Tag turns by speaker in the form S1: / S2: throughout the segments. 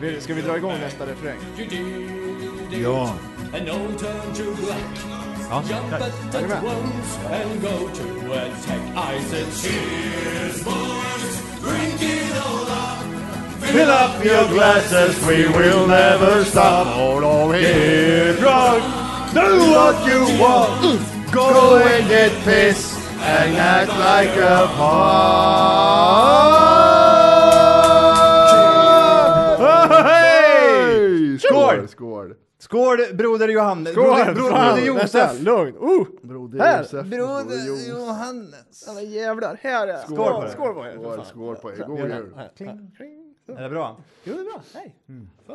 S1: Vi- Ska vi dra igång nästa refräng?
S2: Ja. ja.
S1: Är ni med?
S2: Fill up your glasses, we will never stop. Hold on, get drunk, do what you want. Go and get pissed and act like a punk. Hey! Skål!
S1: Skål! Skål!
S2: Skål broder Johan!
S1: Skål!
S2: Broder, broder Josef!
S1: Vänta, lugn! Oh! Broder Josef!
S2: Uh. Broder Johannes!
S1: Alla jävlar, här är Skål
S2: på er.
S1: Skål på er! Skål, skål på er! God jul! Kling, kling.
S2: Är det bra? Jo, det är bra. Hej.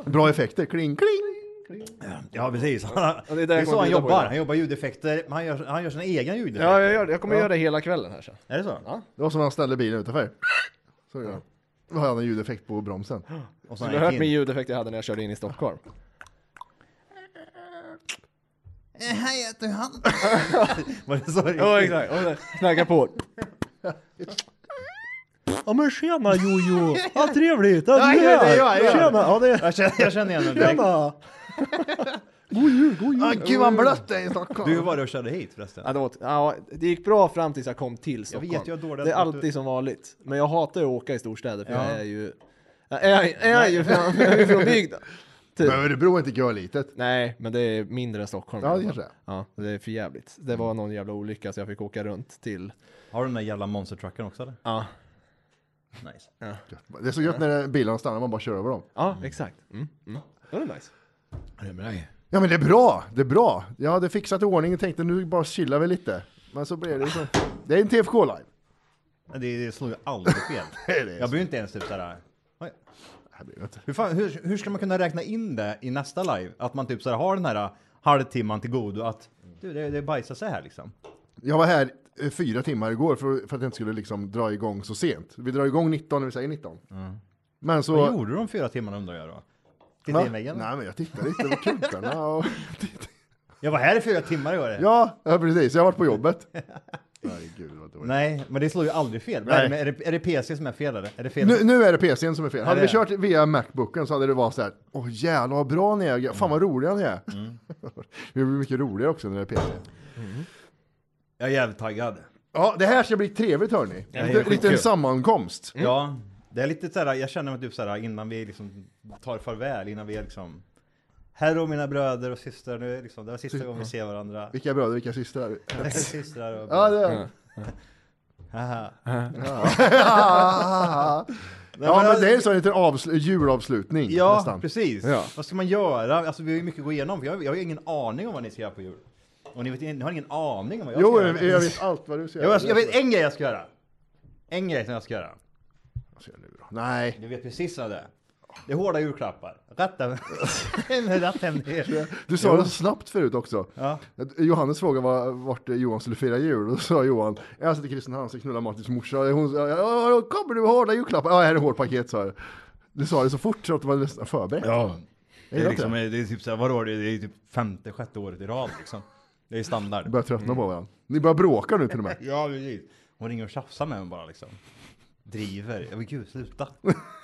S1: Bra effekter, kling, kling!
S2: Ja, precis. Han,
S1: det är
S2: det
S1: det
S2: är
S1: jag kommer
S2: så han
S1: titta på
S2: jobbar.
S1: idag.
S2: Han jobbar ljudeffekter, men han gör, han gör sina egna ljudeffekter.
S1: Ja, jag, gör det. jag kommer göra det hela kvällen här sen.
S2: Är det så? Ja.
S3: Det var som när han ställde bilen utanför. Så gör han. Då har han en ljudeffekt på bromsen.
S2: Och så
S1: Du har hört min ljudeffekt jag hade när jag körde in i Stockholm.
S2: Eh, Hej, jag heter Johan. Var det så?
S1: Ja, exakt! Och så knacka på.
S4: Ja men tjena Jojo! Vad trevligt! Ja,
S2: Ja,
S4: du
S2: ja,
S4: här.
S2: ja, ja.
S4: Tjena! Ja, det är...
S2: Jag känner, jag känner igen den direkt.
S4: Tjena!
S3: Ah, gud vad blött det är i Stockholm!
S2: Du, hur var det och körde hit förresten?
S1: Ja, det, var, ja, det gick bra fram tills jag kom till
S2: Jag vet,
S1: Stockholm.
S2: jag är dålig
S1: det är
S2: att-
S1: alltid som vanligt. Men jag hatar ju att åka i storstäder för
S2: Ja.
S1: jag är ju... Jag är, jag är ju från, jag är ju från bygden. Typ.
S3: Men Örebro är inte görlitet.
S1: Nej, men det är mindre än Stockholm.
S3: Ja, det kanske det är.
S1: Ja, det är för jävligt. Det var någon jävla olycka så jag fick åka runt till...
S2: Har du den där jävla monstertrucken också eller?
S1: Ja,
S2: Nice.
S3: Det är så gött när bilarna stannar, man bara kör över dem.
S1: ja exakt. Mm. Mm. Det var nice.
S2: Det är bra
S3: Ja men det är bra, det är bra. Jag hade fixat i ordning och tänkte nu bara chillar vi lite. Men så blev det så. Det är en TFK live.
S2: Det, det slår ju aldrig fel.
S3: är så.
S2: jag blir ju inte ens typ såhär... Oj.
S3: Det här blir det inte.
S2: Hur, fan, hur, hur ska man kunna räkna in det i nästa live? Att man typ såhär har den här halvtimman till godo att du, det, det bajsar sig här liksom.
S3: Jag var här eh, fyra timmar igår för, för att jag inte skulle liksom dra igång så sent. Vi drar igång 19 när vi säger 19. Men så...
S2: Vad gjorde du de fyra timmarna undrar jag då? Titta
S3: Va?
S2: in i väggen?
S3: Nej men jag tittade inte på kultarna och...
S2: Jag var här i fyra timmar i år.
S3: Ja, ja precis. Jag har varit på jobbet. Herregud vad dåligt.
S2: Nej, men det slår ju aldrig fel. Vad Är,
S3: Nej.
S2: det, med- är, det, är det PC som är fel eller? Är det fel?
S3: Nu, nu är det PCn som är fel. Hade
S2: det
S3: vi
S2: är
S3: kört via Macbooken så hade det varit så här. Åh jävlar vad bra ni
S2: Mm.
S3: är. Fan vad roliga ni är. det blir mycket roligare också när det är PC.
S2: Jag är jävligt
S3: Mm.
S2: taggad.
S3: Ja, det här ska bli trevligt hörni.
S1: det är
S3: Lite, lite
S1: skitkul.
S3: en sammankomst.
S2: Ja, det är lite såhär, jag känner mig typ såhär innan vi liksom tar farväl, innan vi är liksom Här och mina bröder och systrar, nu är liksom, det var sista gången vi ser varandra.
S3: Vilka bröder, vilka systrar.
S2: systrar och
S3: Ja,
S2: bröder.
S3: det är.
S2: Haha.
S3: Ah, ja, men det är så en liten avsl- julavslutning
S2: Ja,
S3: nästan.
S2: precis.
S3: Ja.
S2: Vad ska man göra? Alltså vi har ju mycket att gå igenom, för jag, jag har ju ingen aning om vad ni ska göra på jul. Och ni, vet, ni har ingen aning om vad jag
S3: Jo,
S2: ska göra.
S3: jag, jag vet allt vad du ska
S2: jag,
S3: göra.
S2: jag, jag vet en grej jag ska göra. En grej som jag ska göra.
S3: Vad ska jag nu då? Nej.
S2: Du vet precis vad det är. Det är hårda julklappar. Ratten. en ratthemlighet.
S3: Du sa det så snabbt förut också.
S2: Ja.
S3: Att Johannes frågade var, vart Johan skulle fira jul och då sa Johan, jag sitter i Kristinehamn och knullar Martins morsa. Hon sa, "Ja, då kommer du med hårda julklappar? Ja, här är hårt paket sa jag. Du sa det så fort så att du var nästan förberedd.
S2: Ja. Det är,
S3: det
S2: liksom, det är typ såhär, vadå, det är det är typ femte, sjätte året i rad liksom. Det är
S3: Du
S2: standard.
S3: börjar tröttna på varandra. Ni börjar bråka nu till och med.
S2: Ja, precis. Hon ringer och tjafsar med mig bara liksom. Driver. Jag men gud, sluta.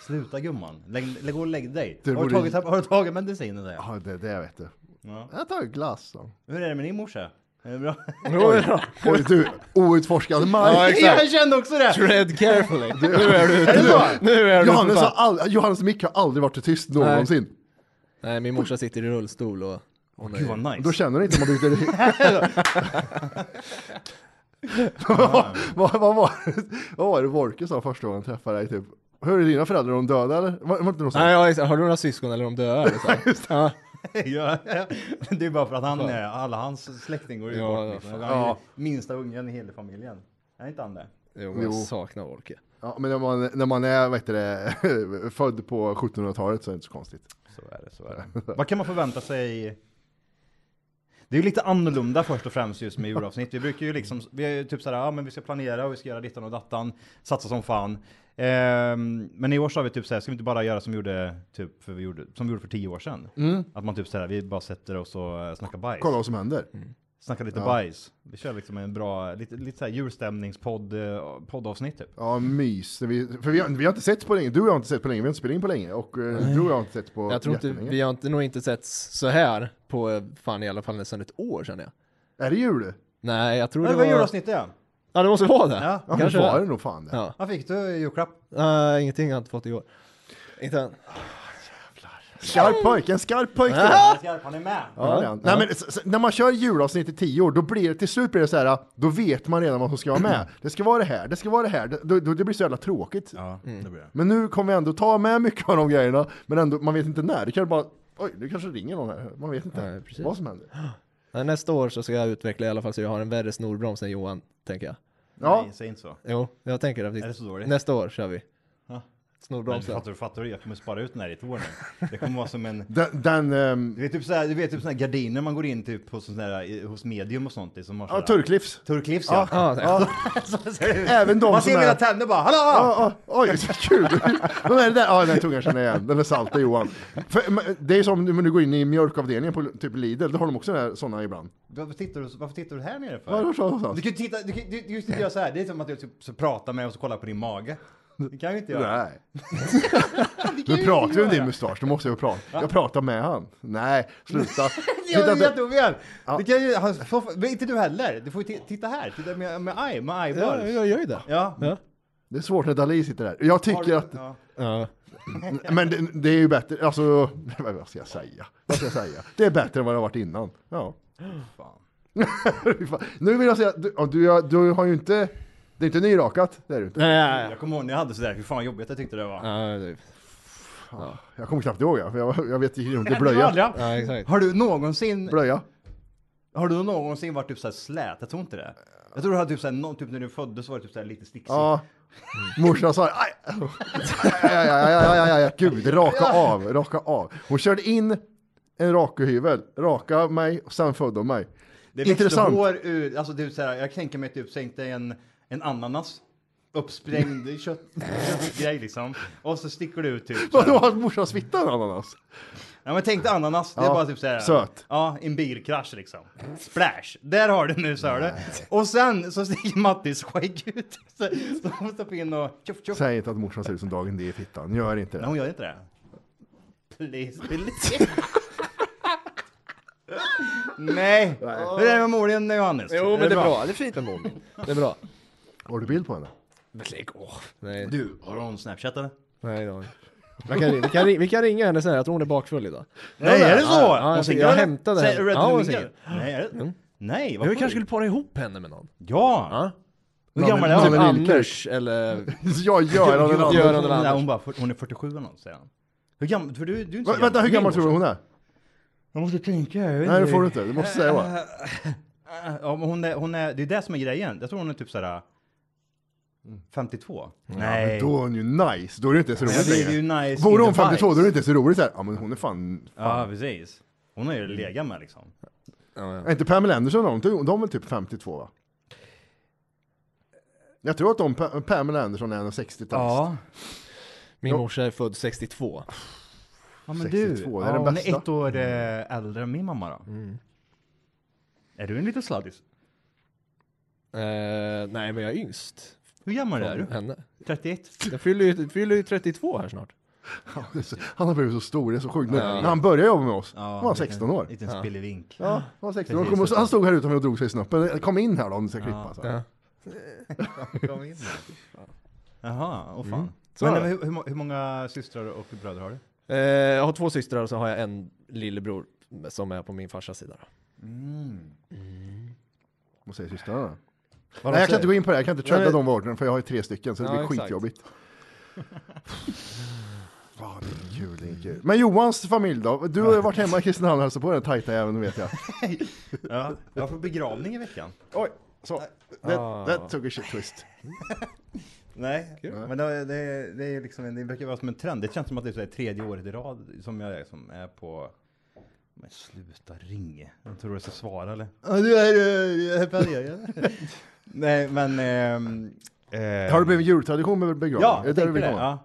S2: Sluta gumman. Lägg, lägg, gå och lägg dig.
S3: Det
S2: har, du
S3: borde-
S2: tagit, har du tagit medicinen där?
S3: Ja, det, det vet du.
S2: Ja.
S3: Jag tar ett glass då.
S2: Hur är det med din morsa? Det är bra.
S1: Jo, ja.
S3: Oj, du, outforskad
S2: Ja,
S3: mark.
S2: exakt. Jag kände också det.
S1: Tread carefully. Nu är du ute. Nu är du
S3: Johannes,
S1: ute.
S3: har all, Johannes mick har aldrig varit så tyst någonsin.
S1: Nej, min morsa sitter i rullstol och... Hon
S2: Gud vad
S1: är...
S2: nice.
S3: Då känner du inte om man byter vad, vad, var, vad var det Wolke sa första gången jag träffade dig? Typ? Hur är dina föräldrar, är de döda eller? Var, var inte något sånt?
S1: Nej, ja, exakt. har du några syskon eller är de döda? eller så här? Ja.
S2: Ja, ja. det är bara för att han, är- alla hans släkting går ju
S1: Ja,
S2: bort.
S1: ja,
S2: Liksom.
S1: fan.
S2: Han är ju minsta ungen i hela familjen. Är inte han det?
S1: Jo, men jag saknar Wolke.
S3: Ja, men när man, när man är vad heter det, född på 1700-talet så är det inte så konstigt.
S2: Så är det, så är det. Vad kan man förvänta sig? Det är ju lite annorlunda först och främst just med julavsnitt. Vi brukar ju liksom, vi är ju typ såhär, ja men vi ska planera och vi ska göra dittan och dattan, satsa som fan. Ehm, men i år sa vi typ såhär, ska vi inte bara göra som vi gjorde, typ, för vi gjorde, som vi gjorde för tio år sedan? Att man typ såhär, vi bara sätter oss och eh, snackar bajs.
S3: Kolla vad som händer.
S1: Mm.
S2: Snacka lite bajs. Vi kör liksom en bra, lite, lite såhär julstämningspodd, eh, poddavsnitt typ.
S3: Ja, mys. Vi, för vi har, vi har inte sett på länge. Du och jag har inte sett på länge. Vi har inte spelat in på länge. Och eh, du och jag har inte sett på
S1: Jag tror inte,
S3: jättelänge.
S1: vi har inte, nog inte sett så här på, eh, fan i alla fall nästan ett år känner jag.
S3: Är det jul?
S1: Nej, jag tror
S2: Ja,
S1: det
S2: det var
S1: var...
S2: julavsnittet ja.
S1: Ja, det måste vara det.
S2: Ja.
S3: Ja,
S1: Kanske
S3: Kanske var det nog fan det.
S1: Ja.
S2: Vad fick du i julklapp?
S1: Nej, ingenting har jag inte fått i år. Inte än.
S3: Skarp pojk, en skarp pojk. det.
S2: Han är med!
S3: Ja, det är han. Nej, men, s- s- när man kör julavsnitt i tio år, då blir det till slut blir det så här, då vet man redan vad som ska vara med. Det ska vara det här, det ska vara det här. Det, då, då, det blir så jävla tråkigt.
S2: Ja, Mm. det blir det.
S3: Men nu kommer vi ändå ta med mycket av de grejerna, men ändå, man vet inte när. Det kan bara, oj, nu kanske ringer någon här. Man vet inte
S1: Nej, precis.
S3: vad som händer.
S1: Nej, nästa år så ska jag utveckla i alla fall så jag har en värre snorbroms än Johan, tänker jag.
S3: Ja.
S2: Nej, säg inte så.
S1: Jo, jag tänker det.
S2: Är det så dåligt?
S1: Nästa år kör vi.
S2: Ja. Men
S1: Snorbromsen.
S2: fattar du, fattar du? Jag kommer spara ut den här i ett år nu. Det kommer vara som en...
S3: Den, den ehm,
S2: Du vet typ såhär, du vet typ såna här gardiner man går in typ hos, sån där, i- hos medium och sånt i, som har
S3: ja,
S2: sådär.
S3: Turklivs.
S2: Turklivs ja.
S1: Ja, så-
S2: Så ser det ut.
S3: Även de
S2: man
S3: som
S2: ser
S3: är-
S2: mina tänder bara, hallå!
S3: Ja, ja, oj, så kul! Vad är det där? Ja, den tungan känner jag igen. Den är salt, det är Johan. För, men, det är som när du går in i mjölkavdelningen på typ Lidl, då har de också där- såna ibland.
S2: Varför, tittar du, varför tittar du här nere för?
S3: Ja, det var så- så.
S2: Du kan ju titta, du kan du- du kan ju inte göra såhär, det är som att jag typ, så pratar med dig och så kollar på din mage. Det kan ju inte göra.
S3: Nej. Nu pratar vi om din mustasch, då måste jag prata. Jag pratar med han. Nej, sluta.
S2: Jag
S3: Titta
S2: är
S3: inte-
S2: jätteovel! Du kan ju, han, får- men inte du heller! Du får ju ti- titta här, titta med, med eye, med
S1: ja,
S2: eyeballs.
S1: jag gör ju det.
S2: Ja.
S1: Ja.
S3: Det är svårt när Dali sitter där. Jag
S2: Har
S3: tycker
S2: du-
S3: att...
S2: ja.
S1: Ja.
S3: Men det, det är ju bättre, alltså... Vad ska jag säga? Vad ska jag säga? Det är bättre än vad det har varit innan. Ja.
S2: Fan.
S3: Fy fan. nu vill jag säga, du, ja, du, har- du har ju inte... Det är inte nyrakat, det är du inte.
S1: Nej,
S2: Jag kommer ihåg när jag hade sådär, hur fan vad jobbigt jag tyckte det var.
S1: ja, det-
S3: Jag kommer knappt ihåg, jag, för jag, jag vet ju inte.
S2: Du har
S3: Blöja.
S2: aldrig-
S1: ja, exakt.
S2: Har du någonsin,
S3: Blöja.
S2: har du någonsin varit typ såhär slät? Jag tror inte det. Jag tror du hade typ såhär, någon, typ när du föddes så var det typ såhär lite sticksig.
S3: Ja. Morsan sa aj, aj, aj, aj, aj, aj, aj, gud, raka av, raka av. Hon körde in en rakhyvel, raka mig och sen födde hon mig.
S2: det
S3: intressant.
S2: hår ur, alltså typ såhär, jag tänker mig typ, tänk dig en, en ananas. Uppsprängd kött, köttgrej liksom. Och så sticker du ut typ. såhär.
S3: Vadå, har morsan svittat en ananas?
S2: Ja men tänk dig ananas, det är
S3: Ja,
S2: bara typ såhär.
S3: söt.
S2: Ja, en bilkrasch liksom. Splash! Där har du nu sa du. Och sen så sticker Mattis skägg ut. Så, så hon stoppar in och tjoff tjoff.
S3: Säg inte att morsan ser ut som Dagen D i fittan, gör inte
S2: Nej,
S3: det.
S2: hon gör inte det. Please, please. Nej, det där med målningen Johannes.
S1: Jo, men det är bra. Det är fint med Momin. Det är bra.
S3: Har du bild på henne?
S1: Men lägg av. Nej,
S2: Du, har hon Snapchat eller?
S1: nej, då. Vi kan, vi, kan, ri- vi kan ringa henne sen, jag tror hon är bakfull idag.
S2: Nej, är det så?
S1: Ja, ja, jag tänkte- jag
S2: eller?
S1: hämtade
S2: Säg,
S1: henne.
S2: Red
S1: Ja, hon
S2: Flamingo.
S1: är singel.
S2: Nej, är det? Nej, vad
S1: Vi kanske
S2: sjukt.
S1: skulle para ihop henne med någon.
S2: Ja!
S1: Ja.
S2: Hur gammal är
S3: Mannen-
S2: hon?
S1: Typ
S3: men Ilker.
S1: Anders eller...
S3: Ja, Göran eller
S1: Göran.
S3: Anders.
S1: eller
S2: Nej,
S1: Anders.
S2: hon bara, hon är 47 eller något säger han. Hur gammal, för du, du är inte
S3: Va-
S2: så
S3: Vänta, hur
S2: Min
S3: gammal
S2: morsa.
S3: tror du hon är?
S2: Jag måste tänka.
S3: Nej, det får du inte, du måste säga vad.
S2: Ja, men hon är, hon är, det är det som är grejen. Jag tror hon är typ mm, såhär... 52. Nej.
S3: Då är hon ju nice, då är det inte så
S2: Ja,
S3: roligt
S2: det är ju
S3: längre.
S2: nice
S3: Vore
S2: in
S3: hon
S2: the
S3: 52 då är
S2: vibes.
S3: det inte så roligt såhär, ja men hon är fan...
S2: Ja, precis. Hon har ju
S3: Mm.
S2: legat med liksom.
S3: Är inte Pamela Anderson och de, de är väl typ 52 va? Jag tror att de, Pa- Pamela Anderson är en 60-talist.
S1: Min morsa är född 62.
S2: ja men
S3: 62,
S2: du.
S3: det är
S2: ja,
S3: den
S2: hon
S3: bästa. Mm.
S2: är ett år eh, äldre än min mamma då. Är du en liten sladdis?
S1: Eh, nej, men jag är yngst.
S2: Hur gammal är
S1: Från
S2: du?
S1: henne.
S2: 31?
S1: Jag fyller ju, fyller ju 32 här snart.
S3: Han har blivit så stor, det är så sjukt. När- När han började jobba med oss, då var han 16 år.
S2: Liten spillevink.
S3: Ja, han var 16 år.
S2: Precis.
S3: Kom och, han stod här utanför och drog sig i snoppen. Kom in här då om du ska klippa. Så. här.
S2: Kom in där. Jaha, åh fan.
S3: Mm.
S1: Så
S2: Men
S1: är det.
S2: hur, hur, må- hur många systrar och bröder har du?
S1: Eh, jag har två systrar och så har jag en lillebror som är på min farsas sida. då.
S3: Vad säger systrarna? då?
S1: Vad de
S3: Nej, jag kan
S1: säger.
S3: inte gå in på det, jag kan inte tradda
S1: Nej,
S3: de vardera för jag har ju tre stycken så det
S1: Ja,
S3: blir
S1: exakt.
S3: skitjobbigt. Ja, det är kul, det är kul. Men Johans familj då? Du har ju varit hemma i Kristinehamn och hälsat på den tajta jäveln, det vet jag.
S2: Ja, jag får begravning i veckan.
S3: Oj, så.
S2: Ah.
S3: That, that took a shit twist.
S2: Nej, men det, det, det, är liksom, en- det verkar vara som en trend. Det känns som att det är så här tredje året i rad som jag är, som är på... Men sluta ring! Jag tror du ska svara eller? Ja, du är jag är planerad. Nej, men... ehm, eh,
S3: Har det blivit jultradition med begravning?
S2: Ja, jag
S3: Är där du
S2: tänkte
S3: vill
S2: det.
S3: komma?
S2: Ja.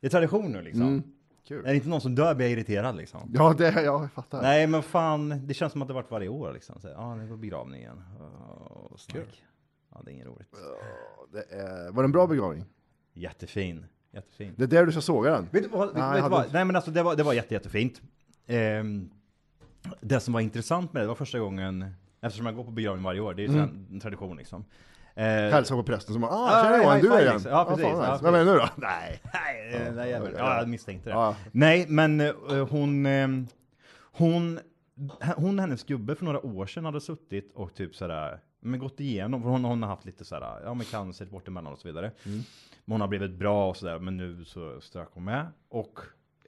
S2: Det är tradition nu liksom.
S3: Mm. kul.
S2: Är det inte någon som dör blir jag irriterad liksom.
S3: Ja, det, ja, jag fattar.
S2: Nej, men fan, det känns som att det varit varje år liksom. Så, här, ja, det var begravningen. Oh, snack. Ja, det är inget roligt.
S3: Det är, var det en bra begravning?
S2: Jättefin. Jättefin.
S3: Det är där du ska såga den?
S2: Vet du vad?
S3: Nej,
S2: Nej,
S3: jag
S2: vet
S3: hade
S2: du vad?
S3: inte-
S2: Nej men alltså det var, det var jätte, jättefint. Ehm, det som var intressant med det, det var första gången, eftersom jag går på begravning varje år, det är ju mm. en tradition liksom. Eh,
S3: Hälsa på prästen som bara ah,
S2: Ja,
S3: tjena
S2: hej,
S3: Johan,
S2: high
S3: du
S2: five,
S3: är den.
S2: liksom. Ja, precis.
S3: fan,
S2: Ja,
S3: nice. Vem är det nu då? Nej.
S2: Nej, eh, nej jävel. Ja, jag misstänkte det.
S3: Ja.
S2: Nej, men eh, hon, eh, hon, hon och hennes gubbe för några år sedan hade suttit och typ sådär, men gått igenom, för hon, hon har haft lite sådär, ja men cancer bort emellan och så vidare.
S3: Mm.
S2: Men hon har blivit bra och sådär, men nu så strök hon med. Och,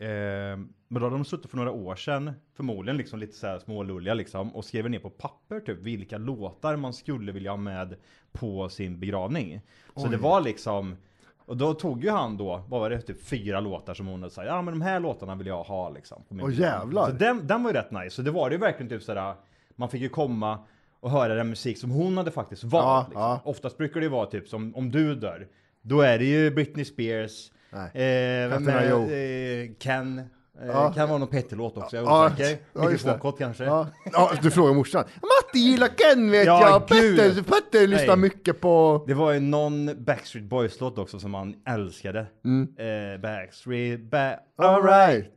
S2: eh, men då hade de suttit för några år sedan, förmodligen liksom lite såhär smålulliga liksom, och skrev ner på papper typ vilka låtar man skulle vilja ha med på sin begravning. Så det var liksom, och då tog ju han då, vad var det, typ fyra låtar som hon hade sagt, ja men de här låtarna vill jag ha liksom. på min
S3: Åh,
S2: begravning."
S3: jävlar.
S2: Så den, den var ju rätt nice, så det var det ju verkligen typ sådär, man fick ju komma och höra den musik som hon hade faktiskt valt.
S3: Ja,
S2: liksom.
S3: ja.
S2: Oftast brukar det ju vara typ som om du dör, då är det ju Britney Spears,
S3: Nej.
S2: Eh, vem
S3: Katarina
S2: är,
S3: Jo.
S2: eh, Ken, eh,
S3: Ja.
S2: kan vara någon Petter-låt också, jag är
S3: Ja,
S2: osäker.
S3: ja, just det.
S2: Mikrofonkort kanske.
S3: Ja. ja, du frågar morsan. Matti gillar Ken vet
S2: Ja,
S3: jag.
S2: gud.
S3: Petter, Petter lyssnar
S2: Nej.
S3: mycket på...
S2: Det var ju någon Backstreet Boys-låt också som han älskade.
S3: Mm.
S2: Eh, Backstreet, ba
S3: Alright.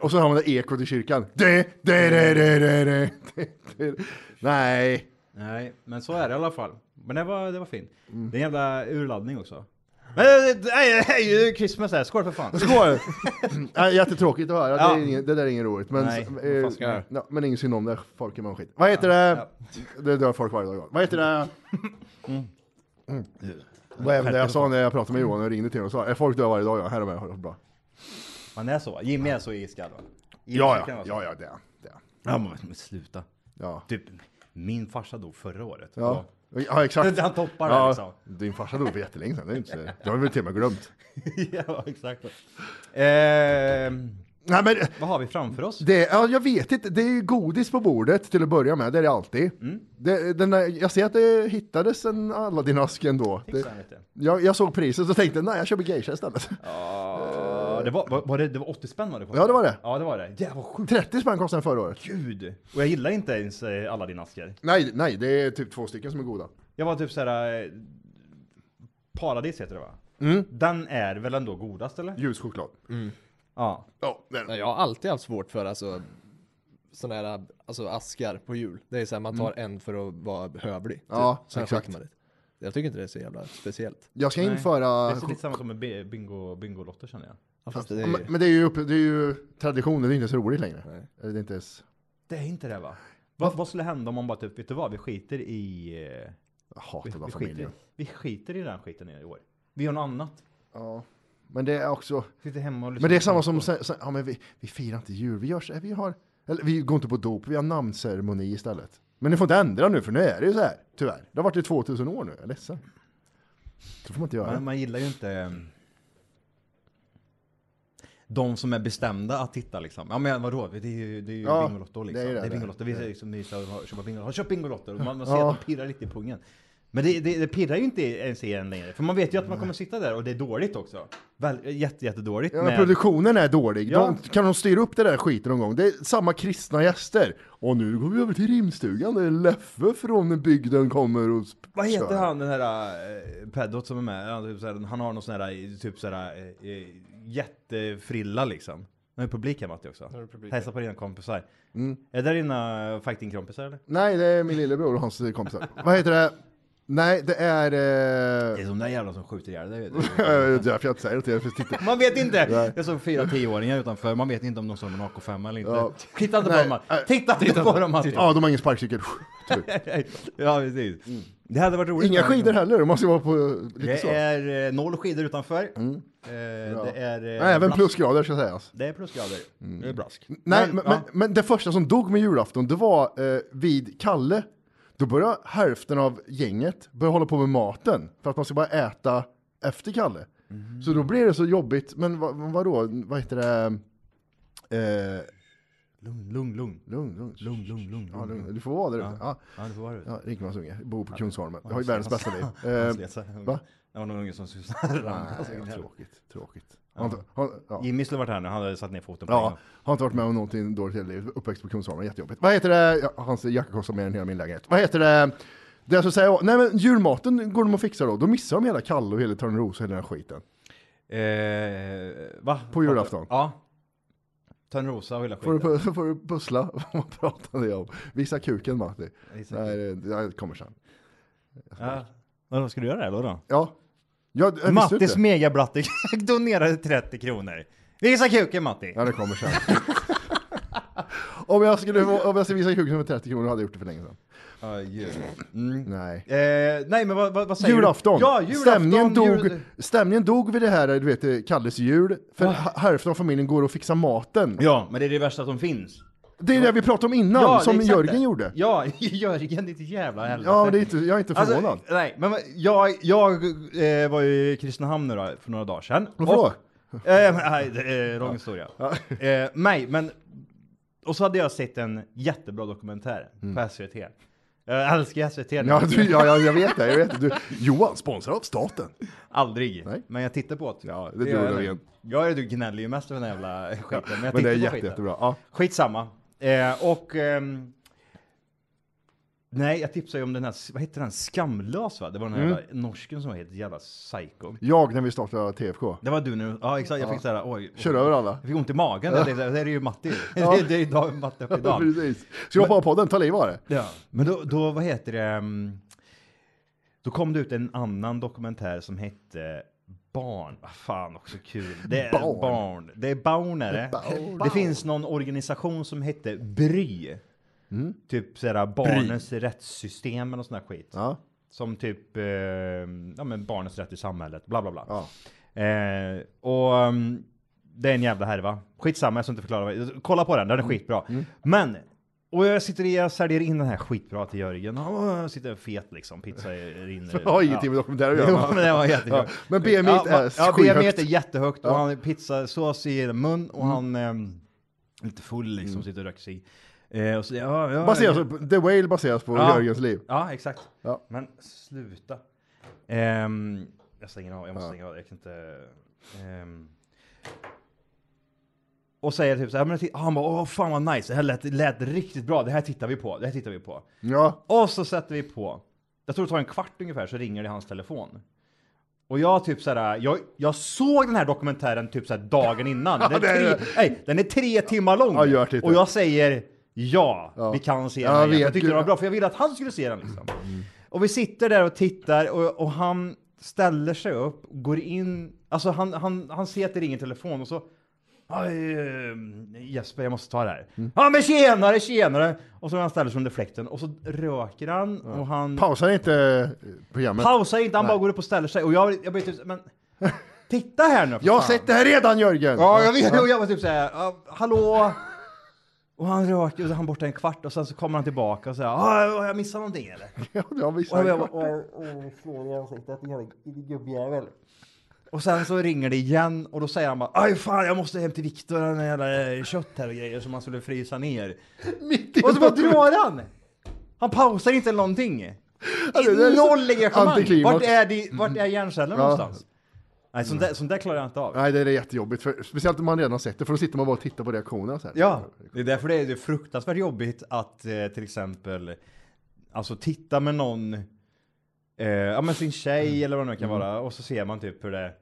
S3: Och så har man det ekot i kyrkan. Det, det, det, det, det, det, det, det. Nej.
S2: Nej, men så är det i alla fall. Men det var, det var fint.
S3: Mm.
S2: Det är en jävla urladdning också. Men eh, det det är ju Christmas här, skål för fan!
S3: Skål! Nej, jättetråkigt att höra.
S2: Ja.
S3: Det, är inget, det där är inget roligt. Men,
S2: Nej,
S3: eh,
S2: vad fan ska jag göra?
S3: ja, men ingen synd om det. Folk är man skit. Vad heter det? Det dör folk varje dag. Vad heter det?
S2: Mm.
S3: Vad är det jag sa när jag pratade med Johan och ringde till honom och sa är folk dör varje dag? Ja, här är med. Ha det bra.
S2: Man är så, Jimmy är så iskall va? alltså. Jimmy
S3: Ja,
S2: kan
S3: ja,
S2: vara så.
S3: ja, ja, det är det är.
S2: ja. men- Men sluta.
S3: Ja,
S2: Typ, min farsa dog förra året.
S3: ja. ja exakt.
S2: Han toppar det
S3: ja,
S2: liksom.
S3: Din farsa dog för jättelänge sedan. Det, är inte, så- det har vi väl till och med glömt.
S2: ja, exakt. Ehm,
S3: Nej, men
S2: vad har vi framför oss?
S3: Det, ja, jag vet inte, det är ju godis på bordet till att börja med, det är det alltid.
S2: Mm.
S3: Det, den där, jag ser att det hittades en Aladdin-ask ändå. Det,
S2: Fixa lite.
S3: jag, jag såg priset och tänkte, nej jag köper geisha istället.
S2: Ja, det, var, var, var det, det var 80 spänn var det kostade?
S3: Ja, det var det.
S2: Ja, det var det. Jävlar, sjukt.
S3: 30 spänn kostade den förra året.
S2: Gud! Och jag gillar inte ens eh, alla dina askar.
S3: Nej, nej, det är typ två stycken som är goda.
S2: Jag var typ såhär... Eh, Paradis heter det va?
S3: Mm.
S2: Den är väl ändå godast eller?
S3: Ljus choklad.
S2: Ja.
S3: Ja, det är den.
S1: Nej, Jag har alltid haft svårt för alltså, sådana här alltså, askar på jul. Det är så här, man tar en för att vara hövlig. Typ.
S3: Mm. Ja,
S1: Sen
S3: exakt.
S1: skiter man i det. Jag tycker inte det är så jävla speciellt.
S3: jag ska
S2: Det
S3: införa...
S2: är lite samma som med bi- bingo, bingolotter känner jag.
S1: Ja, fast det är
S3: Men- Men det är ju, uppe- det är ju traditionen, det är inte så roligt längre. Eller Det är inte ens...
S2: Det är inte det va? Vad, vad skulle hända om man bara typ, vet du vad? Vi skiter i... Eh,
S3: Jag
S2: vi,
S3: hatar
S2: vi,
S3: den
S2: skiter,
S3: familjen.
S2: vi skiter i den skiten i år. Vi gör något annat.
S3: Ja. Men det är också...
S2: Sitter hemma och lyssnar
S3: Men det är
S2: på
S3: samma
S2: musik.
S3: som, så- så- ja men vi, vi firar inte jul, vi gör så här, vi har, eller vi går inte på dop, vi har namnceremoni istället. Men ni får inte ändra nu för nu är det ju så här, tyvärr. Det har varit i 2000 år nu, jag är ledsen. Så får man inte göra.
S2: Man, man gillar ju inte eh, de som är bestämda att titta liksom. Ja men vadå, det är ju, det är ju
S3: Ja,
S2: Bingolotto liksom.
S3: det
S2: Det
S3: är det
S2: är,
S3: där.
S2: Bingolotto, vi är liksom mysa och köpa Bingolotto. Har du köpt Bingolotto? Man, man ser
S3: Ja.
S2: att de pirrar lite i pungen. Men det, det, det pirrar ju inte ens i en längre, för man vet ju att man kommer sitta där och det är dåligt också. Väl, jätte, jättedåligt.
S3: Ja,
S2: med-
S3: men produktionen är dålig.
S2: Ja.
S3: De, kan de styra upp det där skiten någon gång? Det är samma kristna gäster. Och nu går vi över till rimstugan där Leffe från bygden kommer och sp-
S2: Vad heter
S3: kör.
S2: han den här eh, peddot som är med? Han, typ, såhär, han har någon sån här eh, typ såhär, eh, eh, jättefrilla liksom. Nu är publiken Matti också. Hälsa på dina kompisar. Är det dina fighting-kompisar eller?
S3: Nej, det är min lillebror och hans kompisar. Vad heter det? Nej, det är...
S2: Det
S3: Eh...
S2: är de där jävlarna som skjuter ihjäl dig.
S3: Det är därför jag inte säger det till er, för titta.
S2: Man vet inte! Jag såg fyra tioåringar utanför, man vet inte om de såg någon AK5 eller inte.
S3: Ja.
S2: Titta inte
S3: Nej,
S2: på dem Matti.
S3: nej.
S2: Titta Mm. inte på dem Matti!
S3: Ja, de har ingen sparkcykel. Tur.
S2: Ja precis. Det hade varit roligt.
S3: Inga skidor heller, de måste ju vara på eh, lite
S2: Det
S3: så.
S2: är eh, noll skidor utanför. Eh, Det är... eh,
S3: Nej, även
S2: blask-
S3: plusgrader ska alltså. sägas.
S2: Det är plusgrader. Det är brask.
S3: Mm. Nej,
S2: Men,
S3: men, men,
S2: ja.
S3: men det första som dog med julafton, det var eh, vid Kalle. Då började hälften av gänget börja hålla på med maten för att man ska bara äta efter Kalle.
S2: Mm.
S3: Så då blir det så jobbigt. Men vad, vadå, vad heter det? Eh,
S2: Lugn, lugn, lugn.
S3: lugn, lugn.
S2: Lugn, lugn, lugn.
S3: Ja, lugn. Du får vara där ute. Ja.
S2: Ja, det får vara det.
S3: Ja, Rikemans unge, bor på Kungsholmen. Jag har ju världens bästa liv.
S2: Han
S3: Eh,
S2: slet sig.
S3: va?
S2: Det var någon unge som susade.
S3: nej, tråkigt, tråkigt. Har inte, har, ja.
S2: Jimmy skulle varit här nu, han hade satt ner foten på en gång.
S3: Ja, har inte varit med om någonting dåligt i hela livet. Uppväxt på Kungsholmen, jättejobbigt. Vad heter det? Ja, hans jacka kostar mer än hela min lägenhet. Vad heter det? Det jag skulle säga var- nej men julmaten går de och fixar då. Då missar de hela Kalle och hela Törnrosa och hela den här skiten.
S2: Eh, va?
S3: På julafton.
S2: Ja. Törnrosa och hela
S3: Får du,
S2: skiten.
S3: pu- får du pussla? Vad pratade jag om? Visa kuken Matti.
S2: Visa
S3: Nej, det- det kommer sen.
S2: Ja. Vadå, ska du göra det då? då?
S3: Ja. ja jag visste ju
S2: Mattis
S3: inte.
S2: megablatte donerade 30 kronor. Visa kuken Matti!
S3: Ja, det kommer sen. om, jag skulle, om jag skulle visa kuken för 30 kronor hade jag gjort det för länge sedan.
S2: Ja, jul.
S3: Nej.
S2: Eh, nej men vad, vad, vad säger
S3: Julafton.
S2: du? Ja, julafton!
S3: stämningen, dog,
S2: jul-
S3: stämningen dog vid det här, du vet, eh, Kalles jul. För h- hälften av familjen går och fixar maten.
S2: Ja, men det är det värsta som finns.
S3: Det är det vi pratade om innan,
S2: Ja, det är
S3: som
S2: exakt
S3: Jörgen
S2: det.
S3: gjorde.
S2: Ja, Jörgen ditt jävla helvete.
S3: Ja, det är inte, jag är inte förvånad.
S2: Alltså, nej, men jag, jag eh, var ju i Kristinehamn nu då, för några dagar sedan.
S3: Varför då?
S2: Och- Eh, men, nej, det är lång historia. Eh, nej, men... Och så hade jag sett en jättebra dokumentär på SVT. Jag älskar SVT nu.
S3: Mm. ja, du, ja, ja, jag vet det. Jag vet det. Du, Johan, sponsrad av staten.
S2: Aldrig.
S3: Nej.
S2: Men jag tittar på det.
S3: Ja, det
S2: gör
S3: tror
S2: jag
S3: jag
S2: nu.
S3: igen.
S2: Jag är du gnäller ju mest över den här jävla skiten. Men, jag
S3: Men det är
S2: tittar på
S3: jätte,
S2: skiten.
S3: jättebra. Ja.
S2: Skitsamma. Eh, och... ehm, nej, jag tipsade ju om den här, vad heter den? Skamlös va? Det var den
S3: Mm.
S2: här jävla norsken som var helt jävla psycho.
S3: Jag när vi startade TFK.
S2: Det var du nu. Ja exakt, jag fick såhär oj.
S3: Kör över alla.
S2: Jag fick ont i magen. Jag tänkte, Det är ju Matti. Det, det är ju dag, Matti upp i
S3: Ja,
S2: dagen.
S3: precis. Så jag på podden, ta liv av det.
S2: Ja, men då, då vad heter det? ehm, Då kom det ut en annan dokumentär som hette Barn. Vad fan också kul. Det är barn.
S3: Barn.
S2: Det är barn är det.
S3: Barn.
S2: Det finns någon organisation som hette BRY. Typ sådär barnens rättssystem och sån här skit.
S3: Mm. Ja.
S2: Som typ eh, ja, men barnens rätt i samhället, bla bla bla.
S3: Ja.
S2: Eh, och mm, det är en jävla härva. Skitsamma, jag ska inte förklara. vad- Kolla på den,
S3: Mm.
S2: den är skitbra. Men, och jag sitter i, jag säljer in den här skitbra till Jörgen. Åh, Jag sitter fet liksom, pizza rinner.
S3: Jag har ingenting med dokumentärer att göra.
S2: Jo, men det var jättebra.
S3: Ja, men BMI är
S2: ja, ja,
S3: skyhögt. Mm.
S2: BMI är jättehögt och han har pizzasås i mun och han ehm, är lite full liksom, sitter och röker sig. Eh, och så, ja, ja,
S3: Baseras, på- The Whale baseras på
S2: Ja.
S3: Jörgens liv.
S2: Ja, exakt.
S3: Ja.
S2: Men sluta. Ehm, jag stänger av, jag måste stänga av. Jag kan inte... ehm. och säger typ så här, men t- han bara åh fan vad nice, det här lät, lät riktigt bra, det här tittar vi på, det här tittar vi på.
S3: Ja.
S2: Och så sätter vi på, jag tror det tar en kvart ungefär så ringer det i hans telefon. Och jag typ såhär, jag, jag såg den här dokumentären typ såhär dagen innan. Den är
S3: det är
S2: tre, nej, den är tre timmar lång.
S3: Ja, gör typ det.
S2: och jag säger ja,
S3: Ja.
S2: vi kan se
S3: Ja,
S2: den. här
S3: jag
S2: igen.
S3: vet
S2: Jag tyckte den
S3: ju.
S2: var bra, för jag ville att han skulle se den liksom. Och vi sitter där och tittar och, och han ställer sig upp, går in, alltså han, han, han ser att det ringer i telefon och så Aj, eh, Jesper, jag måste ta det här.
S3: Mm.
S2: Ja men tjenare, tjenare! Och så han ställer sig under fläkten och så röker han och han
S3: Pausar inte eh, programmet.
S2: pausar inte, han bara går upp och ställer sig. Och jag, jag blir typ så- men titta här nu för
S3: jag har
S2: fan.
S3: sett det här redan Jörgen!
S2: Ja, jag vet. Och jag var typ såhär, "Ja, hallå? Och han röker och så är han borta en kvart och sen så kommer han tillbaka och säger, har jag missat någonting eller?
S3: Ja, du har
S2: Och
S3: missat.
S2: jag bara, "Åh, åh, slår i ansiktet, jävla gubbjävel. Och sen så ringer det igen och då säger han bara, aj fan jag måste hem till Viktor, han har jävla eh, kött här och grejer som han skulle frysa ner.
S3: Mitt i
S2: Och så bara
S3: dokumentären.
S2: drar han! Han pausar inte eller någonting.
S3: Alltså, det är så-
S2: Noll engagemang!
S3: Antiklimax. Mm.
S2: Vart är, di, vart är hjärncellerna
S3: Ja.
S2: någonstans? Nej, sånt där, sånt där klarar jag inte av.
S3: Nej, det är jättejobbigt. För, speciellt om man redan har sett det, för då sitter man bara och tittar på reaktionerna. Så här.
S2: Ja, det är därför det är det är fruktansvärt jobbigt att eh, till exempel alltså titta med någon, eh, ja men sin tjej
S3: Mm.
S2: eller vad det nu kan vara, och så ser man typ hur det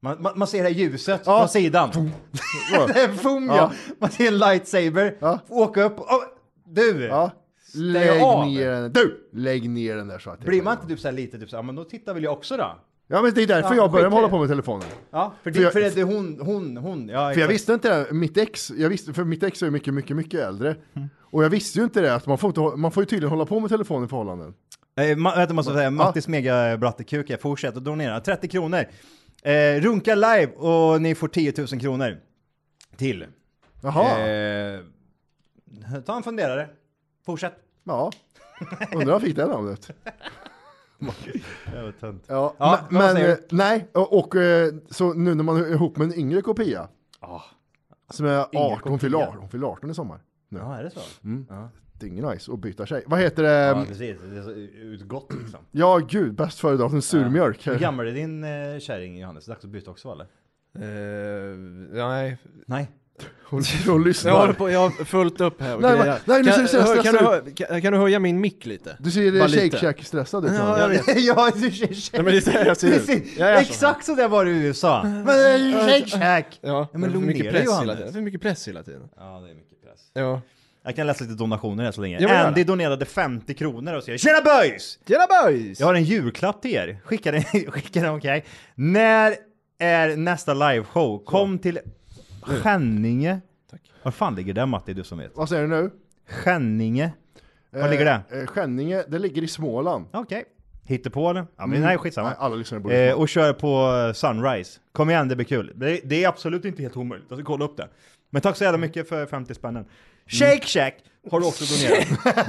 S2: man, man, man ser det här ljuset från sidan. det är fum, ja.
S3: Ja.
S2: Man ser en lightsaber,
S3: Ja.
S2: åka upp, och, du!
S3: Ja. Lägg
S2: av.
S3: ner den. Du! Lägg ner den där så att jag
S2: Blir man
S3: kan-
S2: inte typ så här lite typ så här, "Ja, men då tittar väl jag också då?
S3: Ja, men det är därför
S2: Ja,
S3: jag började
S2: skit i
S3: hålla
S2: det.
S3: på med telefonen.
S2: Ja, för,
S3: För
S2: det,
S3: jag-
S2: för det är hon, hon, hon. Ja,
S3: För jag
S2: exakt.
S3: visste inte det, här. mitt ex, jag visste, för mitt ex är ju mycket, mycket, mycket äldre.
S2: Mm.
S3: Och jag visste ju inte det, att man får, inte, hå- man får ju tydligen hålla på med telefonen i förhållanden.
S2: Eh, ma- vänta, måste jag säga, Mattis mega brattekuk här, fortsätt att donera. 30 kronor. Eh, runka live och ni får 10 000 kronor. Till.
S3: Jaha,
S2: Eh, ta en funderare. Fortsätt.
S3: ja. Undrar vad fick det namnet? Ja,
S2: Ja,
S3: men,
S2: vad säger
S3: men
S2: du?
S3: eh, nej, och, och eh, så nu när man är ihop med en yngre kopia.
S1: Ah.
S3: Som är 18, hon fyller
S2: kopia.
S3: 18, hon fyller 18 i sommar. Nu.
S2: Ja, är det så?
S1: Mm. Ehm.
S3: Det är ingen nice att byta sig. Vad heter det?
S2: Ja,
S3: Ja,
S2: precis. Det är så utgått liksom.
S3: gud, bäst före datum surmjölk.
S2: Hur gammal är din eh, kärring Johannes? Dags att byta också eller?
S1: Eh, nej.
S2: Nej.
S3: Hon, hon lyssnar.
S1: Jag, håller på, jag har fullt upp här och
S3: Nej,
S1: grejer.
S3: men- nej, nu
S1: kan,
S3: ser du- ser du-
S1: hör- kan,
S3: stressar
S1: du hö- kan, kan du höja min mick lite?
S3: Du ser eh,
S1: Bara lite.
S3: Shake Shack-stressad ut.
S1: Ja, jag
S3: Johan.
S1: vet.
S2: ja,
S1: Nej, men det är så här jag ser ut. Jag är så här.
S2: Exakt så där var det i USA. Men eh, shake shack.
S1: Ja,
S2: men lugn
S1: för
S2: ner
S1: mycket
S2: dig,
S1: press hela
S2: Johannes.
S1: tiden. För mycket press hela tiden.
S2: Ja, det är mycket press.
S1: Ja.
S2: Jag kan läsa lite donationer här så länge.
S1: Ja, men gör
S2: Andy
S1: det.
S2: donerade 50 kronor och säger Tjena boys!
S1: Tjena boys!
S2: Jag har en julklapp till er. Skicka den, skicka den okej. När är nästa liveshow? Kom till Skänninge. Var fan ligger det Matti, du som vet?
S3: Vad säger du nu?
S2: Skänninge. Var ligger det?
S3: Eh, eh, Skänninge, det ligger i Småland.
S2: Okej. Hittar på eller? Ja men nej skitsamma.
S3: mm. Nej, alla lyssnare borde...
S2: Eh, och kör på eh, Sunrise. Kom igen, det blir kul. Det, det är absolut inte helt omöjligt. Alltså, kolla upp det. Men tack så jävla mycket för 50
S3: Mm.
S2: spännen. Shake Shack har du också donerat.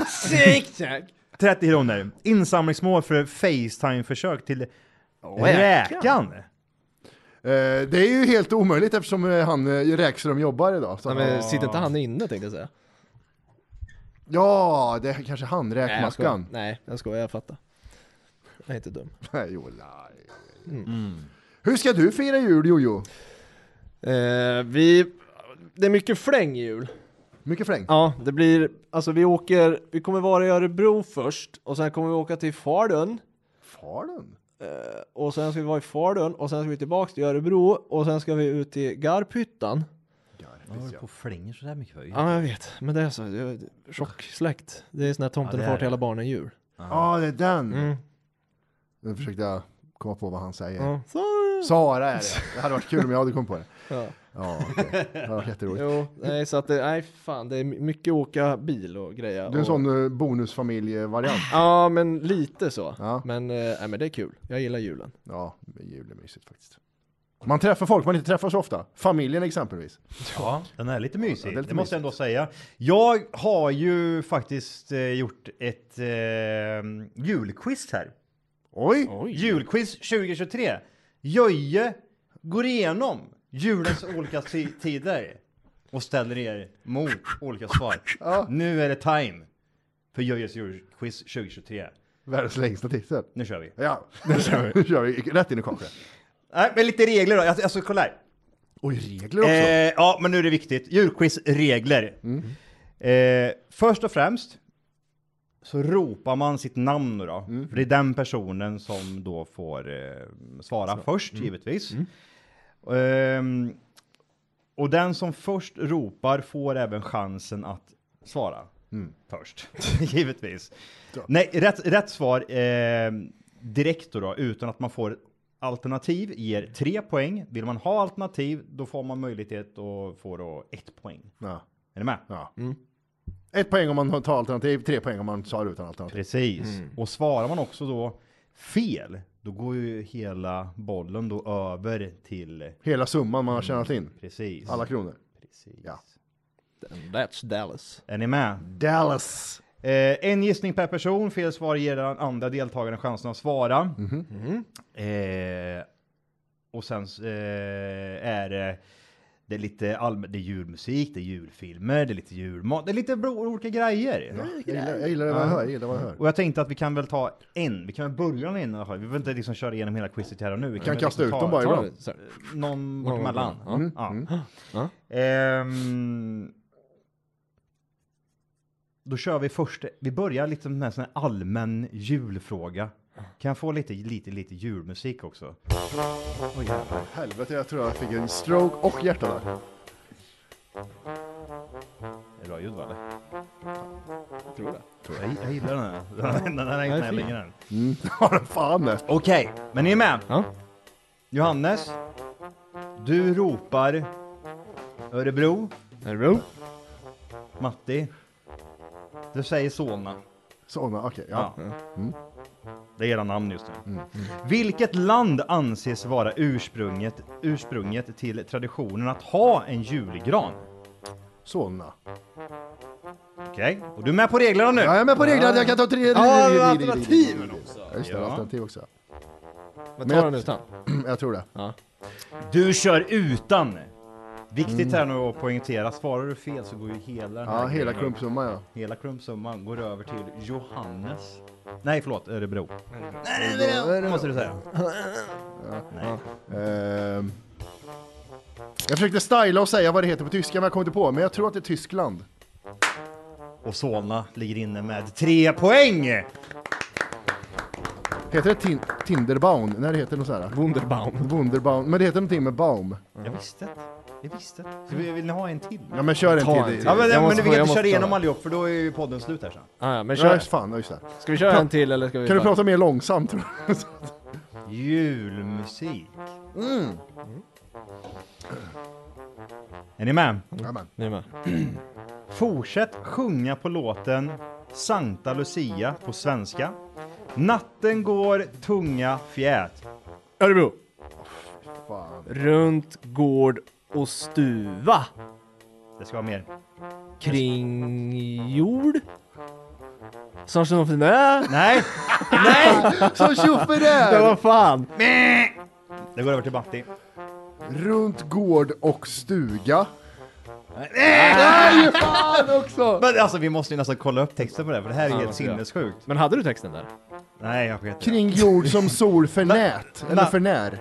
S1: Shake Shack!
S2: 30 kronor. Insamlingsmål för Facetime-försök till räkan.
S3: Eh, det är ju helt omöjligt eftersom eh, han eh, Räkström jobbar idag. Så
S1: Nej, men sitter inte han inne tänkte jag säga.
S3: Ja, det är kanske han,
S1: Nej, jag skojar.
S3: räkmackan.
S1: Nej, jag skojar. Jag fattar. Jag är inte dum.
S3: Nej, jo, nej.
S1: Mm.
S3: Hur ska du fira jul, Jojo?
S1: Eh, vi... Det är mycket fläng i jul.
S3: Mycket fläng.
S1: Ja, det blir... Alltså vi åker... Vi kommer vara i Örebro först och sen kommer vi åka till Falun.
S3: Falun?
S1: Och sen ska vi vara i Falun och sen ska vi tillbaks till Örebro och sen ska vi ut till Garphyttan.
S2: på flänger sådär mycket för?
S1: Ja, jag vet. Men det är så. Det är chocksläkt. Det är sån här tomten
S2: Ja, det
S1: far
S2: är
S1: till
S2: det.
S1: alla barnen jul.
S3: Ja, det är den. Nu försökte jag komma på vad han säger.
S1: Ja. Så,
S3: Sara är det. Det hade varit kul om jag hade kommit på det.
S1: ja.
S3: Ja, okej. Det hade varit jätteroligt.
S1: Jo, nej så att det... Nej fan, det är mycket åka bil och grejer.
S3: Du är en
S1: och...
S3: sån eh, bonusfamiljevariant.
S1: Ja, men lite så.
S3: Ja.
S1: Men, eh, nej, men det är kul. Jag gillar julen.
S3: Ja, jul är mysigt faktiskt. Man träffar folk man inte träffar så ofta. Familjen exempelvis.
S2: Ja, den är lite mysig.
S3: Ja,
S2: det
S3: det är lite
S2: måste jag ändå säga. Jag har ju faktiskt eh, gjort ett eh, julquiz här.
S3: Oj!
S2: Julquiz 2023. Jöje går igenom julens olika ti- tider och ställer er mot olika svar. Nu är det time för Jöjes julquiz 2023.
S3: Världens längsta titel.
S2: Nu kör vi.
S3: Ja, nu kör vi. nu kör vi. Rätt in i kaklet.
S2: Nej, men lite regler då. Alltså, alltså kolla här.
S3: Oj, regler också.
S2: Eh, ja, men nu är det viktigt. Djurquizregler. Eh, först och främst så ropar man sitt namn nu då. För det är den personen som då får eh, svara först, givetvis. Ehm, och den som först ropar får även chansen att svara
S3: Mm.
S2: först, givetvis. Nej, rätt, rätt svar eh, direkt då, då, utan att man får alternativ, ger tre poäng. Vill man ha alternativ, då får man möjlighet att få då ett poäng.
S3: Ja.
S2: Är ni med?
S3: Ja. Ett poäng om man tar alternativ, tre poäng om man tar utan alternativ.
S2: Precis.
S3: Mm.
S2: Och svarar man också då fel, då går ju hela bollen då över till...
S3: Hela summan man har tjänat in.
S2: Precis.
S3: Alla kronor.
S2: Precis.
S3: Ja. Mm,
S1: That's Dallas.
S2: Är ni med?
S3: Dallas!
S2: Eh, en gissning per person, fel svar ger den andra deltagaren chansen att svara.
S3: Mm.
S2: Eh, och sen eh, är det Det är lite allmän, det är julmusik, det är julfilmer, det är lite julmat, det är lite bro- olika grejer.
S3: Jag gillar, jag gillar vad jag hör, jag gillar vad jag hör.
S2: Och jag tänkte att vi kan väl ta en, vi kan väl börja med en i alla fall. Vi behöver inte liksom köra igenom hela quizet här och nu. Vi
S3: Kan
S2: väl
S3: kasta
S2: liksom
S3: ut
S2: ta-
S3: dem bara
S2: ta-
S3: ibland.
S1: Så här.
S2: Någon bort emellan.
S1: Ja. Mm.
S2: Ja.
S1: Ja.
S2: Ehm, då kör vi först, vi börjar lite med en sån här allmän julfråga. Kan jag få lite, lite, lite julmusik också?
S3: Helvete, jag tror jag fick en stroke och hjärtattack.
S2: Är det bra ljud va? eller?
S1: Jag tror det.
S2: Jag, jag gillar den här. Den här är knäll, ingen annan.
S3: Har fan det.
S2: Okej, men ni är med?
S1: Ja.
S2: Johannes, du ropar Örebro.
S1: Örebro.
S2: Matti, du säger Solna.
S3: Såna, okej. ja.
S2: Ja. Mm. Det är era namn just nu. Vilket land anses vara ursprunget, ursprunget till traditionen att ha en julgran?
S3: Såna.
S2: Okej, och du är med på reglerna nu?
S3: Ja, jag är med på reglerna, jag kan ta tre...
S1: Ja, alternativen också.
S3: Ja, just det,
S2: Ja.
S3: alternativ också.
S1: Men
S3: Men jag-
S1: tar den utan.
S3: Jag tror det.
S2: Du kör utan! Viktigt här nu att poängtera, svarar du fel så går ju hela den här
S3: Ja, hela
S2: grejen-
S3: klumpsumman ja.
S2: Hela klumpsumman går över till Johannes. Nej, förlåt, Örebro. Örebro! Måste du säga.
S3: Ehm. Jag försökte styla och säga vad det heter på tyska, men jag kom inte på. Men jag tror att det är Tyskland.
S2: Och Solna ligger inne med tre poäng!
S3: Heter det tin Tinderbaum? Nej, det heter något sånt här.
S1: Wunderbaum.
S3: Wunderbaum. Men det heter någonting med baum.
S2: Jag visste det. Jag visste det. Ska vi, vill ni ha en till?
S3: Ja, men kör en
S1: Ta
S3: till.
S1: en
S2: Ja
S1: till.
S2: men,
S1: Jag måste
S2: men
S1: få-
S2: vi kan
S1: jag
S2: inte
S1: måste
S2: köra
S1: ta
S2: igenom
S1: det.
S2: allihop för då är ju podden slut här sen.
S1: Ah, ja, men
S3: Ja,
S1: kör.
S3: fan, ja, just det.
S1: Ska vi köra en till eller ska vi
S3: Kan du
S1: bara-
S3: prata mer långsamt? tror jag?
S2: Julmusik.
S1: Mm.
S2: Är ni med?
S3: Jajamän.
S1: Ni är med.
S2: Fortsätt sjunga på låten Santa Lucia på svenska. Natten går tunga fjät.
S1: Örebro.
S3: Fan.
S1: Runt gård och stuva.
S2: Det ska vara mer.
S1: Kring jord. Snart ska någon finna...
S2: Nej,
S3: Så tjoffe
S1: Ja,
S3: där!
S1: vad fan.
S2: det går över till Matti.
S3: Runt gård och stuga.
S2: Men alltså vi måste ju nästan kolla upp texten på det här, för det här är ju helt
S1: måste jag.
S2: sinnessjukt.
S1: Men hade du texten där?
S2: Nej, jag vet inte.
S3: Kring jord som sol för nät. Eller
S2: na-
S3: för när.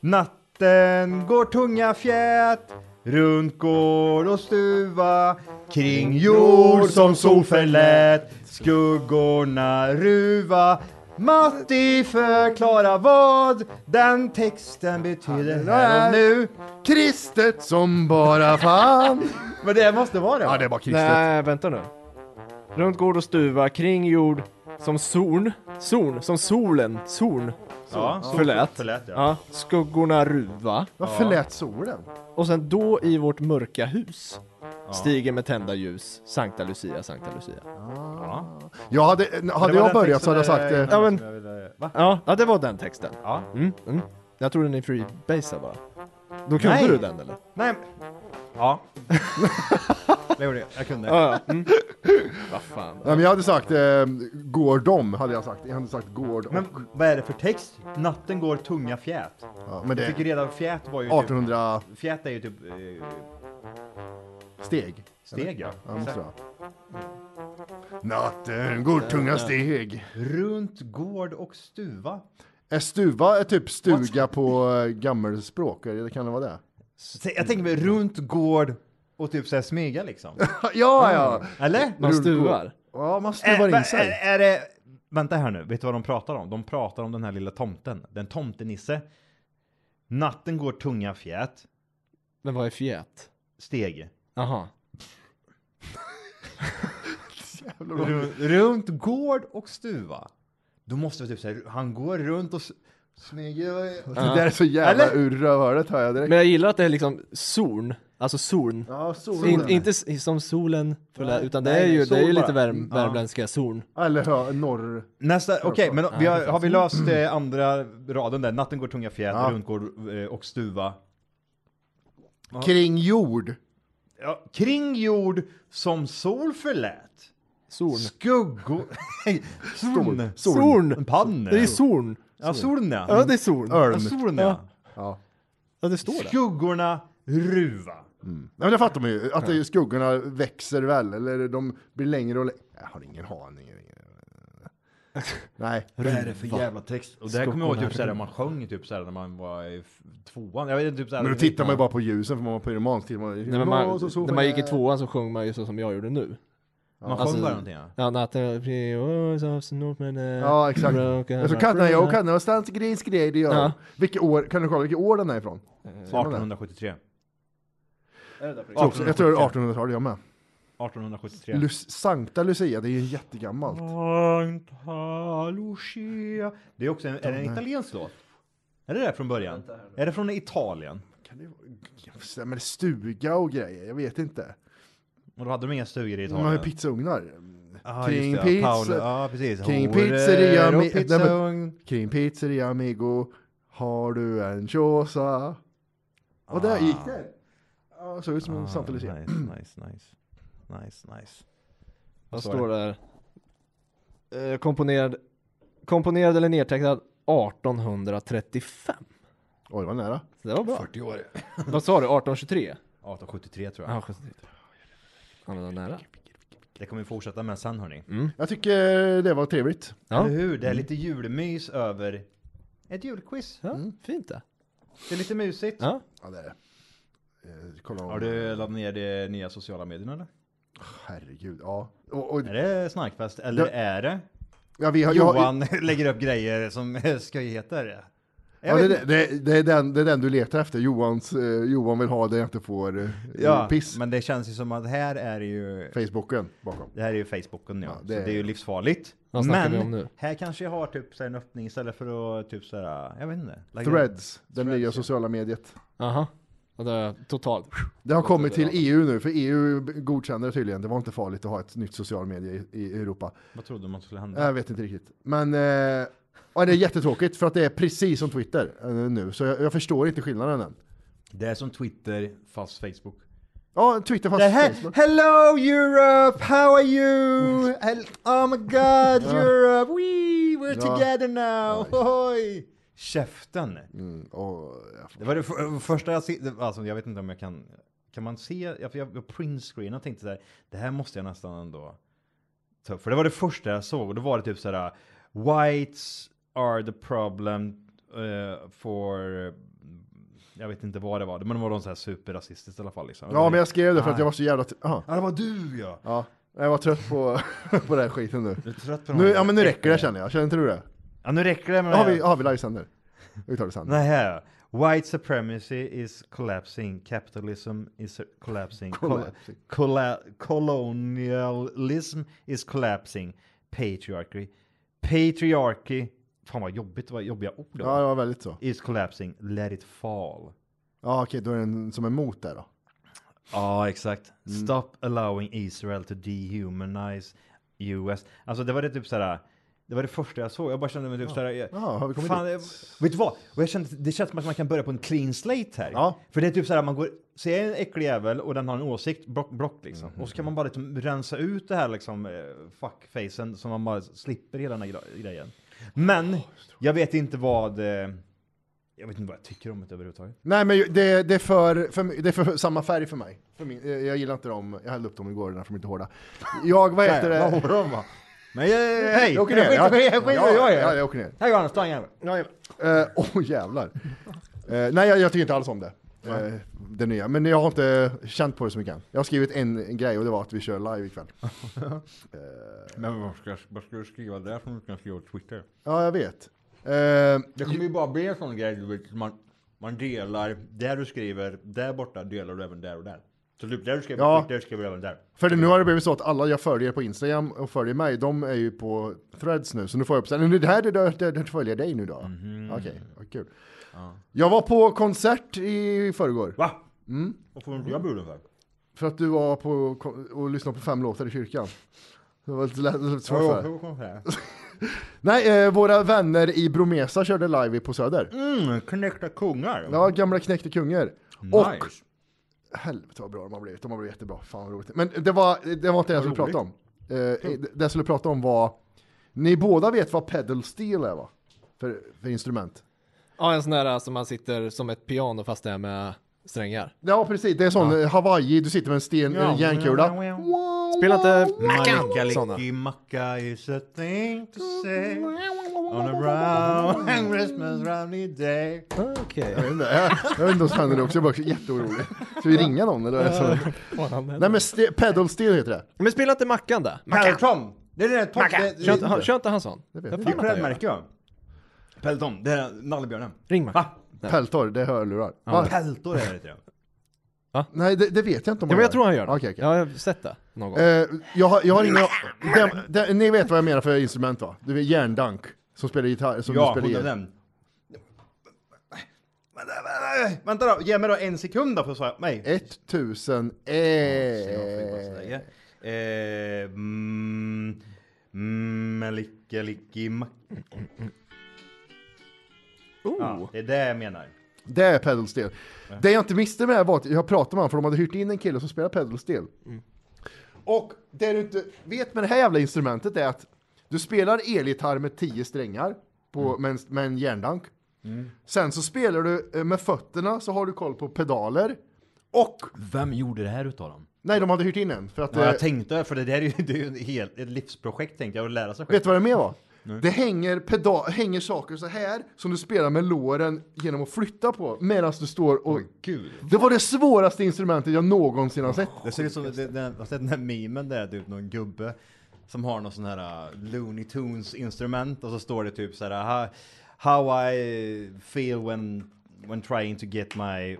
S2: Natten går tunga fjät Runt gård och stuva Kring jord som sol förlät Skuggorna ruva Matti förklara vad den texten betyder här och nu
S3: Kristet som bara fan.
S2: Men det måste vara det
S3: Ja, det är bara kristet.
S1: Nej, vänta nu. Runt gård och stuva, kring jord, som soln, soln, som solen, soln,
S2: ja, sol-
S1: förlät.
S2: förlät, ja.
S1: Ja, skuggorna ruva.
S3: Varför lät solen?
S1: Och sen då i vårt mörka hus stiger med tända ljus Sankta Lucia, Sankta Lucia.
S2: ja.
S3: Jag hade,
S2: Det var
S3: hade jag
S2: den
S3: börjat så
S2: texten
S3: hade jag sagt...
S2: där-
S3: eh,
S1: Ja, men-
S2: som jag ville- Va?
S1: Ja, ja det var den texten.
S2: Ja.
S1: Mm, mm. Jag trodde ni freebasade bara. Då kunde
S2: Nej.
S1: du den eller?
S2: Nej. men- Ja. det gjorde jag. Jag kunde.
S1: Ja, ja. Mm. Vad fan.
S3: Nej, men jag hade sagt eh, går de, hade jag sagt. Jag hade sagt gård och...
S2: Men vad är det för text? Natten går tunga fjät.
S3: ja, men
S2: Jag
S3: det
S2: tycker
S3: är
S2: redan fjät var ju
S3: 1800
S2: typ... Fjät är ju typ eh,
S3: steg.
S2: steg ja.
S3: Ja, måste det vara. Natten går tunga steg.
S2: Runt gård och stuva.
S3: Är stuva är typ stuga på eh, gammelspråk? Eller kan det vara det?
S2: S- Jag tänker mig runt gård och typ såhär smyga liksom.
S3: Ja, ja!
S2: Eller?
S1: Man stuvar.
S3: Mm. Ja, man
S2: Äh,
S3: stuvar
S2: va-
S3: in sig.
S2: Är, är det... Vänta här nu, vet du vad de pratar om? De pratar om den här lilla tomten. Den tomtenisse. Natten går tunga fjät.
S1: Men vad är fjät?
S2: Steg.
S1: Jaha.
S2: Ru- runt gård och stuva. Då måste vi typ säga, han går runt och s- smyger. och-
S3: Det där är så jävla
S2: Eller?
S3: ur rövhålet hör jag direkt.
S1: Men jag gillar att det är liksom soln, alltså soln.
S3: ja, solen.
S1: In, inte s- som solen, förlät, utan det
S2: nej, Mm.
S1: är ju,
S2: sol
S1: det är ju
S2: bara.
S1: lite värm, värmländska soln.
S3: Eller hö, norr.
S2: Nästa, okej, men då- vi har, har vi löst eh, andra raden där? Natten går tunga fjät,
S3: Ja.
S2: runt gård eh, och stuva.
S3: Kring jord.
S2: Ja, kring jord som sol förlät.
S1: Soln.
S2: Skuggor... Storn.
S1: Soln.
S2: Pann.
S1: Det är soln.
S2: Ja, Mm. soln ja.
S1: Ja, det är soln.
S2: Ja,
S3: Örn.
S2: soln ja.
S3: Ja.
S1: Ja, det står det.
S2: Skuggorna ruva.
S3: Mm. Nej, men det fattar man ju, att det- skuggorna växer väl, eller de blir längre och längre. Jag har ingen aning. Nej.
S2: Vad är det för jävla text? Och det här kommer jag ihåg typ såhär när man sjöng typ såhär när man var i f- tvåan. Jag vet inte, typ såhär.
S3: Men då tittar man ju bara på ljusen för man var pyroman. så tittar Man,
S1: Nej, men
S3: Ja,
S1: man,
S3: så- så-
S1: när man gick i tvåan så sjöng man ju så som jag gjorde nu.
S2: Man sjöng
S1: Alltså-
S2: bara någonting ja.
S1: Ja, natten... Ja,
S3: Ja, exakt. Men Så kan jag och kan jag stanna till gris grej, det gör
S1: Ja.
S3: jag. Vilket år, kan du kolla vilket år den är ifrån?
S2: 1873.
S3: Jag tror- Jag tror det är 1800-talet jag med.
S2: 1873.
S3: Lus, Sankta Lucia, det är ju jättegammalt.
S2: Sankta Lucia. Det är också en, är det en italiensk låt? Är det det från början? Är det från Italien?
S3: Kan det vara- Men stuga och grejer, jag vet inte.
S2: Och då hade de inga stugor i
S3: De har ju
S2: Italien?
S3: pizzaugnar.
S2: Ah,
S3: Kring
S2: just det,
S3: pizza.
S2: Paolo. Ja, precis.
S3: Kring
S2: Horor
S3: pizzeria,
S2: och
S3: mi-
S2: pizza.
S3: nej, Kring pizzeria amigo, har du en chosa? Och där gick det. Ja, såg ut som en Sankta Lucia.
S2: Nice, nice, nice. Nice, nice.
S1: Vad står det här? Eh, Komponerad, komponerad eller nedtecknad 1835.
S3: Oj, det var nära.
S1: Så det var bra.
S2: 40 år.
S1: Vad sa du? 1823?
S2: 1873 tror jag.
S1: Ja, 73. Ja, men det var nära.
S2: Det kommer vi fortsätta med sen hörni.
S3: Jag tycker det var trevligt.
S1: Ja.
S2: Eller hur? Det är lite julmys över ett julquiz.
S1: Ja, Fint det.
S2: Det är lite mysigt.
S1: Ja.
S3: Ja, det är det. Eh, Kolla om...
S2: Har du laddat ner de nya sociala medierna eller?
S3: Herregud, ja. Och, och,
S2: Är det snarkfest eller
S3: Ja.
S2: är det
S3: ja vi har, jag,
S2: Johan lägger upp grejer som skojigheter? Jag
S3: ja,
S2: vet
S3: det,
S2: inte.
S3: det, det, är den, det är den du letar efter. Johans, eh, Johan vill ha det jag inte får eh,
S2: ja,
S3: piss.
S2: men det känns ju som att här är det ju
S3: Facebooken bakom.
S2: det här är ju Facebooken ja,
S3: Ja,
S2: det,
S3: det
S2: så
S3: är-
S2: det är ju livsfarligt.
S1: Vad snackar vi om nu?
S2: här kanske jag har typ så här en öppning istället för att typ så här, jag vet inte. lägga-
S3: Threads, den nya sociala mediet.
S1: Aha. Och det är totalt.
S3: Det har kommit till EU nu, för EU godkänner det tydligen. Det var inte farligt att ha ett nytt social medie i, i Europa.
S2: Vad trodde man skulle hända?
S3: Jag vet inte riktigt. Men eh, ja, det är jättetråkigt för att det är precis som Twitter eh, nu. Så jag, jag förstår inte skillnaden än.
S2: Det är som Twitter fast Facebook.
S3: Ja, Twitter fast
S2: Det här,
S3: Facebook.
S2: hello Europe, how are you? Hel- Oh my god, Europe, we, we're
S3: Ja.
S2: together now. Oj. Käften.
S3: Mm. Och,
S2: Det var det f- första jag se, det- alltså jag vet inte om jag kan, kan man se, jag, för jag, jag printscreenade och tänkte så här, det här måste jag nästan ändå ta upp. För det var det första jag såg, och då var det typ så här, whites are the problem eh, for, eh, jag vet inte vad det var, men det var någon så här superrasistiskt i alla fall liksom.
S3: ja, men jag skrev det för att jag var så jävla... T- aha.
S2: Ja, det var du ja!
S3: Ja, jag var trött på, på den här skiten nu.
S2: Du är trött på
S3: nu. Ja men nu räcker det känner jag, känner inte du det?
S2: Ja, nu räcker det med
S3: Ja, har vi, har vi livesänder? Vi tar det sen.
S2: det här. White supremacy is collapsing, capitalism is collapsing,
S3: Collapsing.
S2: Col- colla- colonialism is collapsing, patriarchy, patriarchy, fan vad jobbigt, vad jobbiga ord det
S3: Ja,
S2: var.
S3: det var väldigt så.
S2: is collapsing, let it fall.
S3: Ja okej, då är den som är emot där då.
S2: Ja, exakt.
S3: Mm.
S2: Stop allowing Israel to dehumanize US. Alltså det var det typ såhär, det var det första jag såg. Jag bara kände mig typ såhär, jag-
S3: Ja, har vi kommit
S2: fan,
S3: dit?
S2: jag, vet du vad? Och jag kände, det känns som att man kan börja på en clean slate här.
S3: Ja.
S2: För det är typ såhär, man går, ser en äcklig jävel och den har en åsikt, block, block liksom.
S3: Mhm.
S2: Och så kan man bara liksom rensa ut det här liksom eh, fuckfacen så man bara slipper hela den här gra- grejen. Men jag vet inte vad, eh, jag vet inte vad jag tycker om det överhuvudtaget.
S3: Nej men ju- det, det, är för, för, mig- det är för samma färg för mig. För min, eh, jag, jag gillar inte dem, jag hällde upp dem igår, därför de är inte hårda. Jag, vad heter
S2: Jävlar,
S3: det?
S2: vad bra de var. Men eh, hej!
S3: Jag åker ner.
S2: skiter-
S3: ja.
S2: skiter- skiter-
S3: Ja,
S2: jag gör.
S3: ja, jag åker ner.
S2: Här går han, stång jävel.
S3: Eh, Åh jävlar. Eh, nej jag, jag tycker inte alls om det. Eh, det nya. Men jag har inte känt på det så mycket än. Jag har skrivit en, en grej och det var att vi kör live ikväll. Eh,
S2: Men vad ska, vad ska du skriva där som du kan skriva på Twitter?
S3: Ja, jag vet. Eh,
S2: Det kommer ju bara bli en sån grej, du vet, man, man delar, där du skriver, där borta delar du även där och där. Så typ där du skriver
S3: Ja.
S2: på Twitter skriver du även där.
S3: för det, nu har det blivit så att alla jag följer på Instagram och följer mig, de är ju på threads nu. Så nu får jag upp såhär, "Nu, det här är där, där, där följer jag dig nu då.
S2: Mhm.
S3: Okej, vad kul. Jag var på konsert i förrgår.
S2: Va? Mm. Vad får jag bjuden för?
S3: För att du var på kon- och lyssnade på fem låtar i kyrkan. Det var lite, lite, lite svårt
S2: Ja,
S3: för dig.
S2: jag kommer här.
S3: Nej, eh, våra vänner i Bromesa körde live på Söder.
S2: Mm, knäckta kungar.
S3: Ja, gamla knäckte kungar. Och
S2: Nice.
S3: helvete vad bra de har blivit. De har blivit jättebra. Fan vad roligt. Men det var, det var inte det jag skulle prata om. Eh, det jag skulle prata om var, ni båda vet vad pedal steel är va? För, för instrument.
S1: alltså, Ja, en sån där som man sitter som ett piano fast det är med strängar.
S3: Ja, precis. Det är sån eh, Hawaii, du sitter med en sten,
S2: Ja.
S3: en järnkula.
S1: Spela inte sådana.
S2: Mackalicki macka is a thing to say On a brown and Christmas brownie day
S1: Okej.
S3: Jag vet inte, jag- jag vet inte vad som händer nu också, jag är bara jätteorolig. Ska vi ringa någon eller? Så. Nej men ste- pedalstil heter det.
S1: Men spela inte Mackan då.
S2: Pelton! Det är det där
S1: Kör inte han- Kör inte han sån?
S3: vet
S1: Vad
S3: jag
S2: Det
S1: fan
S2: är
S1: att han gör?
S2: klädmärke va? Pelton, det är nallebjörnen.
S1: Ring Mackan.
S2: Va?
S3: Peltor, det är hörlurar. Va?
S2: Peltor är det jag.
S3: Nej, det, det vet jag inte om
S1: Ja, men
S3: han
S1: jag tror han gör det.
S3: Okej, okej.
S1: Jag har sett det någon gång.
S3: Eh, jag, har- jag har inga... Dem, dem, ni vet vad jag menar för instrument va? Det är järndank. Som spelar gitarr, som
S2: Ja,
S3: du spelar
S2: hon är
S3: gitarr.
S2: den. Vänta, vänta, Vänta då, ge mig då en sekund då för att svara. Nej.
S3: 1000
S2: Eh,
S3: eh...
S2: mm, mm, licka, licki, mack. Ja, det är det jag menar.
S3: Det är pedalstil. Det jag inte visste med det här var att jag pratade med honom för de hade hyrt in en kille som spelar pedalstil.
S2: Mm.
S3: Och det du inte vet med det här jävla instrumentet är att du spelar elgitarr med tio strängar på,
S2: Mm.
S3: med, en, med en järndank. Sen så spelar du eh, med fötterna så har du koll på pedaler. Och,
S2: Vem gjorde det här utav dem?
S3: nej de hade hyrt in en för att...
S2: Ja,
S3: eh,
S2: jag tänkte, för det där är ju, det är ju en hel, ett livsprojekt tänkte jag, att lära sig själv.
S3: Vet du vad det mer var? Det hänger, peda- hänger saker så här som du spelar med låren genom att flytta på medan du står och...
S2: Gud.
S3: Det var det svåraste instrumentet jag någonsin har sett.
S2: Det ser ut som, det, det, jag har sett den här memen där, typ någon gubbe som har någon sån här uh, Looney Tunes instrument och så står det typ så här "Ha- How I feel when, when trying to get my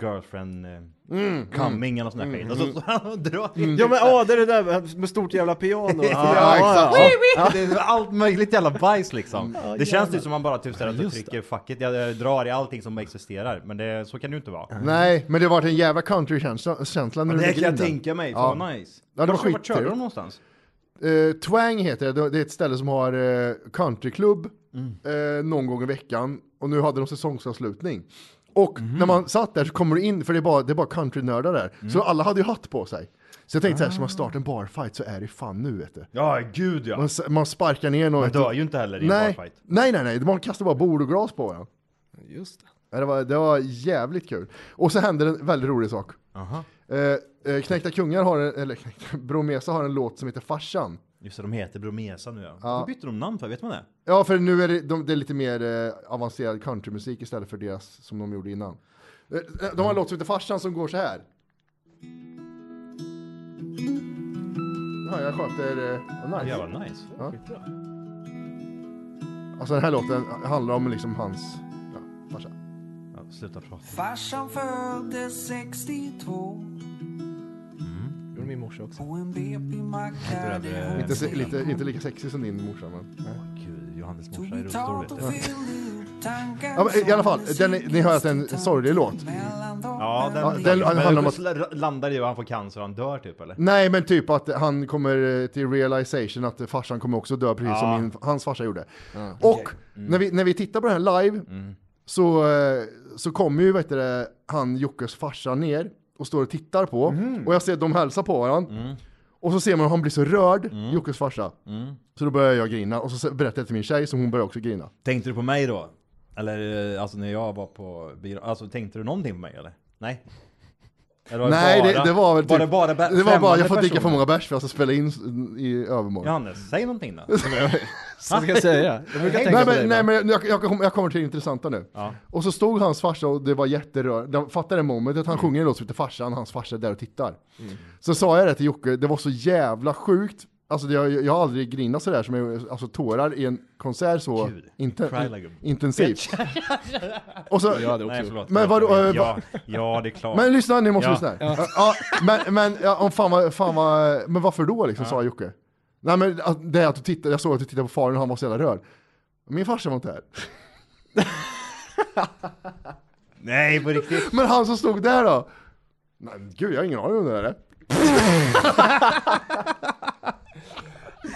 S2: girlfriend uh,
S3: Mm,
S2: coming eller någon sån här skit. Och så, så drar mm.
S1: Ja men åh, det är det där med stort jävla piano.
S3: Ja, Mm. exakt.
S2: Det är allt möjligt jävla bajs liksom. det känns typ som man bara typ såhär att du trycker fuck it, jag, jag drar i allting som existerar. Men det, så kan det ju inte vara.
S3: Nej, men det var en jävla countrykänsla känsla när du
S2: Det
S3: lägger
S2: kan
S3: in
S2: jag
S3: den.
S2: tänka mig,
S3: Ja.
S2: fan vad nice.
S3: Ja, det var
S2: Vart- Vart körde
S3: skittrevligt.
S2: de någonstans?
S3: Eh, Twang heter det, det är ett ställe som har eh, countryklubb
S2: Mm.
S3: eh, någon gång i veckan och nu hade de säsongsavslutning. Och
S2: Mhm.
S3: när man satt där så kommer du in, för det är bara, det är bara countrynördar där,
S2: Mm.
S3: så alla hade ju hatt på sig. Så jag tänkte såhär, ska
S2: Ah.
S3: man starta en barfight så är det fan nu vet du.
S2: Ja, gud ja.
S3: Man, s- man sparkar ner någon.
S2: Man dör ju inte heller i en
S3: nej,
S2: barfight.
S3: nej, nej, nej, man kastar bara bord och glas på varandra.
S1: Just det.
S3: Ja, Det var, det var jävligt kul. Och så hände en väldigt rolig sak. Eh, eh, Knäckta Kungar har en, eller Knäckta, Bromesa har en låt som heter Farsan.
S2: Just det, de heter Bromesa nu ja. Varför bytte de namn för? Vet man det?
S3: Ja, för nu är det, de, det är lite mer eh, avancerad countrymusik istället för deras som de gjorde innan. Eh, eh, De har en låt som heter Farsan som går så här. Ja, jag sköter... Eh, ja, nice.
S2: Jävlar nice.
S3: Alltså den här låten handlar om liksom hans... Ja, farsa.
S2: Ja, sluta prata.
S5: Farsan föddes 62
S1: Mm. Gjorde min morsa också.
S5: och en BP-macka det
S2: Eh,
S3: Inte, se- lite, inte lika sexig som din morsa, men...
S2: Gud, Johannes morsa
S5: Tog
S2: är rullstol
S5: betalt
S2: vet
S5: och
S2: du.
S5: fyllde ut tankar
S3: Ja, men, I alla fall,
S5: som en
S3: den, är- ni hör att det är en sorglig låt.
S5: mellan dem.
S2: Ja, den,
S3: Ja, den
S2: men
S3: handlar om
S2: det landar i att han får cancer och han dör typ eller?
S3: Nej, men typ att han kommer eh, till realization att eh, farsan kommer också dö precis
S2: Ja. Mm.
S3: som min, hans farsa gjorde. och när, vi, när vi tittar på det här live så, eh, så kommer ju vet du, det, han Jockes farsa ner och står och tittar på.
S2: Mhm.
S3: Och jag ser att de hälsar på varandra.
S2: Mm.
S3: Och så ser man att han blir så rörd, Jockes farsa. Så då börjar jag grina och så se- berättar jag till min tjej så hon börjar också grina.
S2: Tänkte du på mig då? Eller eh, alltså när jag var på byrån, alltså tänkte du någonting på mig eller? Nej? Eller var
S3: Nej, det,
S2: bara-
S3: det var väl typ,
S2: Var det bara
S3: det var bara, jag får dricka
S2: dricka
S3: för många bärs för jag ska spela in s- i övermorgon.
S2: Johannes, säg någonting
S3: Mm.
S2: då.
S1: Vad ska jag säga? Jag brukar tänka
S3: Nej
S1: på
S3: men,
S1: dig.
S3: nej,
S1: ibland.
S3: men jag, jag, kommer- jag kommer till det intressanta nu.
S2: Ja.
S3: Och så stod hans farsa och det var jätterörande. Fattar det momentet?
S2: Mm.
S3: Han sjunger en låt som heter Farsan, hans farsa är där och tittar. Så sa jag det till Jocke, det var så jävla sjukt. Alltså det- jag, jag har aldrig grinat sådär som jag, alltså tårar i en konsert så
S2: Gud.
S3: inte,
S2: Cry like a
S3: intensivt. och så,
S1: Jag hade också
S2: Nej
S1: gjort.
S2: förlåt.
S3: Men vadå, eh,
S2: Ja, ja det är klart.
S3: men lyssna, ni måste
S2: Ja.
S3: lyssna. Ja. Ja, men men ja, om fan vad, fan vad, men varför då liksom, sa Jocke. Nej men att- det är att du tittar, jag såg att du tittade på faren och han var så jävla rörd. Min farsa var inte här.
S2: Nej på riktigt.
S3: Men han som stod där då? Nej, men gud, jag har ingen aning om det där.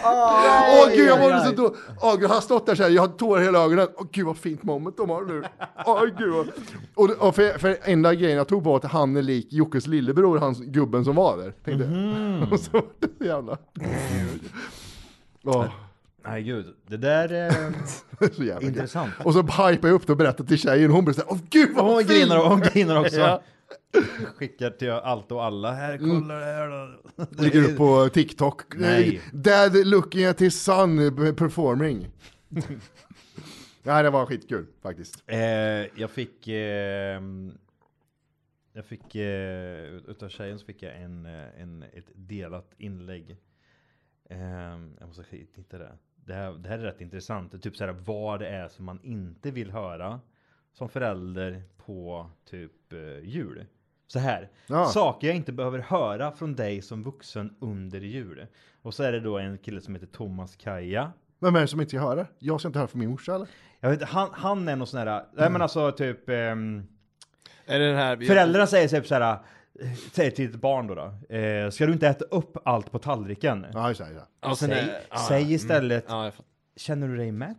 S3: Åh gud, jag mådde så då. Åh gud, han har stått där så här, jag har tårar i hela ögonen. Åh gud vad fint moment de har nu. Åh gud. vad- Och, och för, för enda grejen jag tog var att han är lik Jockes lillebror, han gubben som var där. Tänkte jag. Och så var det så jävla... Åh,
S2: Nej gud, det där eh, är
S3: så jävla gud.
S2: intressant.
S3: Och så hypade jag upp det och berättade till tjejen, hon blev såhär, åh gud vad
S2: Hon
S3: fint!
S2: grinar, hon grinar också.
S3: Ja.
S2: Skickar till allt och alla. Här, kolla
S3: Mm.
S2: det här då.
S3: Ligger upp på TikTok.
S2: Nej.
S3: Dad looking at his son performing. Nej, det var skitkul faktiskt.
S2: Eh, jag fick... Eh, jag fick... Eh, ut- utav tjejen så fick jag en, eh, en, ett delat inlägg. Ehm, jag måste sk- titta där. Det här, det här är rätt intressant. Det är typ så här vad det är som man inte vill höra som förälder på typ eh, jul. Så här.
S3: Ja.
S2: Saker jag inte behöver höra från dig som vuxen under jul. Och så är det då en kille som heter Thomas Kaja.
S3: Vem är det som inte ska höra? Jag ska inte höra från min morsa eller?
S2: Jag vet, han, han är någon sån här, nej men alltså typ ehm,
S1: Är det den här...
S2: Föräldrarna säger typ så här, eh, säger till ett barn då, då eh, ska du inte äta upp allt på tallriken?
S3: Ja, just det. Just det.
S1: Ja, sen
S2: säg,
S1: är- ja, Mm.
S2: säg istället,
S1: Ja, jag fattar.
S2: känner du dig mätt?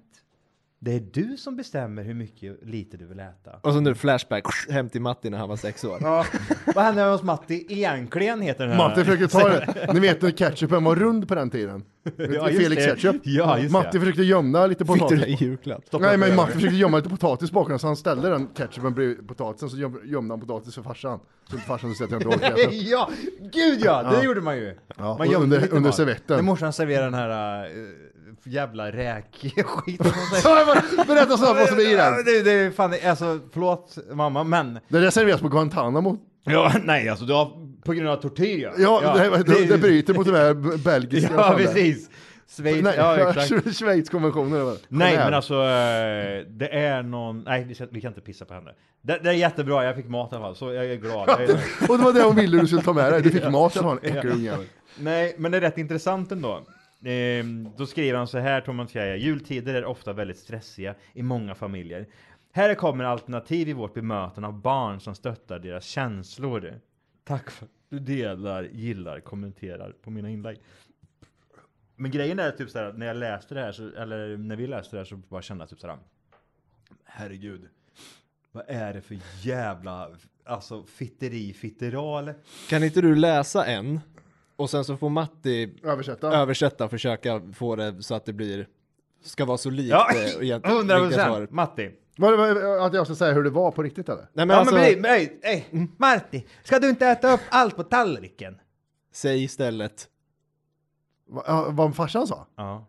S2: Det är du som bestämmer hur mycket och lite du vill äta.
S1: Och så nu flashback hem till Matti när han var sex år. Ja.
S2: Vad hände hos Matti egentligen heter den här?
S3: Matte försökte ta det. Ni vet när ketchupen var rund på den tiden?
S2: Ja, just
S3: Felix
S2: det.
S3: ketchup.
S2: Ja, just det.
S3: Matte försökte gömma lite
S1: Fick du
S3: potatis.
S1: det i julklapp?
S3: Nej men Matte försökte gömma lite potatis bakom så han ställde den ketchupen bredvid potatisen så göm- gömde han potatis för farsan. Så farsan så att jag inte åt ketchup.
S2: ja, gud ja, det gjorde man ju.
S3: Ja,
S2: man gömde
S3: under-
S2: lite
S3: under
S2: mat.
S3: servetten.
S2: När morsan serverade den här eh, jävla räkskiten.
S3: Ja, men Berätta snabbt vad som är i den!
S2: Det, det är fan, alltså förlåt mamma, men
S3: Det där serveras på Guantanamo.
S2: Ja, nej alltså du har på grund av tortyr ja.
S3: Ja, Det, det, det bryter mot de här b- belgiska...
S2: Ja, precis. Schweiz,
S3: Nej,
S2: ja exakt.
S3: Schweizkonventionen eller vad?
S2: Nej,
S3: Genève.
S2: men alltså eh, det är någon, nej vi, ska, vi kan inte pissa på henne. Det, det är jättebra, jag fick mat i alla fall, så jag är glad. Jag är...
S3: Och det var det hon ville du skulle ta med dig. Du fick mat från en äcklig ungjävel.
S2: Nej, men det är rätt intressant ändå. Ehm, då skriver han så här, Thomas Fjäja. Jultider är ofta väldigt stressiga i många familjer. Här kommer alternativ i vårt bemötande av barn som stöttar deras känslor. Tack för att du delar, gillar, kommenterar på mina inlägg. Men grejen är typ så här, att när jag läste det här, så, eller när vi läste det här så bara kände jag typ så här. Herregud. Vad är det för jävla, alltså fitteri, fitteral?
S1: Kan inte du läsa en? Och sen så får Matti
S3: Översätta.
S1: översätta och försöka få det så att det blir... Ska vara så likt
S2: Ja,
S1: eh, egent-
S2: hundra
S1: riktiga svaret.
S2: procent. Matti.
S3: Var det, var det, att jag ska säga hur det var på riktigt eller?
S1: Nej men
S2: ja,
S1: alltså,
S2: men, men, nej, nej,
S3: Mm.
S2: Marti, ska du inte äta upp allt på tallriken?
S1: säg istället.
S3: Va- ja, Vad farsan sa?
S2: Ja.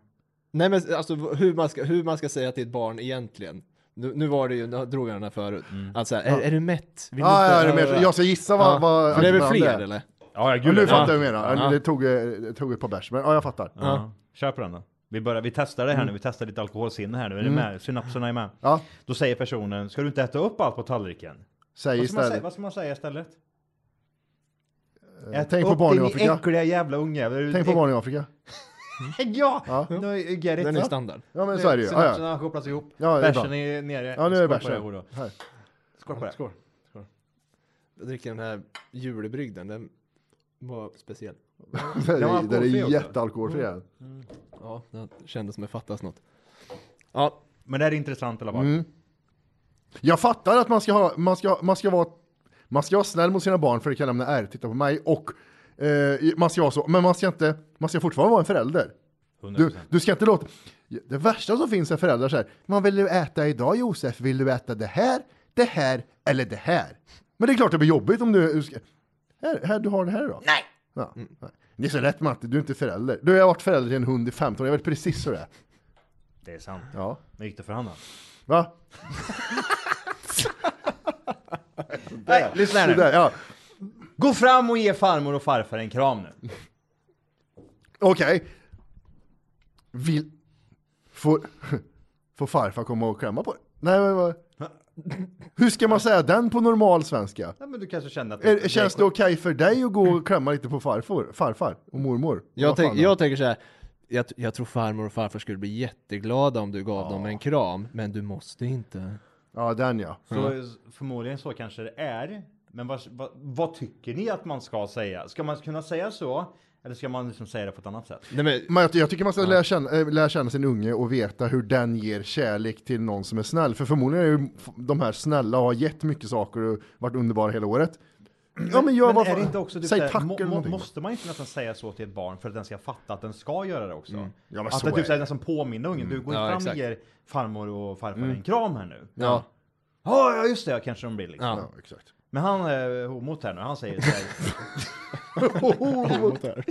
S1: Nej men alltså hur man ska, hur man ska säga till ett barn egentligen. Nu, nu var det ju, nu drog jag den här förut. Alltså är, är du mätt? Vill du
S3: Ja,
S1: inte-
S3: ja, det med, jag ska gissa vad...
S1: Ja.
S3: vad
S1: För det är väl
S3: vad
S1: fler eller?
S2: Ja,
S3: Ja,
S2: gud,
S3: nu fattar jag vad du menar. Det, tog, eh, det tog ett par bärs, men ja, jag fattar.
S2: Ja. Kör på den då. Vi, börjar, vi testar det här nu, vi testar lite alkoholsinne här nu. Är det med? Synapserna är med.
S3: Mm. Ja.
S2: Då säger personen, ska du inte äta upp allt på tallriken?
S3: Säg
S2: Vad ska, man säga,
S3: istället. Eh,
S2: vad ska man säga istället? Ät
S3: tänk på
S2: upp
S3: barn i
S2: din
S3: Afrika.
S2: äckliga jävla unge.
S3: Tänk på barnen i Afrika.
S2: Ja!
S3: Ja.
S2: Nu är you get it,
S1: Den är
S2: va?
S1: standard.
S3: Ja, men så är det ju. Ja,
S2: Synapserna
S3: ja.
S2: har kopplats ihop.
S3: Ja, det är
S2: bärsen
S3: bra.
S2: är nere.
S3: ja nu är
S2: Skål på
S3: det
S2: det,
S3: bärsen.
S2: Olof.
S3: Här.
S2: Skål på det.
S1: Skål. Skål. Jag dricker den här julbrygden, den var speciell.
S3: Den
S2: var
S3: är- Den
S2: alkoholfri
S3: är
S2: också.
S3: jättealkoholfri. den.
S1: Ja, den kändes som det fattas något. Ja,
S2: Men det här är intressant i alla fall.
S3: Mm. Jag fattar att man ska, ha, man, ska, man, ska vara, man ska vara snäll mot sina barn för det kan lämna ärr, titta på mig, och eh, man ska vara så, men man ska, inte, man ska fortfarande vara en förälder. Du,
S2: 100%.
S3: du ska inte låta... Det värsta som finns är föräldrar så här, man vill du äta idag Josef, vill du äta det här, det här eller det här? Men det är klart det blir jobbigt om du... du ska, här, här, du har det här idag. Nej! Ja, nej. Det är så lätt Matte, du är inte förälder. Du jag har varit förälder till en hund i 15 år, jag vet precis hur det är.
S2: Det är sant.
S3: Ja.
S2: Men gick det för honom?
S3: Va?
S2: Nej, lyssna här
S3: Det där,
S2: nu.
S3: ja.
S2: Gå fram och ge farmor och farfar en kram nu.
S3: Okej. Vill... Får... Får farfar komma och klämma på dig? Nej men vad... Hur ska man säga den på normal svenska?
S2: Ja, men du kanske känner att...
S3: Är, känns det okej för dig att gå och klämma lite på farfar, farfar och mormor?
S1: jag,
S3: Vad fan
S1: tänk, jag tänker så här. Jag, t- jag tror farmor och farfar skulle bli jätteglada om du gav dem en kram, men du måste inte.
S3: Ja den ja.
S2: Så, eh, förmodligen så kanske det är. Men vad, vad, vad tycker ni att man ska säga? Ska man kunna säga så? Eller ska man liksom säga det på ett annat sätt?
S1: Nej, men,
S3: Men jag, jag tycker man ska lära känna, äh, lära känna sin unge och veta hur den ger kärlek till någon som är snäll. För förmodligen är ju f- de här snälla och har gett mycket saker och varit underbara hela året. Ja men gör
S2: Men
S3: vad
S2: är det
S3: fan-
S2: inte också typ
S3: Säg
S2: såhär,
S3: tack
S2: må,
S3: eller
S2: må,
S3: någonting.
S2: Måste man inte nästan säga så till ett barn för att den ska fatta att den ska göra det också?
S3: Mm. Ja, men
S2: att
S3: så
S2: det
S3: är
S2: typ såhär,
S1: Mm.
S3: det.
S2: nästan påminner ungen. Du går
S1: Ja,
S2: fram och
S1: exakt.
S3: Mm.
S2: ger farmor och farfar en kram här nu.
S1: ja.
S2: Ja, ja just det, ja, kanske de blir liksom.
S1: Ja.
S3: Ja, exakt.
S2: Men han är homot här nu, han säger så här,
S1: Mot här.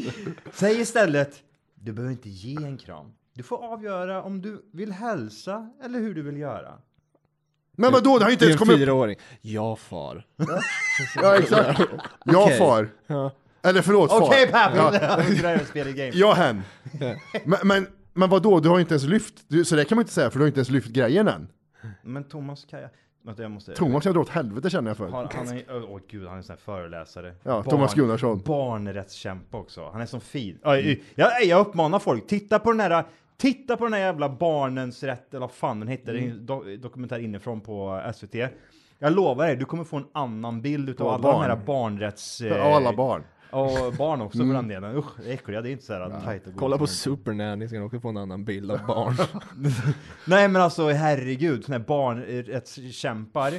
S2: Säg istället, du behöver inte ge en kram. Du får avgöra om du vill hälsa eller hur du vill göra.
S3: Men vadå, det har ju inte
S1: Det
S3: ens
S1: är en
S3: kommit upp.
S1: fyraåring. Ja far.
S3: Ja, exakt. Jag
S1: Okej.
S3: far. Eller förlåt, far.
S2: Okej pappa! Det där är att spela game.
S3: Jag hen. Men, men, men vadå, du har ju inte ens lyft. Du, så det kan man inte säga, för du har inte ens lyft grejen än.
S2: Men Thomas Kaja, vänta jag måste...
S3: Thomas kan dra åt helvete känner jag för.
S2: Har, han är, åh åh, gud, han är en sån här föreläsare.
S3: Ja, Thomas Gunnarsson.
S2: Barnrättskämpe också. Han är så fin. Ja, Jag, jag uppmanar folk, titta på den här, titta på den här jävla Barnens rätt, eller vad fan den heter,
S3: Mm.
S2: Det är en do, dokumentär inifrån på SVT. Jag lovar dig, du kommer få en annan bild utav
S3: Av
S2: alla
S3: barn.
S2: de här barnrätts...
S3: Ja, alla barn. Mm.
S2: Och barn också för den delen. Usch, det är äckliga, det är inte så här tajt och
S1: Kolla på
S2: gott.
S1: Supernanny så kan du också få en annan bild av barn.
S2: Nej men alltså herregud, såna här barnrättskämpar.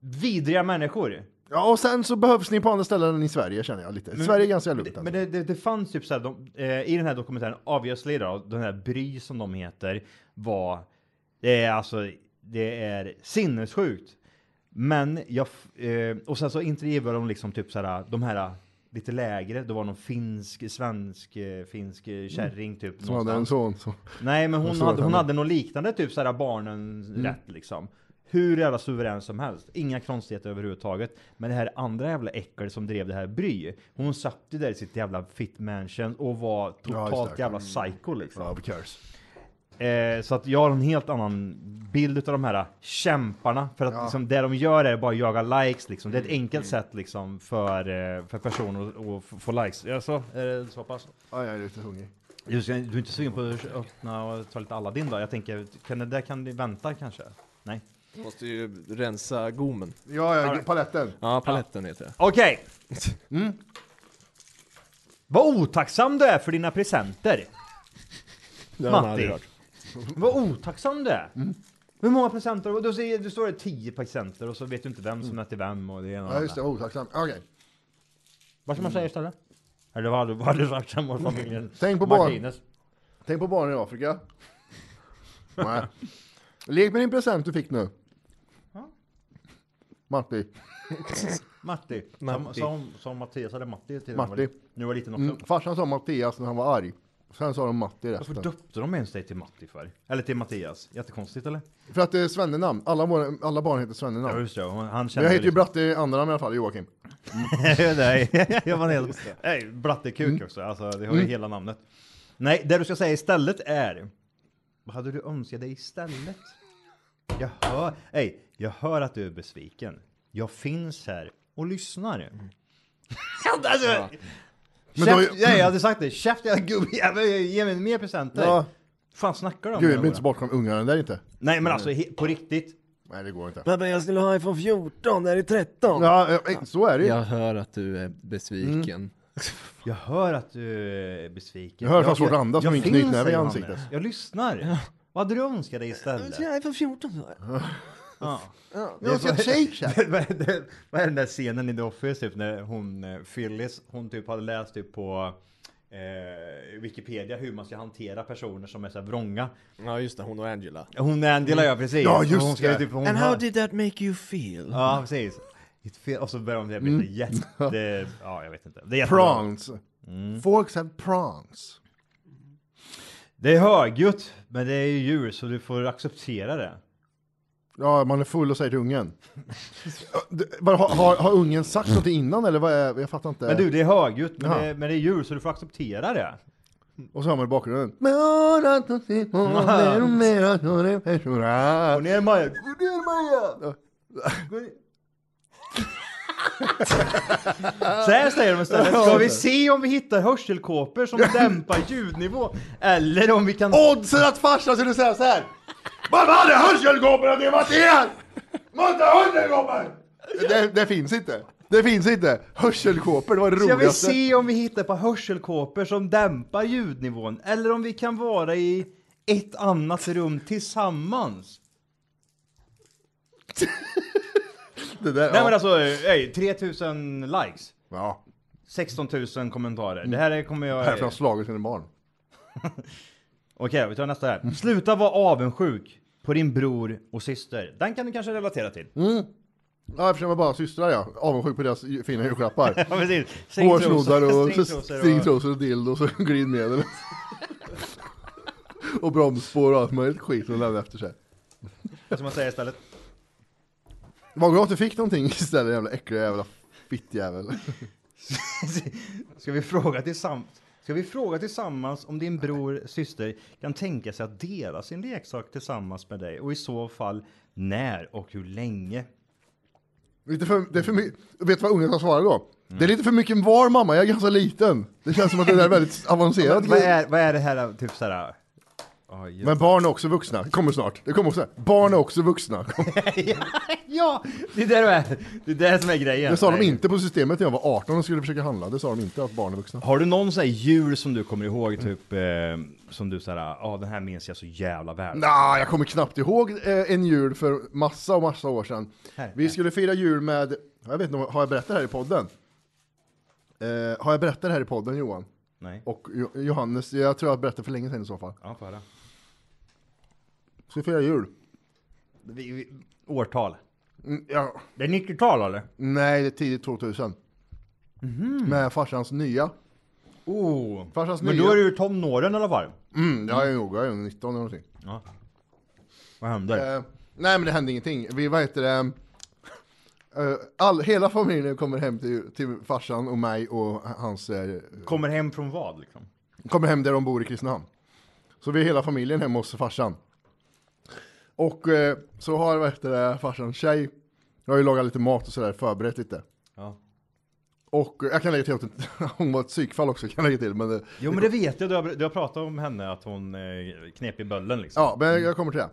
S2: Vidriga människor.
S3: Ja, och sen så behövs ni på andra ställen än i Sverige känner jag lite. Sverige är ganska lugnt.
S2: Men det, det, det fanns typ såhär, de, eh, i den här dokumentären, obviously då, den här Bry som de heter, var, det är alltså, det är sinnessjukt. Men jag, f- eh, och sen så intervjuade de liksom typ såhär, de här lite lägre, det var någon finsk, svensk, eh, finsk eh, kärring typ.
S3: Mm. Som hade en
S2: någonstans.
S3: son. Så.
S2: Nej, men hon
S3: såg att
S2: hade, hon
S3: han-
S2: hade något liknande, typ såhär barnen rätt liksom. Hur jävla suverän som helst. Inga konstigheter överhuvudtaget. Men det här andra jävla äckel som drev det här Bry. Hon satt ju där i sitt jävla fit mansion och var totalt
S3: det.
S2: jävla psycho liksom.
S3: Ja, of course.
S2: Eh, så att jag har en helt annan bild utav de här kämparna. För att liksom, det de gör är bara jaga likes liksom. Det är ett enkelt sätt liksom för, eh, för personer att- att f- få likes. Ja, så är det så pass.
S3: Ja, jag är lite hungrig.
S2: Du, ska, du är inte sugen på att öppna och ta lite Aladdin då? Jag tänker, kan det där kan det vänta kanske? Nej.
S1: Måste ju rensa gommen.
S3: Ja, ja, paletten.
S1: Ja, paletten heter det.
S2: Okej! Vad otacksam du är för dina presenter!
S1: Det har man
S2: Matti!
S1: aldrig hört.
S2: Vad otacksam du är! Hur många presenter? Och då säger, du står det 10 presenter och så vet du inte vem som är till vem och det ena och
S3: Ja,
S2: det
S3: just det.
S2: andra.
S3: Otacksam. Okej.
S2: Vad ska man säga istället? Eller vad har du- vad har du sagt hemma hos familjen?
S3: Tänk på
S2: Martinez.
S3: Tänk på barnen i Afrika. Nej. Lek med din present du fick nu. Matti.
S2: Matti. Som,
S1: Matti.
S2: som, som Mattias eller Matti till
S3: Matti.
S2: Nu var liten också.
S3: Mm. Farsan sa Mattias när han var arg. Sen sa de Matti i
S2: Varför
S3: resten.
S2: döpte de ens dig till Matti för? Eller till Mattias? Jättekonstigt eller?
S3: För att det är svennenamn. Alla, våra, alla barn heter
S2: Ja, liksom-
S3: svennenamn.
S2: just det. Han
S3: Men
S2: kände
S3: jag heter ju Bratte i andra namn i alla fall, Joakim.
S2: Nej, jag var helt... Nej, Brattekuk
S3: Mm.
S2: också. Alltså, det har ju hela namnet. Nej, det du ska säga istället är... Vad hade du önskat dig istället? Jag hör... Nej, jag hör att du är besviken. Jag finns här och lyssnar. alltså,
S3: Mm. Men då-
S2: käft, nej, jag hade sagt det. Käft jag gubbjävel, ge mig mer presenter.
S3: Ja.
S2: Fan snackar du om?
S3: Gud,
S2: det,
S3: jag blir inte så
S2: Laura?
S3: bortskämd ungarna där inte.
S2: Nej, men alltså he- på riktigt.
S3: Nej, det går inte.
S4: Pappa jag skulle ha iPhone 14, det här är 13.
S3: Ja, eh, så är det ju.
S1: Jag hör att du är besviken.
S4: Mm.
S2: Jag hör att du är besviken.
S3: Jag hör att han har svårt att andas
S2: jag
S3: med min
S2: finns,
S3: knytnäve i
S2: säger
S3: ansiktet.
S2: Hannes. Jag lyssnar. Vad hade du önskat dig istället?
S4: iPhone 14 så.
S2: Ja.
S3: Jag ska ett shake
S2: Vad är det- vad är den där scenen i The Office typ när hon, eh, Phyllis, hon typ hade läst typ på eh, Wikipedia hur man ska hantera personer som är så här vrånga.
S1: Ja just det, hon och Angela.
S2: Hon är en del av jag precis.
S3: Mm. Ja,
S2: Och
S3: just
S2: hon ska ju
S3: det.
S2: Typ, hon
S4: And
S2: har-
S4: how did that make you feel?
S2: Ja, precis. It feel- Och så börjar hon bli mm. jätte... Ja, jag vet inte. Det är jättebra.
S3: Prawns.
S2: Mm.
S3: Folks have prawns.
S2: Det är högljutt, men det är ju djur så du får acceptera det.
S3: Ja, man är full och säger till ungen. Ja, det- vad Har, har, har ungen sagt någonting innan eller vad är, jag fattar inte.
S2: Men du, det är högljutt, men,
S3: Jaha.
S2: det, men det är djur så du får acceptera det.
S3: Och så hör man i bakgrunden. Med örat och simmar, mer och mer att nå det personer.
S2: Och ner Maja!
S3: Gå ner Maja!
S2: Så här säger de istället. Ska vi se om vi hittar hörselkåpor som dämpar ljudnivå? Eller om vi kan...
S3: Oddsen att farsan skulle säga så här. Man hade hörselgubbar det var det! Man hade hörselgubbar! Det, det finns inte. Det finns inte. Hörselkåpor, det var det
S2: Ska vi
S3: roligaste.
S2: se om vi hittar på hörselkåpor som dämpar ljudnivån? Eller om vi kan vara i ett annat rum tillsammans?
S3: Det där,
S2: Nej men
S3: ja.
S2: alltså, ey, 3000 likes.
S3: ja.
S2: 16 000 kommentarer. Det här kommer jag...
S3: Därför har han slagit sina barn.
S2: Okej, vi tar nästa här. Sluta vara avundsjuk på på din bror och syster. Den kan du kanske relatera till.
S3: Ja, eftersom jag bara har systrar ja. Avundsjuk på deras ju- fina julklappar.
S2: Ja, precis.
S3: Hårsnoddar och
S2: Stringtrosor
S3: stringtrosor och dildos och glidmedel. och bromsspår och allt möjligt skit de lämnar efter sig.
S2: och- Som man säger istället.
S3: Vad bra att du fick någonting istället jävla äckliga jävla fittjävel.
S2: Ska vi fråga tillsammans? Ska vi fråga tillsammans om din bror, syster kan tänka sig att dela sin leksak tillsammans med dig och i så fall när och hur länge?
S3: Lite för, det är för mycket, vet du vad unga ska svara då? Det är lite för mycket var mamma, jag är ganska liten. Det känns som att det där är väldigt avancerat.
S2: Vad är, vad är det här typ så här? Oj,
S3: Men barn är också vuxna, det kommer snart. Det kommer också. Barn är också vuxna.
S2: Ja, det är det det är. Det är det som är grejen.
S3: Det sa de inte på systemet när jag var 18 och skulle försöka handla. Det sa de inte att barn är vuxna.
S2: Har du någon sån här jul som du kommer ihåg, typ eh, som du såhär, ja den här minns jag så jävla väl.
S3: Nej, jag kommer knappt ihåg eh, en jul för massa och massa år sedan.
S2: Här,
S3: Vi skulle fira jul med, jag vet inte, har jag berättat det här i podden? Eh, har jag berättat det här i podden Johan?
S2: Nej.
S3: Och Jo- Johannes, jag tror jag berättade för länge sedan i så fall.
S2: Ja, får höra.
S3: Ska fira jul?
S2: Vi, vi, årtal.
S3: Mm, ja.
S2: Det är 90-tal eller?
S3: Nej, det är tidigt 2000.
S2: Mhm.
S3: Med farsans nya.
S2: Oh.
S3: Farsans
S2: Men
S3: nya.
S2: då är du tonåren i alla fall.
S3: Mm, jag är nog, jag är nog 19 eller någonting.
S2: Ja. Vad händer?
S3: Eh, nej men det hände ingenting. Vi, vad heter det? eh, all, hela familjen kommer hem till, till farsan och mig och hans, eh,
S2: Kommer hem från vad liksom?
S3: kommer hem där de bor i Kristinehamn. Så vi är hela familjen hemma hos farsan. Och eh, så har vad heter det, farsan tjej, jag har ju lagat lite mat och sådär, förberett lite.
S2: Ja.
S3: Och eh, jag kan lägga till att hon var ett psykfall också, kan jag lägga till. Men, eh,
S2: Jo men det vet jag, du har, du har pratat om henne att hon eh, knep i böllen liksom.
S3: ja, men jag kommer till det.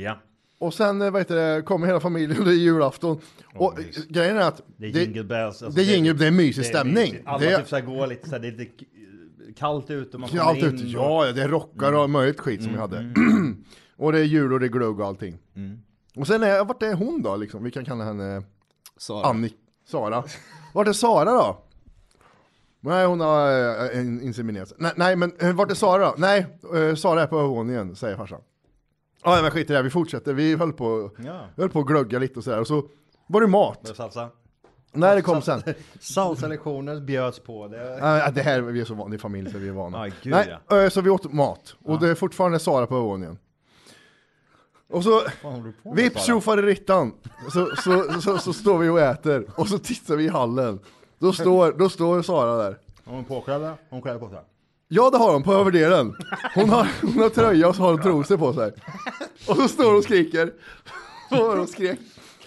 S2: Ja.
S3: Och sen eh, vad heter det, kommer hela familjen och det är julafton. och eh,
S2: nice.
S3: grejen är att
S2: Det är jingle bells. alltså,
S3: det, är jingle, det är mysig stämning.
S2: mysigt. Alla
S3: det är
S2: typ såhär går lite såhär, det är lite k- kallt ute och man
S3: ja, allt
S2: kommer in.
S3: ut.
S2: och- Mm.
S3: Ja, ja, det är rockar och möjligt skit som vi hade. och det är jul och det är glögg och allting.
S2: Mm.
S3: Och sen, är, vart är hon då liksom? Vi kan kalla henne
S1: Sara.
S3: Annie, Sara. Vart är Sara då? Nej, hon har eh, en- inseminerats. Nej, nej, men eh, vart är Sara då? Nej, eh, Sara är på övervåningen, säger farsan. Ja, men skit i det här, vi fortsätter. Vi höll på,
S2: Ja.
S3: höll på att glögga lite och sådär. Och så var det mat.
S2: Med Salsa.
S3: När det kom sen.
S2: Salsa-lektioner bjöds på. Det.
S3: Eh, Ja, det här, vi är så vana, det är familj så vi är vana.
S2: Ja, Ah, gud,
S3: Nej, eh, Så vi åt mat, och det är fortfarande Sara på övervåningen. Och så,
S2: håller du på med,
S3: vips
S2: Sara?
S3: tjofar i rittan, så, så, så, så, så står vi och äter, och så tittar vi i hallen. Då står, då står Sara där.
S2: Hon är påklädd, va? hon klädde på sig.
S3: Ja det har hon, på överdelen. Hon har, hon har tröja och så har hon trosor på sig. Och så står hon och skriker. Vad var det hon skrek?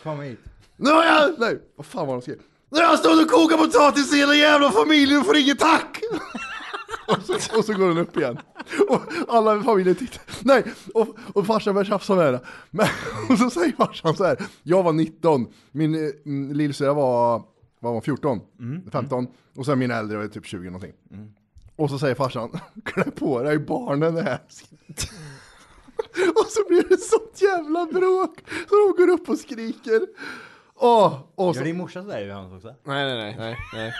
S2: Kom hit.
S3: Nu har jag... Nej, vad fan var det de skrev? Nu har jag stått och kokat potatis i hela jävla familjen och får inget tack! och, så, och så går den upp igen. Och alla i familjen tittar. Nej, och, och farsan börjar tjafsa med henne. Men, och så säger farsan så här. Jag var 19, min eh, mm, lillsyrra var, vad var hon, 14,
S2: Mm,
S3: 15 och sen min äldre var typ 20 någonting. Och så säger farsan, klä på dig barnen här. och så blir det sånt jävla bråk så de går upp och skriker. Åh, och så,
S2: Gör din morsa sådär Johannes också?
S1: Nej, nej, nej, nej, nej.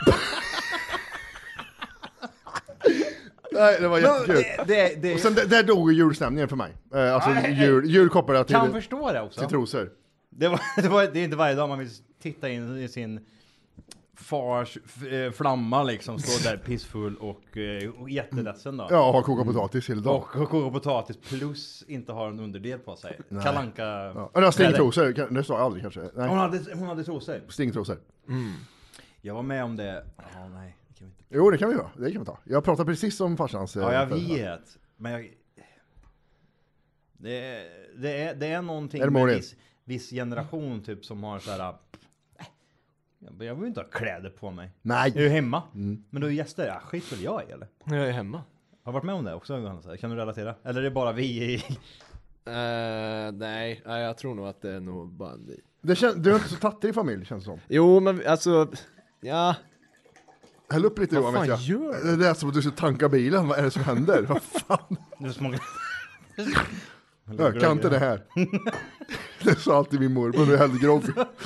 S3: nej, det var jättekul.
S2: det, det,
S3: Och sen där, där dog ju julstämningen för mig. Eh, alltså jul, jul kopplade till,
S2: kan förstå det alltså? också.
S3: till trosor.
S2: Det, var, det, var, det är inte varje dag man vill titta in i sin fars f- eh, flamma liksom, stå där pissfull och, eh, och jätteledsen då.
S3: Ja, har kokat potatis hela dagen.
S2: Och och koka potatis plus inte ha en underdel på sig. Kalanka.
S3: Ja, eller stingtrosor, kan- det sa jag aldrig kanske.
S2: Hon
S3: Nej,
S2: hade, hon hade trosor.
S3: stingtrosor.
S2: Jag var med om det. Ja, nej. det kan vi inte.
S3: Jo, det kan vi göra. Det kan vi ta. Jag pratar precis om farsans... eh,
S2: Ja, jag
S3: födelsedag.
S2: vet. Men jag... Det, är- det, är, det är någonting
S3: Är det
S2: med
S3: Maureen?
S2: viss, viss generation typ som har så här. "Äh, Jag jag vill inte ha kläder på mig.
S3: Nej.
S2: Jag är ju hemma. Men du är gäster. Ja, skit väl jag i eller?
S1: Jag är hemma.
S2: Har du varit med om det också Johannes? Kan du relatera? Eller är det bara vi i...
S1: Eh, nej, nej, jag tror nog att det är nog bara ni.
S3: Det kän, du är inte så tattig familj känns det som.
S1: Jo, men vi- alltså, ja.
S3: Häll upp lite Johan
S1: fan
S3: vet jag.
S1: gör
S3: Det är som att du ska tanka bilen, vad är det som händer? Vad fan?
S2: Det är så många...
S3: Jag kan inte det här. Det sa alltid min morbror när vi hällde grogg.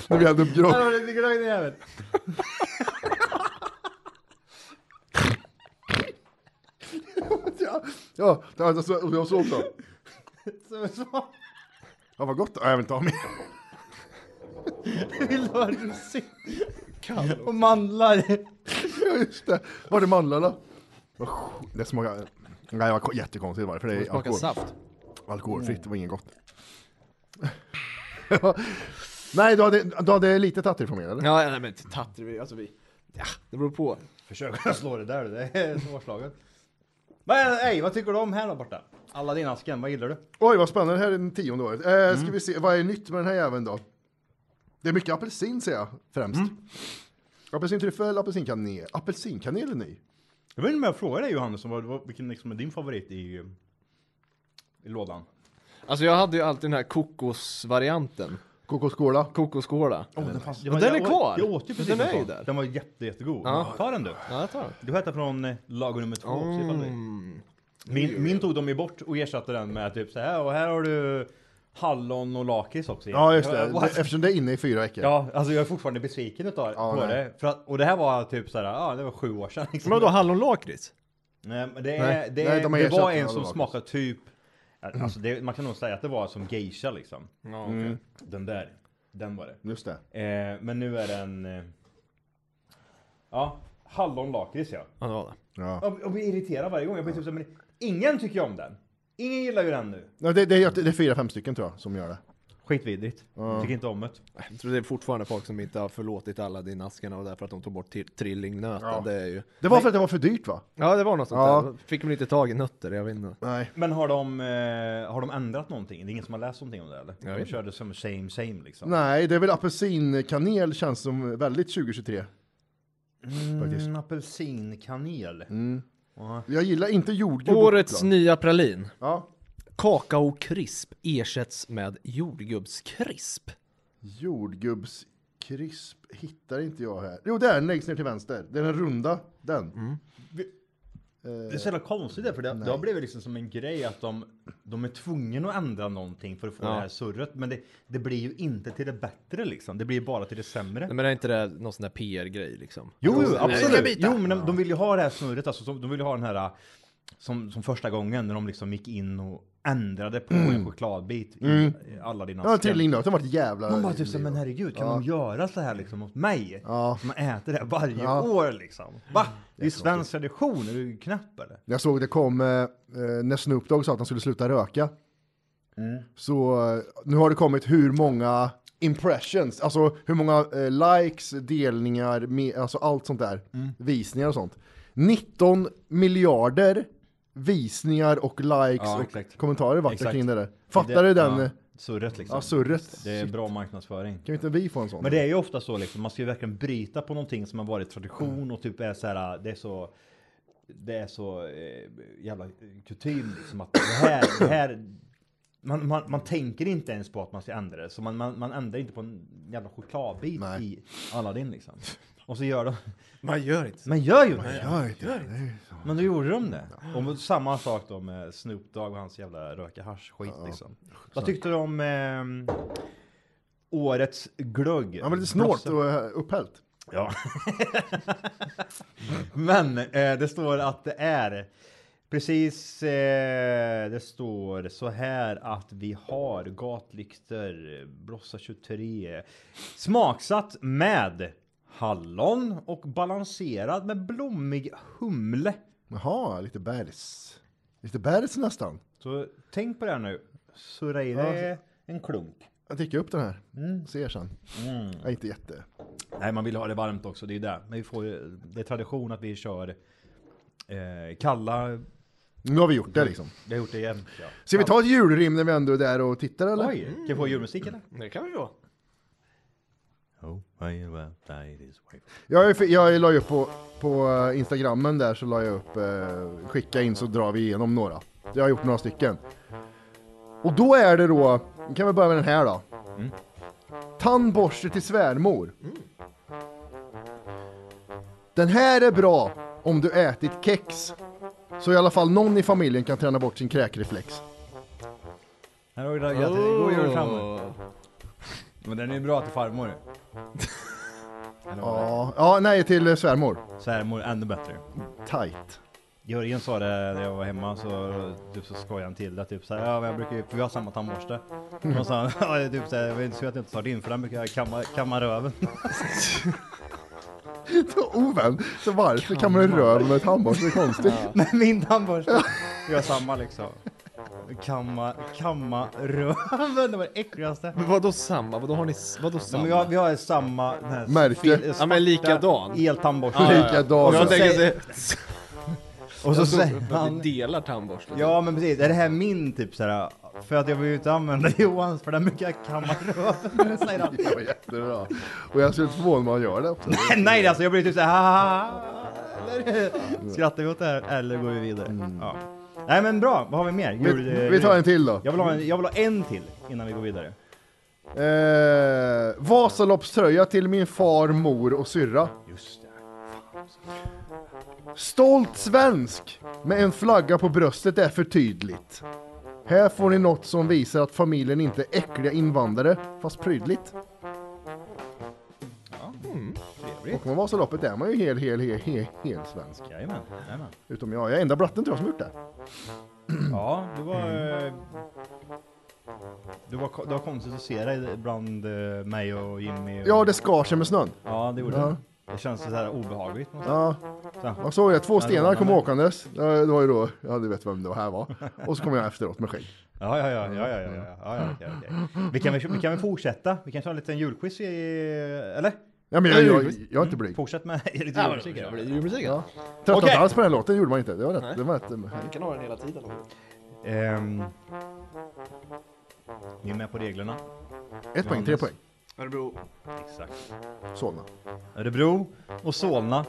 S3: När vi hällde upp grogg.
S2: Hallå, det är glögg, din jävel.
S3: Ja, ja det var så, och jag såg så.
S2: Så- så-
S3: Ja, vad gott. Ja, jag vill inte ha mer.
S2: Vill du ha russin? Och mandlar.
S3: Ja, just det. Var det mandlar då? Vad sj- Det smakar... Nej, det var ko- jättekonstigt varför. Det
S1: Det
S3: är
S1: smakar
S3: alkohol.
S1: saft.
S3: alkoholfritt. Det var inget gott. Nej, du hade, du hade lite tattir från mig, eller?
S1: Ja, nej men tatter, vi- alltså vi... Ja, det beror på.
S2: Försök att slå det där, det är svårslaget. Men ey, vad tycker du om här då borta? Alla din asken, vad gillar du?
S3: Oj, vad spännande. Det här är den tionde året. Eh, ska vi se, vad är nytt med den här jäveln då? Det är mycket apelsin, ser jag främst. Apelsintryffel, apelsinkanel. Apelsinkanel är ny.
S2: Jag vet inte om jag frågar dig Johannes, om vad- vad- vilken liksom är din favorit i, i lådan?
S1: Alltså jag hade ju alltid den här kokosvarianten.
S3: Kokoskola.
S1: Kokosgåla.
S2: Oh, den, fanns,
S1: den är kvar.
S2: Jag åt ju
S1: Men
S2: precis
S1: den är
S2: en
S1: ju
S2: sån.
S1: där.
S2: Den var jätte, jättegod.
S1: Ja.
S2: Ta den du.
S1: Ja, jag tar den.
S2: Du äter från eh, lager nummer två. så ifall
S1: Mm.
S2: det- Min, min tog de ju bort och ersatte den med typ så här och här har du hallon och lakrits också.
S3: Ja, just det.
S2: Jag- jag-
S3: det. Eftersom det är inne i fyra veckor.
S2: Ja, alltså jag är fortfarande besviken utav
S3: Ja,
S2: på
S3: nej.
S2: det. För att, och det här var typ såhär, ja det var sju år sedan. Liksom.
S4: Men då hallonlakrits?
S2: Nej, men det, är,
S3: Nej,
S2: det,
S3: nej,
S2: är,
S3: de har
S2: det
S3: ersatt Mm.
S2: var
S3: den
S2: en
S3: av
S2: som
S3: lakrits.
S2: smakade typ, alltså det, man kan nog säga att det var som geisha liksom. Mm. Den där, den var det.
S3: Just det.
S2: Eh, men nu är den, eh, ja, hallonlakrits ja.
S1: Ja, det var det.
S3: Ja.
S2: Jag, jag blir irriterad varje gång, jag blir typ såhär, men ingen tycker ju om den. Ingen gillar ju den nu.
S3: Ja, det, det, är, det är fyra, fem stycken tror jag som gör det.
S2: Skitvidrigt. Tycker inte om det.
S1: Jag tror det är fortfarande folk som inte har förlåtit alla dina askarna och därför att de tog bort till- trillingnöten. Det är ju...
S3: Det var för att det var för dyrt va?
S1: Ja, det var något sånt
S3: Ja.
S1: där. Fick man inte tag i nötter, jag vet inte.
S3: Nej.
S2: Men har de, eh, har de ändrat någonting? Det är ingen som har läst någonting om det eller?
S1: vet
S2: De körde som same same liksom.
S3: Nej, det är väl apelsinkanel känns som väldigt 2023. faktiskt.
S2: Mm, apelsinkanel.
S3: Jag gillar inte jordgubb.
S1: Årets
S3: ny...
S1: nya pralin.
S3: Ja.
S1: Kakaokrisp ersätts med jordgubbskrisp.
S3: Jordgubbskrisp hittar inte jag här. Jo, där längst ner till vänster. Det är den runda. Den.
S2: Mm. Det är så jävla konstigt det, för det, det har blivit liksom som en grej att de, de är tvungna att ändra någonting för att få det här surret. Men det, det blir ju inte till det bättre liksom. Det blir bara till det sämre.
S1: Nej men är inte det någon sån där PR-grej liksom?
S2: Jo, jo
S1: Att de-
S2: absolut. Jo, men de, de vill ju ha det här snurret. Alltså, som- de vill ju ha den här som, som första gången när de liksom gick in och ändrade på en chokladbit i i alla dina
S3: Mm. Ja, trillingnöten var ett jävla...
S2: Man bara typ såhär, men herregud, kan de göra så här liksom mot mig?
S3: Ja.
S2: Som äter det här varje
S3: Ja.
S2: år liksom. Va? Det är ju svensk tradition, är du knäpp eller?
S3: Jag såg det kom eh, eh, när Snoop Dogg sa att han skulle sluta röka.
S2: Mm.
S3: Så eh, nu har det kommit hur många impressions, alltså hur många eh, likes, delningar, me- alltså allt sånt där.
S2: Mm.
S3: Visningar och sånt. 19 miljarder visningar och likes
S2: Ja,
S3: och
S2: exakt.
S3: kommentarer vart
S2: Exakt.
S3: kring det där. Fattar du den? eh,
S2: Ja,
S3: Ja.
S2: surret liksom.
S3: Ja, surret.
S2: Det är bra marknadsföring.
S3: Kan inte vi få en sån?
S2: Men det är ju ofta så liksom, man ska ju verkligen bryta på någonting som har varit
S3: Mm.
S2: tradition och typ är så här, det är så det är så eh, jävla kutym liksom att det här, det här man, man, man tänker inte ens på att man ska ändra det, så man, man, man ändrar inte på en jävla chokladbit
S3: Nej.
S2: i Aladdin liksom. Och så gör de,
S1: Man gör inte så.
S2: man gör ju det!
S3: Ja, det är det.
S2: Men då gjorde de det. Och samma sak då med Snoop Dogg och hans jävla röka hasch-skit liksom. Vad tyckte du om ehm, årets glögg?
S3: Ja, men lite snålt
S2: Blossa-
S3: och eh, upphällt.
S2: Ja. Men eh, det står att det är precis. Eh, det står så här att vi har gatlyktor, eh, Blossa 23 smaksatt med hallon och balanserad med blommig humle.
S3: Jaha, lite bärs. Lite bärs nästan.
S2: Så tänk på det här nu. Surra i dig en klunk.
S3: Jag dricker upp den här.
S2: Mm.
S3: Ser sen. Ja, inte jätte.
S2: Nej, man vill ha det varmt också. Det är ju det. Men vi får ju, det är tradition att vi kör eh, kalla.
S3: Nu har vi gjort det liksom.
S2: Vi har gjort det jämt. Ja.
S3: Ska vi ta ett julrim när vi ändå är där och tittar eller?
S2: Oj, kan vi få julmusik eller?
S1: Det kan vi få.
S2: Oh, I will die this way.
S3: Jag, är- jag la ju upp på, på eh, Instagrammen där så la jag upp eh, skicka in så drar vi igenom några. Jag har gjort några stycken. Och då är det då, vi kan vi börja med den här då.
S2: Mm.
S3: Tandborste till svärmor. Den här är bra om du ätit kex. Så i alla fall någon i familjen kan träna bort sin kräkreflex.
S2: Här har vi den. Jag tänkte, God jul farmor. Men den är ju bra till farmor. Eller vad det
S3: Ja, ja nej till eh, svärmor.
S2: är. Svärmor ännu bättre.
S3: Tight.
S2: Jörgen sa det när jag var hemma så, typ, så skojade han till det typ såhär, ja men jag brukar ju, för vi har samma tandborste. Och så han, ja typ såhär, jag vet inte så att jag inte sa din för den brukar jag kamma, kamma röven.
S3: Oven, så varför kan man röra med tandborste? Det är konstigt.
S2: Men min tandborste gör samma liksom. Kamma, kamma röven, det var det äckligaste.
S1: Men vadå samma? Vadå har ni, s- vadå
S2: Ja,
S1: samma?
S2: men jag, vi har samma den här
S3: Märke.
S2: fil- svarta
S1: men likadan.
S2: Eltandborste.
S1: Ja, ja, ja.
S3: Likadan.
S1: Jag
S2: Och så
S1: tänker
S2: säger-
S1: att det-
S2: Och så
S1: jag tror
S2: säger
S1: att vi
S2: han,
S1: delar tandborsten.
S2: ja men precis, är det här min typ såhär? För att jag vill ju inte använda Johans för den brukar jag kamma röven. säger han.
S3: Det var jättebra. Och jag skulle inte förvåna mig om han gör det också.
S2: Nej alltså jag blir typ såhär "Ha, ha, ha." Eller Skrattar vi åt det här eller går vi vidare? Ja. Nej men bra, vad har vi mer?
S3: Mm. Vi,
S2: Jul, eh,
S3: vi tar
S2: jul.
S3: en till då.
S2: Jag vill, ha en, jag vill ha en till innan vi går vidare.
S3: Eh, Vasaloppströja till min far, mor och syrra.
S2: Just det.
S3: Stolt svensk med en flagga på bröstet är för tydligt. Här får ni något som visar att familjen inte är äckliga invandrare, fast prydligt.
S2: mm, Trevligt.
S3: Och med Vasaloppet är man ju hel, hel, hel, hel, hel svensk.
S2: Jajamän, jajamän.
S3: Utom jag, jag är enda bratten tror jag som gjort det.
S2: Ja, det var...
S3: Mm.
S2: eh, Det var, ko- det var konstigt att se dig bland eh, mig och Jimmy. Och,
S3: Ja, det skar sig med snön.
S2: ja, det gjorde
S3: Ja.
S2: det. Det känns så här obehagligt. på något sätt.
S3: Ja,
S2: Så.
S3: man såg det. Två
S2: det
S3: stenar
S2: var-
S3: kom åkandes. Ja, Det var ju då, ja du vet vem det här var. Och så kom jag efteråt med skägg.
S2: Ja, ja, ja, ja, ja, ja, ja, ja, ja okej, okej. Vi kan väl vi kan väl fortsätta? Vi kan ta en liten julquiz i... Eller?
S3: Ja, men jag, jag, jag är inte blyg.
S2: Fortsätt med lite
S1: Ja, men
S2: julmusik.
S1: det
S2: här.
S1: blir ju musiken.
S3: Ja. Tröttnat
S2: Okej.
S3: alls på den här låten gjorde man inte. Det var rätt. Det var rätt. eh,
S1: Man kan ha den hela tiden.
S2: Ehm, ni är med på reglerna.
S3: Ett poäng, tre
S2: Johannes.
S3: poäng.
S1: Örebro.
S2: Exakt.
S3: Solna.
S2: Örebro och Solna.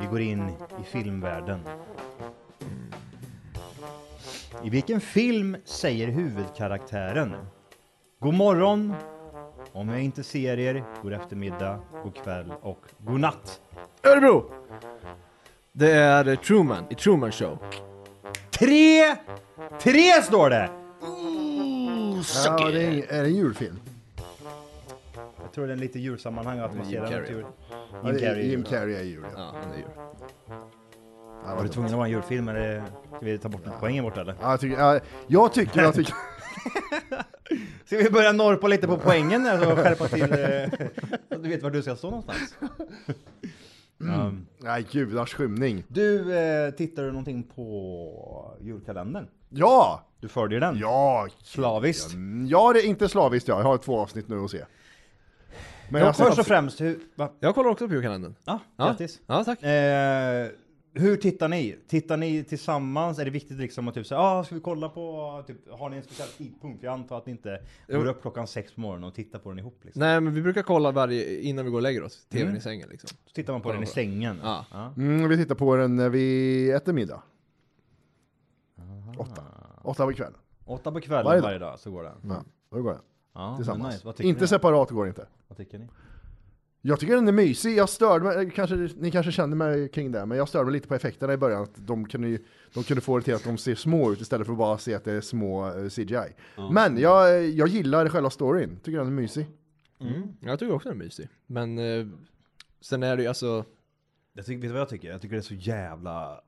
S2: Vi går in i filmvärlden. I vilken film säger huvudkaraktären God morgon, om jag inte ser er, god eftermiddag, god kväll och god natt.
S1: Örebro! Det är eh, Truman, i Truman Show.
S2: Tre! Tre står det!
S3: Ja, det är, ing- är det en julfilm?
S2: Jag tror det är lite julsammanhang att man ser
S1: Jim
S2: den.
S1: Carrey.
S2: Jim
S3: Ja, det är-
S2: Carrey.
S3: Jim Carrey är jul. Ja.
S1: Ja, han är ju.
S3: Ja,
S2: Var du
S3: vänta.
S2: tvungen att vara en julfilm eller ska vi ta bort något poängen bort eller?
S3: Ja, jag tycker, ja, jag tycker att vi
S2: Ska vi börja norpa lite på poängen här så skärpa till eh, så att du vet var du ska stå någonstans? Um,
S3: Nej, gudars skymning.
S2: du, eh, tittar du någonting på julkalendern?
S3: Ja!
S2: Du följer den?
S3: Ja!
S2: Slaviskt?
S3: Mm, Ja, det är inte slaviskt jag. Jag har två avsnitt nu att se. Men
S2: Ja,
S3: jag
S2: först
S3: har
S2: och
S3: sett...
S2: främst, hur... Va?
S1: Jag kollar också på julkalendern.
S2: Ja,
S1: Ja.
S2: grattis.
S1: Ja, tack.
S2: Eh, hur tittar ni? Tittar ni tillsammans? Är det viktigt liksom att typ så här, ah, ska vi kolla på, typ, har ni en speciell tidpunkt? Jag antar att ni inte går upp klockan sex på morgonen och tittar på den ihop liksom.
S1: Nej, men vi brukar kolla varje, innan vi går och lägger oss. TVn
S2: Mm.
S1: i sängen liksom.
S2: Så tittar man på den i sängen.
S1: Ja.
S3: Mm, vi tittar på den när vi äter middag. Åtta. Åtta på kvällen.
S2: Åtta på kvällen varje
S3: Varje
S2: dag,
S3: dag.
S2: så går den.
S3: Ja, då går den.
S2: Ja, men
S3: Tillsammans.
S2: nice. Vad tycker
S3: inte
S2: ni?
S3: separat går inte.
S2: Vad tycker ni?
S3: Jag tycker den är mysig, jag störde mig, eh, kanske, ni kanske kände mig kring det, men jag störde mig lite på effekterna i början. Att de, kunde, ju- de kunde få det till att de ser små ut istället för att bara se att det är små eh, CGI. Men jag, eh, jag gillar själva storyn, tycker den är mysig.
S1: Jag tycker också den är mysig. Men eh, sen är det ju alltså...
S2: Jag tycker, vet du vad jag tycker? Jag tycker det är så jävla...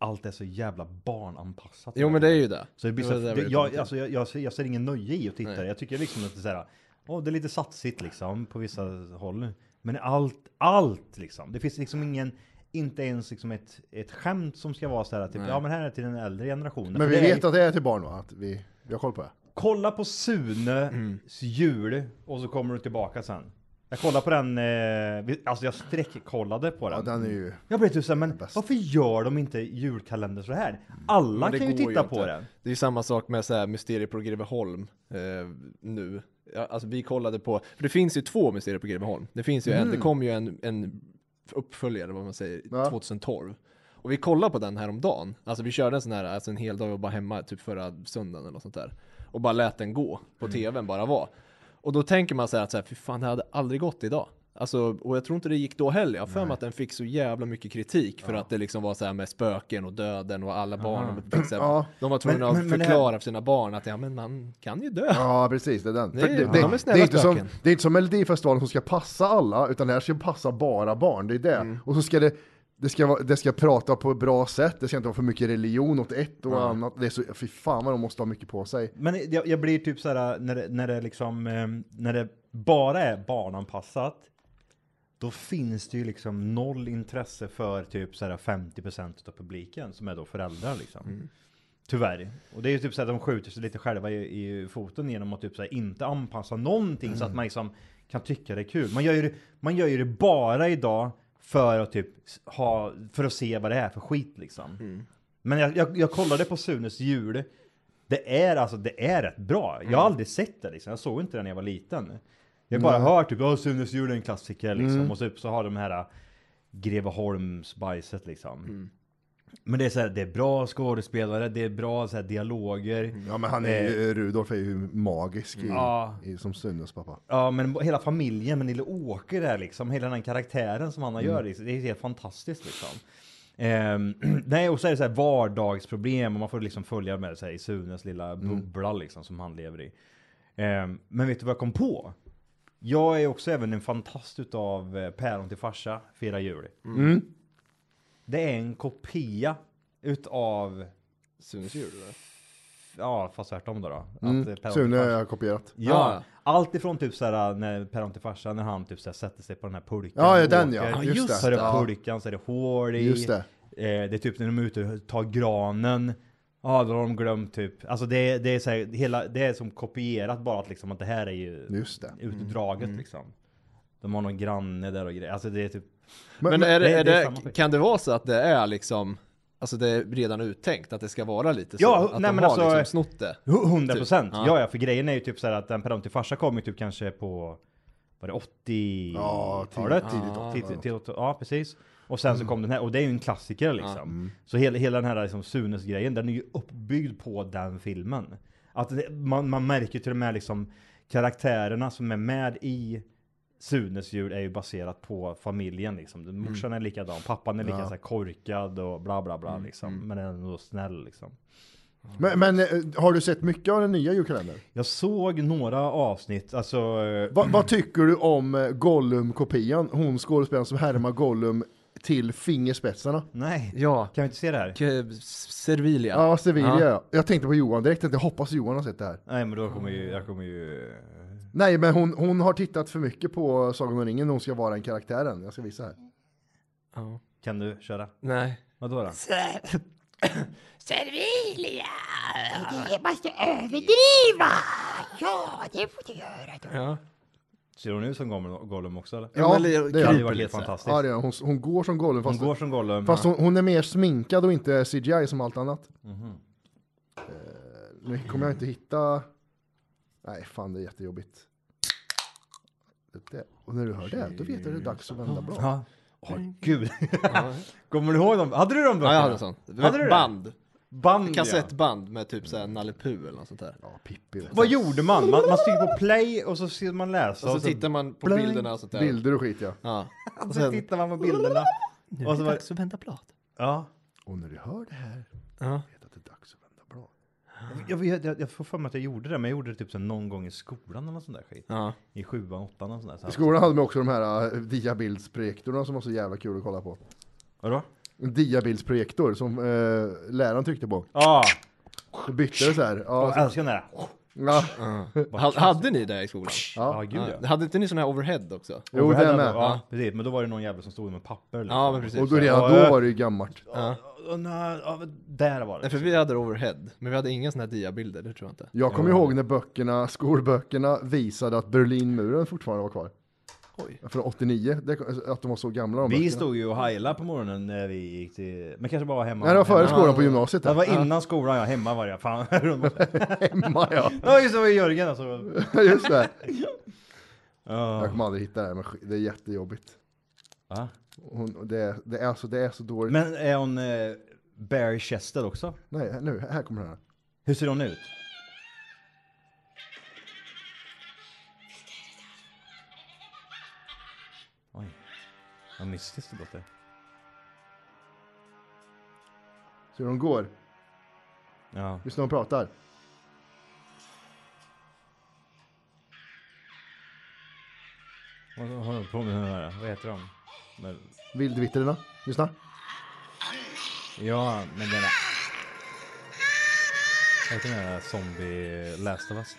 S2: Allt är så jävla barnanpassat.
S1: Jo men det är ju det.
S2: Så det blir så,
S1: var där vi
S2: det,
S1: kom
S2: jag,
S1: till.
S2: alltså, jag, jag, ser, jag ser ingen nöje i att titta. Jag tycker liksom att det är så här, åh, det är lite satsigt liksom på vissa håll. Men allt, allt liksom. Det finns liksom ingen, inte ens liksom ett, ett skämt som ska vara så här, typ, ja men här är till den äldre generationen.
S3: Men
S2: För
S3: vi
S2: det är-
S3: vet att det är till barn va? Att vi, vi har koll på det.
S2: Kolla på Sunes
S1: Mm.
S2: jul och så kommer du tillbaka sen. Jag kollade på den, eh, vi- alltså jag sträckkollade på
S3: Ja, den är ju...
S2: Jag blev typ såhär, men
S3: Bäst.
S2: varför gör de inte julkalendern så här? Alla
S1: Mm. Men det
S2: kan ju
S1: går
S2: titta på
S1: inte.
S2: den.
S1: Det är ju samma sak med så här Mysterier på Greveholm eh, nu. Ja, alltså vi kollade på, för det finns ju två Mysterier på Greveholm. Det finns ju
S2: Mm.
S1: en, det kom ju en, en uppföljare vad man säger,
S3: Ja.
S1: 2012. Och vi kollade på den här om dagen. Alltså vi körde en sån här, alltså en hel dag och bara hemma typ förra söndagen eller något sånt där. Och bara lät den gå på
S2: Mm.
S1: tvn bara var. Och då tänker man sig att så här, fy fan det hade aldrig gått idag. Alltså, och jag tror inte det gick då heller. Jag har för mig att den fick så jävla mycket kritik för att det liksom var så här med spöken och döden och alla barn. Och fick så här,
S3: Ja.
S1: De var tvungna
S2: Men- men- men
S1: att
S2: det
S1: förklara för sina barn att ja, men man kan ju dö.
S3: Ja, precis, det är den.
S1: Det är
S3: För
S1: ju-
S3: det,
S1: de är
S3: det, det,
S1: snälla
S3: är inte som,
S1: spöken. Mm.
S3: det är inte som Melodifestivalen som ska passa alla, utan det här ska passa bara barn. Det är det. Och så ska det Det ska, vara, det ska prata på ett bra sätt, det ska inte vara för mycket religion åt ett och annat. Det är så, fy fan vad de måste ha mycket på sig.
S2: Men jag, jag blir typ så här när det, när det liksom, eh, när det bara är barnanpassat, då finns det ju liksom noll intresse för typ så här 50% av publiken som är då föräldrar liksom. Tyvärr. Och det är ju typ så här att de skjuter sig lite själva i, i foten genom att typ så här inte anpassa någonting så att man liksom kan tycka det är kul. Man gör ju det, man gör ju det bara idag för att typ s- ha, för att se vad det är för skit liksom. Men jag, jag, jag kollade på Sunes jul. Det är alltså, det är rätt bra. Jag har aldrig sett det liksom. Jag såg inte det när jag var liten. Jag har bara hört typ, "Ja, Sunes jul är en klassiker liksom. Och typ så har de här äh, Greveholmsbajset liksom. Men det är så här, det är bra skådespelare, det är bra så här, dialoger.
S3: Ja men han är ju, Eh. Rudolf är ju magisk i, i, som Sunes pappa.
S2: Ja, men hela familjen med Nille Åker där liksom, hela den karaktären som han
S1: Mm.
S2: har gör, liksom, det är helt fantastiskt liksom. Ehm, nej, och så är det så här vardagsproblem och man får liksom följa med sig i Sunes lilla
S1: Mm.
S2: bubbla liksom som han lever i. Ehm, men vet du vad jag kom på? Jag är också även en fantast utav eh, Päron till farsa, Fira jul.
S1: Mm.
S2: Det är en kopia utav,
S1: Sunes jul eller?
S2: ja fast tvärtom då. då att,
S1: Mm.
S2: eh, Päron till
S3: Sune
S2: farsa-
S3: har kopierat.
S2: Ja,
S1: Ja.
S2: allt ifrån typ såhär när Päron till farsan, när han typ såhär sätter sig på den här pulkan.
S3: Ja, ja,
S2: och
S3: den, ja.
S2: åker.
S3: Ja, just
S2: Så är det
S3: det. Ja.
S2: pulkan, så är det hål i.
S3: Just det.
S2: Eh, det är typ när de är ute och tar granen. Ja, då har de glömt typ. Alltså det, är- det är så här, hela, det är som kopierat bara att liksom att det här är ju
S3: Just det.
S1: Mm.
S3: Mm.
S2: utdraget liksom. De har någon granne där och grejer. Alltså det är typ,
S3: Men,
S1: Men eh, är det,
S2: nej,
S1: är
S2: det är
S1: det,
S2: samma skit.
S1: kan det vara så att det är liksom Alltså det är redan uttänkt att det ska vara lite så?
S2: Ja,
S1: att
S2: nej,
S1: de
S2: men
S1: har
S2: alltså-
S1: liksom snott det?
S2: 100 procent.
S1: Typ. Ja.
S2: Ja, ja, för grejen är ju typ så här att den Päron till farsa kom ju typ kanske på, var det 80-talet?
S3: Ja, Mm. tidigt-
S2: ja.
S3: tidigt
S2: Till-
S3: 80-talet.
S2: till 80 ja, precis. Och sen så kom den här, och det är ju en klassiker liksom.
S3: Mm.
S2: Så hela, hela den här liksom Sunes-grejen, den är ju uppbyggd på den filmen. Att det, man, man märker till och med liksom karaktärerna som är med i Sunes jul är ju baserat på familjen
S3: Mm.
S2: liksom. Morsan är likadan, pappan är lika så här korkad och bla bla
S3: Mm.
S2: bla liksom. Men ändå snäll liksom.
S3: men, men eh, har du sett mycket av den nya julkalendern?
S2: Jag såg några avsnitt, alltså... eh,
S3: Va, vad tycker du om eh, Gollum-kopian? Hon skådespelaren som härmar Gollum till fingerspetsarna.
S2: Nej,
S1: Ja,
S2: kan vi inte se det här?
S1: Servilia.
S3: Ja, Sevilla ja. Jag tänkte på Johan direkt, att jag hoppas Johan har sett det här.
S2: Nej men då kommer ju, jag kommer ju...
S3: Nej, men hon, hon har tittat för mycket på Sagan om ringen, hon ska vara en karaktär än. Jag ska visa här.
S2: Kan du köra?
S1: Nej.
S2: Vadå då?
S6: Servilia! Det måste överdriva! Ja, det får du göra då.
S2: Ser hon ut som Gollum- Gollum också eller?
S3: Ja,
S1: men det-
S3: det
S2: Det
S3: gör
S2: hade ju
S3: hon.
S2: varit helt
S1: lite så här.
S2: fantastiskt.
S3: Ja, det gör hon. Hon, hon går som Gollum,
S2: Hon
S3: fast,
S2: går som Gollum.
S3: fast hon, hon är mer sminkad och inte CGI som allt annat.
S2: Mhm.
S3: Eh, nu kommer jag inte hitta... Nej, fan det är jättejobbigt. Det, där- och när du hör det, då vet du att det är dags att vända blad.
S2: Ja. Åh gud. kommer du ihåg dem? Hade du de böckerna?
S1: Ja, jag hade en sån.
S2: Hade
S1: Det var
S2: du
S1: ett
S2: det?
S1: band.
S2: Band ja.
S1: Kassettband med typ såhär Nalle Puh eller något sånt där.
S3: Ja, Pippi.
S2: Vad gjorde man? Man, man styrde på play och så ser man läsa.
S1: Och så tittar man på
S3: Blank.
S1: bilderna och sånt där.
S3: Bilder och skit ja.
S1: Ja.
S2: och
S1: Och
S2: så
S1: sen,
S2: tittar man på bilderna. Och så var,
S1: dags att vända blad.
S2: ja.
S3: Och när du hör det här,
S1: Ja.
S3: vet att det är dags att vända blad.
S2: Jag, jag, jag, jag får för mig att jag gjorde det, men jag gjorde det typ så här någon gång i skolan eller något sånt där skit.
S1: Ja.
S2: I sjuan, åttan och sånt där. Så
S3: I
S2: här.
S3: skolan hade man också de här eh, diabildsprojektorerna som var så jävla kul att kolla på.
S2: Vadå?
S3: En diabildsprojektor som eh, läraren tryckte på.
S2: Ja,
S3: Så bytte det så här. Ja,
S2: jag älskar den där.
S3: ja.
S1: Ha- Hade ni det i skolan?
S2: Ja, gud ja.
S1: Ja. Hade inte ni sån här overhead också?
S3: Jo,
S2: Overhead
S3: det med.
S2: hade- Ja, precis. Men då var det någon jävel som stod med papper. Liksom.
S1: Ja, men precis.
S3: Och då, redan då var det ju gammalt.
S2: Och- och- nej, ja, men där var det.
S1: Nej, för vi hade overhead, men vi hade inga såna här diabilder, det tror jag inte.
S3: Jag kommer ihåg när böckerna, skolböckerna visade att Berlinmuren fortfarande var kvar.
S1: Oj.
S3: Från 89, det, att de var så gamla de
S2: Vi
S3: böckerna.
S2: stod ju och heilade på morgonen när vi gick till... Men kanske bara var hemma.
S3: Nej, det var före
S2: hemma.
S3: skolan på gymnasiet.
S2: Det
S3: Här.
S2: var innan skolan, ja. Hemma var jag. Fan.
S3: Hemma ja.
S2: ja, just det. var ju Jörgen alltså.
S3: Just det.
S2: Ja.
S3: Jag kommer aldrig hitta det här, men sk- det är jättejobbigt.
S2: Va?
S3: Hon, det, är- det, är så, det är så dåligt.
S2: Men är hon eh, Barry Chester också?
S3: Nej, nu, här kommer den här.
S2: Hur ser hon ut? Oj. Vad mystiskt det låter.
S3: Så de går,
S2: Ja.
S3: lyssna de pratar.
S2: Vad håller de på med nu? här? Vad heter de? Men-
S3: Vildvitterna, lyssna.
S2: Ja, men den där... Vet du den där zombie Last of Us?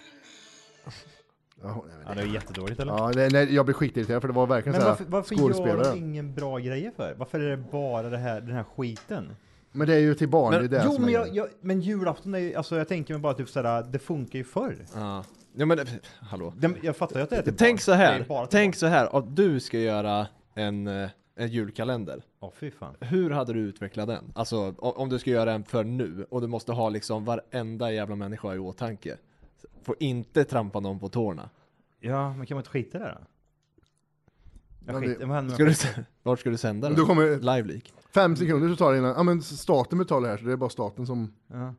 S3: Ja, hon- jag vet
S2: Ja,
S3: inte.
S2: det är jättedåligt eller?
S3: Ja, nej, nej, jag blev skitirriterad för det var verkligen
S2: Men
S3: så här
S2: varför, varför gör
S3: skådespelare.
S2: de ingen bra grejer för? Varför är det bara det här, den här skiten?
S3: Men det är ju till barn, det är
S2: Men,
S3: det
S2: jo,
S3: som
S2: men,
S3: är
S2: jag,
S3: grejen.
S2: jag, men julafton är ju, alltså jag tänker mig bara typ såhär, det funkar ju förr.
S1: Ja. ja men, eh, hallå.
S2: Den, jag fattar ju att det är till
S1: Tänk
S2: barn.
S1: så
S2: Det är
S1: här,
S2: bara till
S1: tänk
S2: barn.
S1: så här, att du ska göra en, eh, en julkalender.
S2: Ja, fy fan.
S1: Hur hade du utvecklat den? Alltså o- om du ska göra en för nu och du måste ha liksom varenda jävla människa i åtanke. Får inte trampa någon på tårna.
S2: Ja, men kan man inte skita i det då? Jag
S3: Men det-
S2: skiter, vad händer
S1: Ska
S2: med
S1: du, sä- vart ska du sända den?
S3: Då kommer-
S1: Live-leak.
S3: Fem sekunder så tar det innan, ja men staten betalar här så det är bara staten som...
S2: Ja.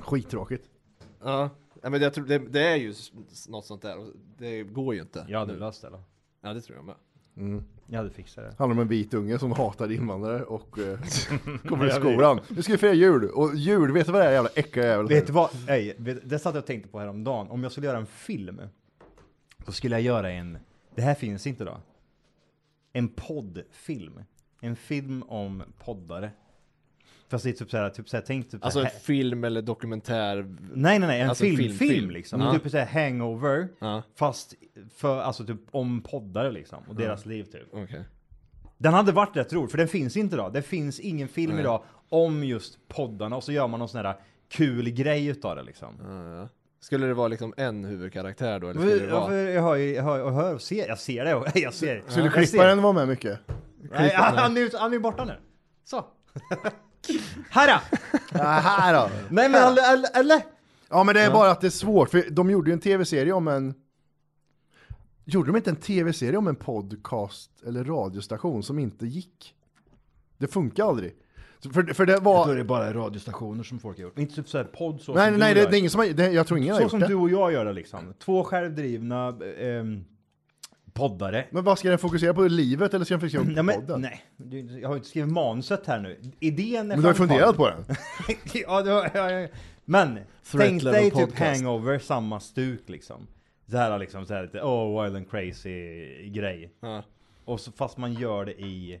S3: Skittråkigt.
S1: Ja. ja, men jag tror det, det är ju s- s- något sånt där. och Det går ju inte.
S2: Jag hade löst det då.
S1: Ja, det tror jag med.
S2: Jag hade fixat det.
S3: Handlar om en vit unge som hatar invandrare och eh, kommer till
S2: Jag vet.
S3: skolan. Nu ska vi fira jul! Och jul, vet du vad det är jävla äckliga jävel?
S2: Vet du vad? Nej, vet, det satt jag och tänkte på häromdagen. Om jag skulle göra en film, då skulle jag göra en, det här finns inte då. En poddfilm. En film om poddare. Fast det är typ såhär, typ såhär, tänk typ
S1: Alltså
S2: såhär,
S1: en film eller dokumentär.
S2: Nej nej nej, en
S1: Alltså en
S2: film, film,
S1: film, film.
S2: liksom.
S1: Ja.
S2: Typ såhär hangover,
S1: Ja.
S2: fast för, alltså typ om poddare liksom. Och deras liv typ.
S1: Okej.
S2: Den hade varit rätt rolig, för den finns inte idag. Det finns ingen film idag om just poddarna. Och så gör man någon sån här kul grej utav det liksom.
S1: Skulle det vara liksom en huvudkaraktär då? Eller skulle det
S2: Jag,
S1: vara...
S2: jag hör ju, jag hör, jag hör och ser, jag ser det. Jag ser.
S3: Skulle
S2: jag ser.
S3: klipparen vara med mycket?
S2: Nej, han, är, ju- han är ju borta nu. Så. här då!
S3: Ja, Äh, här då!
S2: Nej men eller- eller- eller?
S3: Ja men det är bara att det är svårt, för de gjorde ju en tv-serie om en... Gjorde de inte en tv-serie om en podcast eller radiostation som inte gick? Det funkar aldrig. Så För, för det var...
S2: är bara radiostationer som folk har gjort. Inte typ såhär podd så som
S3: Nej, nej,
S2: du
S3: nej, det,
S2: gör.
S3: det är ingen som har, det, jag tror ingen har
S2: Så
S3: gjort
S2: som
S3: det.
S2: du och jag gör det liksom. Två självdrivna eh, ehm, poddare.
S3: Men vad ska den fokusera på? Livet eller ska den fokusera på
S2: Ja, men,
S3: podden?
S2: nej, du- jag har ju inte skrivit manuset här nu. Idén är
S3: Men du har ju
S2: framtagen.
S3: funderat på den?
S2: ja, det har, ja, ja. Men tänk
S1: level
S2: dig typ
S1: podcast.
S2: hangover, samma stuk liksom. Så här liksom, så här lite oh wild and crazy grej.
S1: Ja.
S2: Och så fast man gör det i...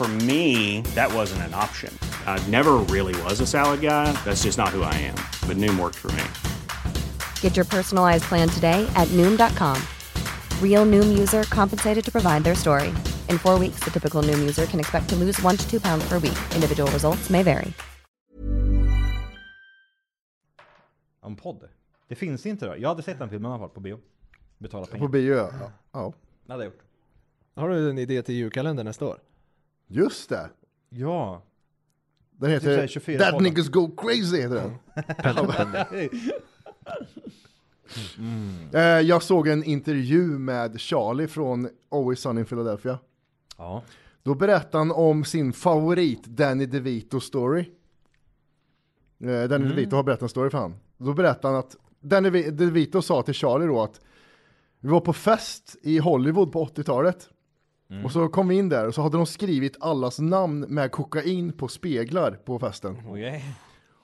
S7: For me, that wasn't an option. I never really was a salad guy. That's just not who I am. But Noom worked for me.
S8: Get your personalized plan today at Noom.com. Real Noom user compensated to provide their story. In four weeks, the typical Noom user can expect to lose one to two pounds per week. Individual results may vary.
S2: Om podd. Det finns inte då. Jag hade sett den filmen i alla fall på bio. Betala pengar.
S3: På bio,
S2: Mm.
S3: ja. ja.
S2: Det hade jag gjort.
S1: Har du en idé till julkalender nästa år?
S3: Just det!
S2: Ja.
S3: Den
S2: Typ såhär
S3: heter
S2: 24
S3: That
S2: podden.
S3: Niggas Go Crazy heter den. Eh, Jag såg en intervju med Charlie från Always Sunny in Philadelphia.
S2: Ja.
S3: Då berättade han om sin favorit Danny DeVito-story. Eh, Danny DeVito har berättat en story för han. Då berättade han att Danny Vi- DeVito sa till Charlie då att vi var på fest i Hollywood på 80-talet. Och så kom vi in där och så hade de skrivit allas namn med kokain på speglar på festen.
S2: Okej.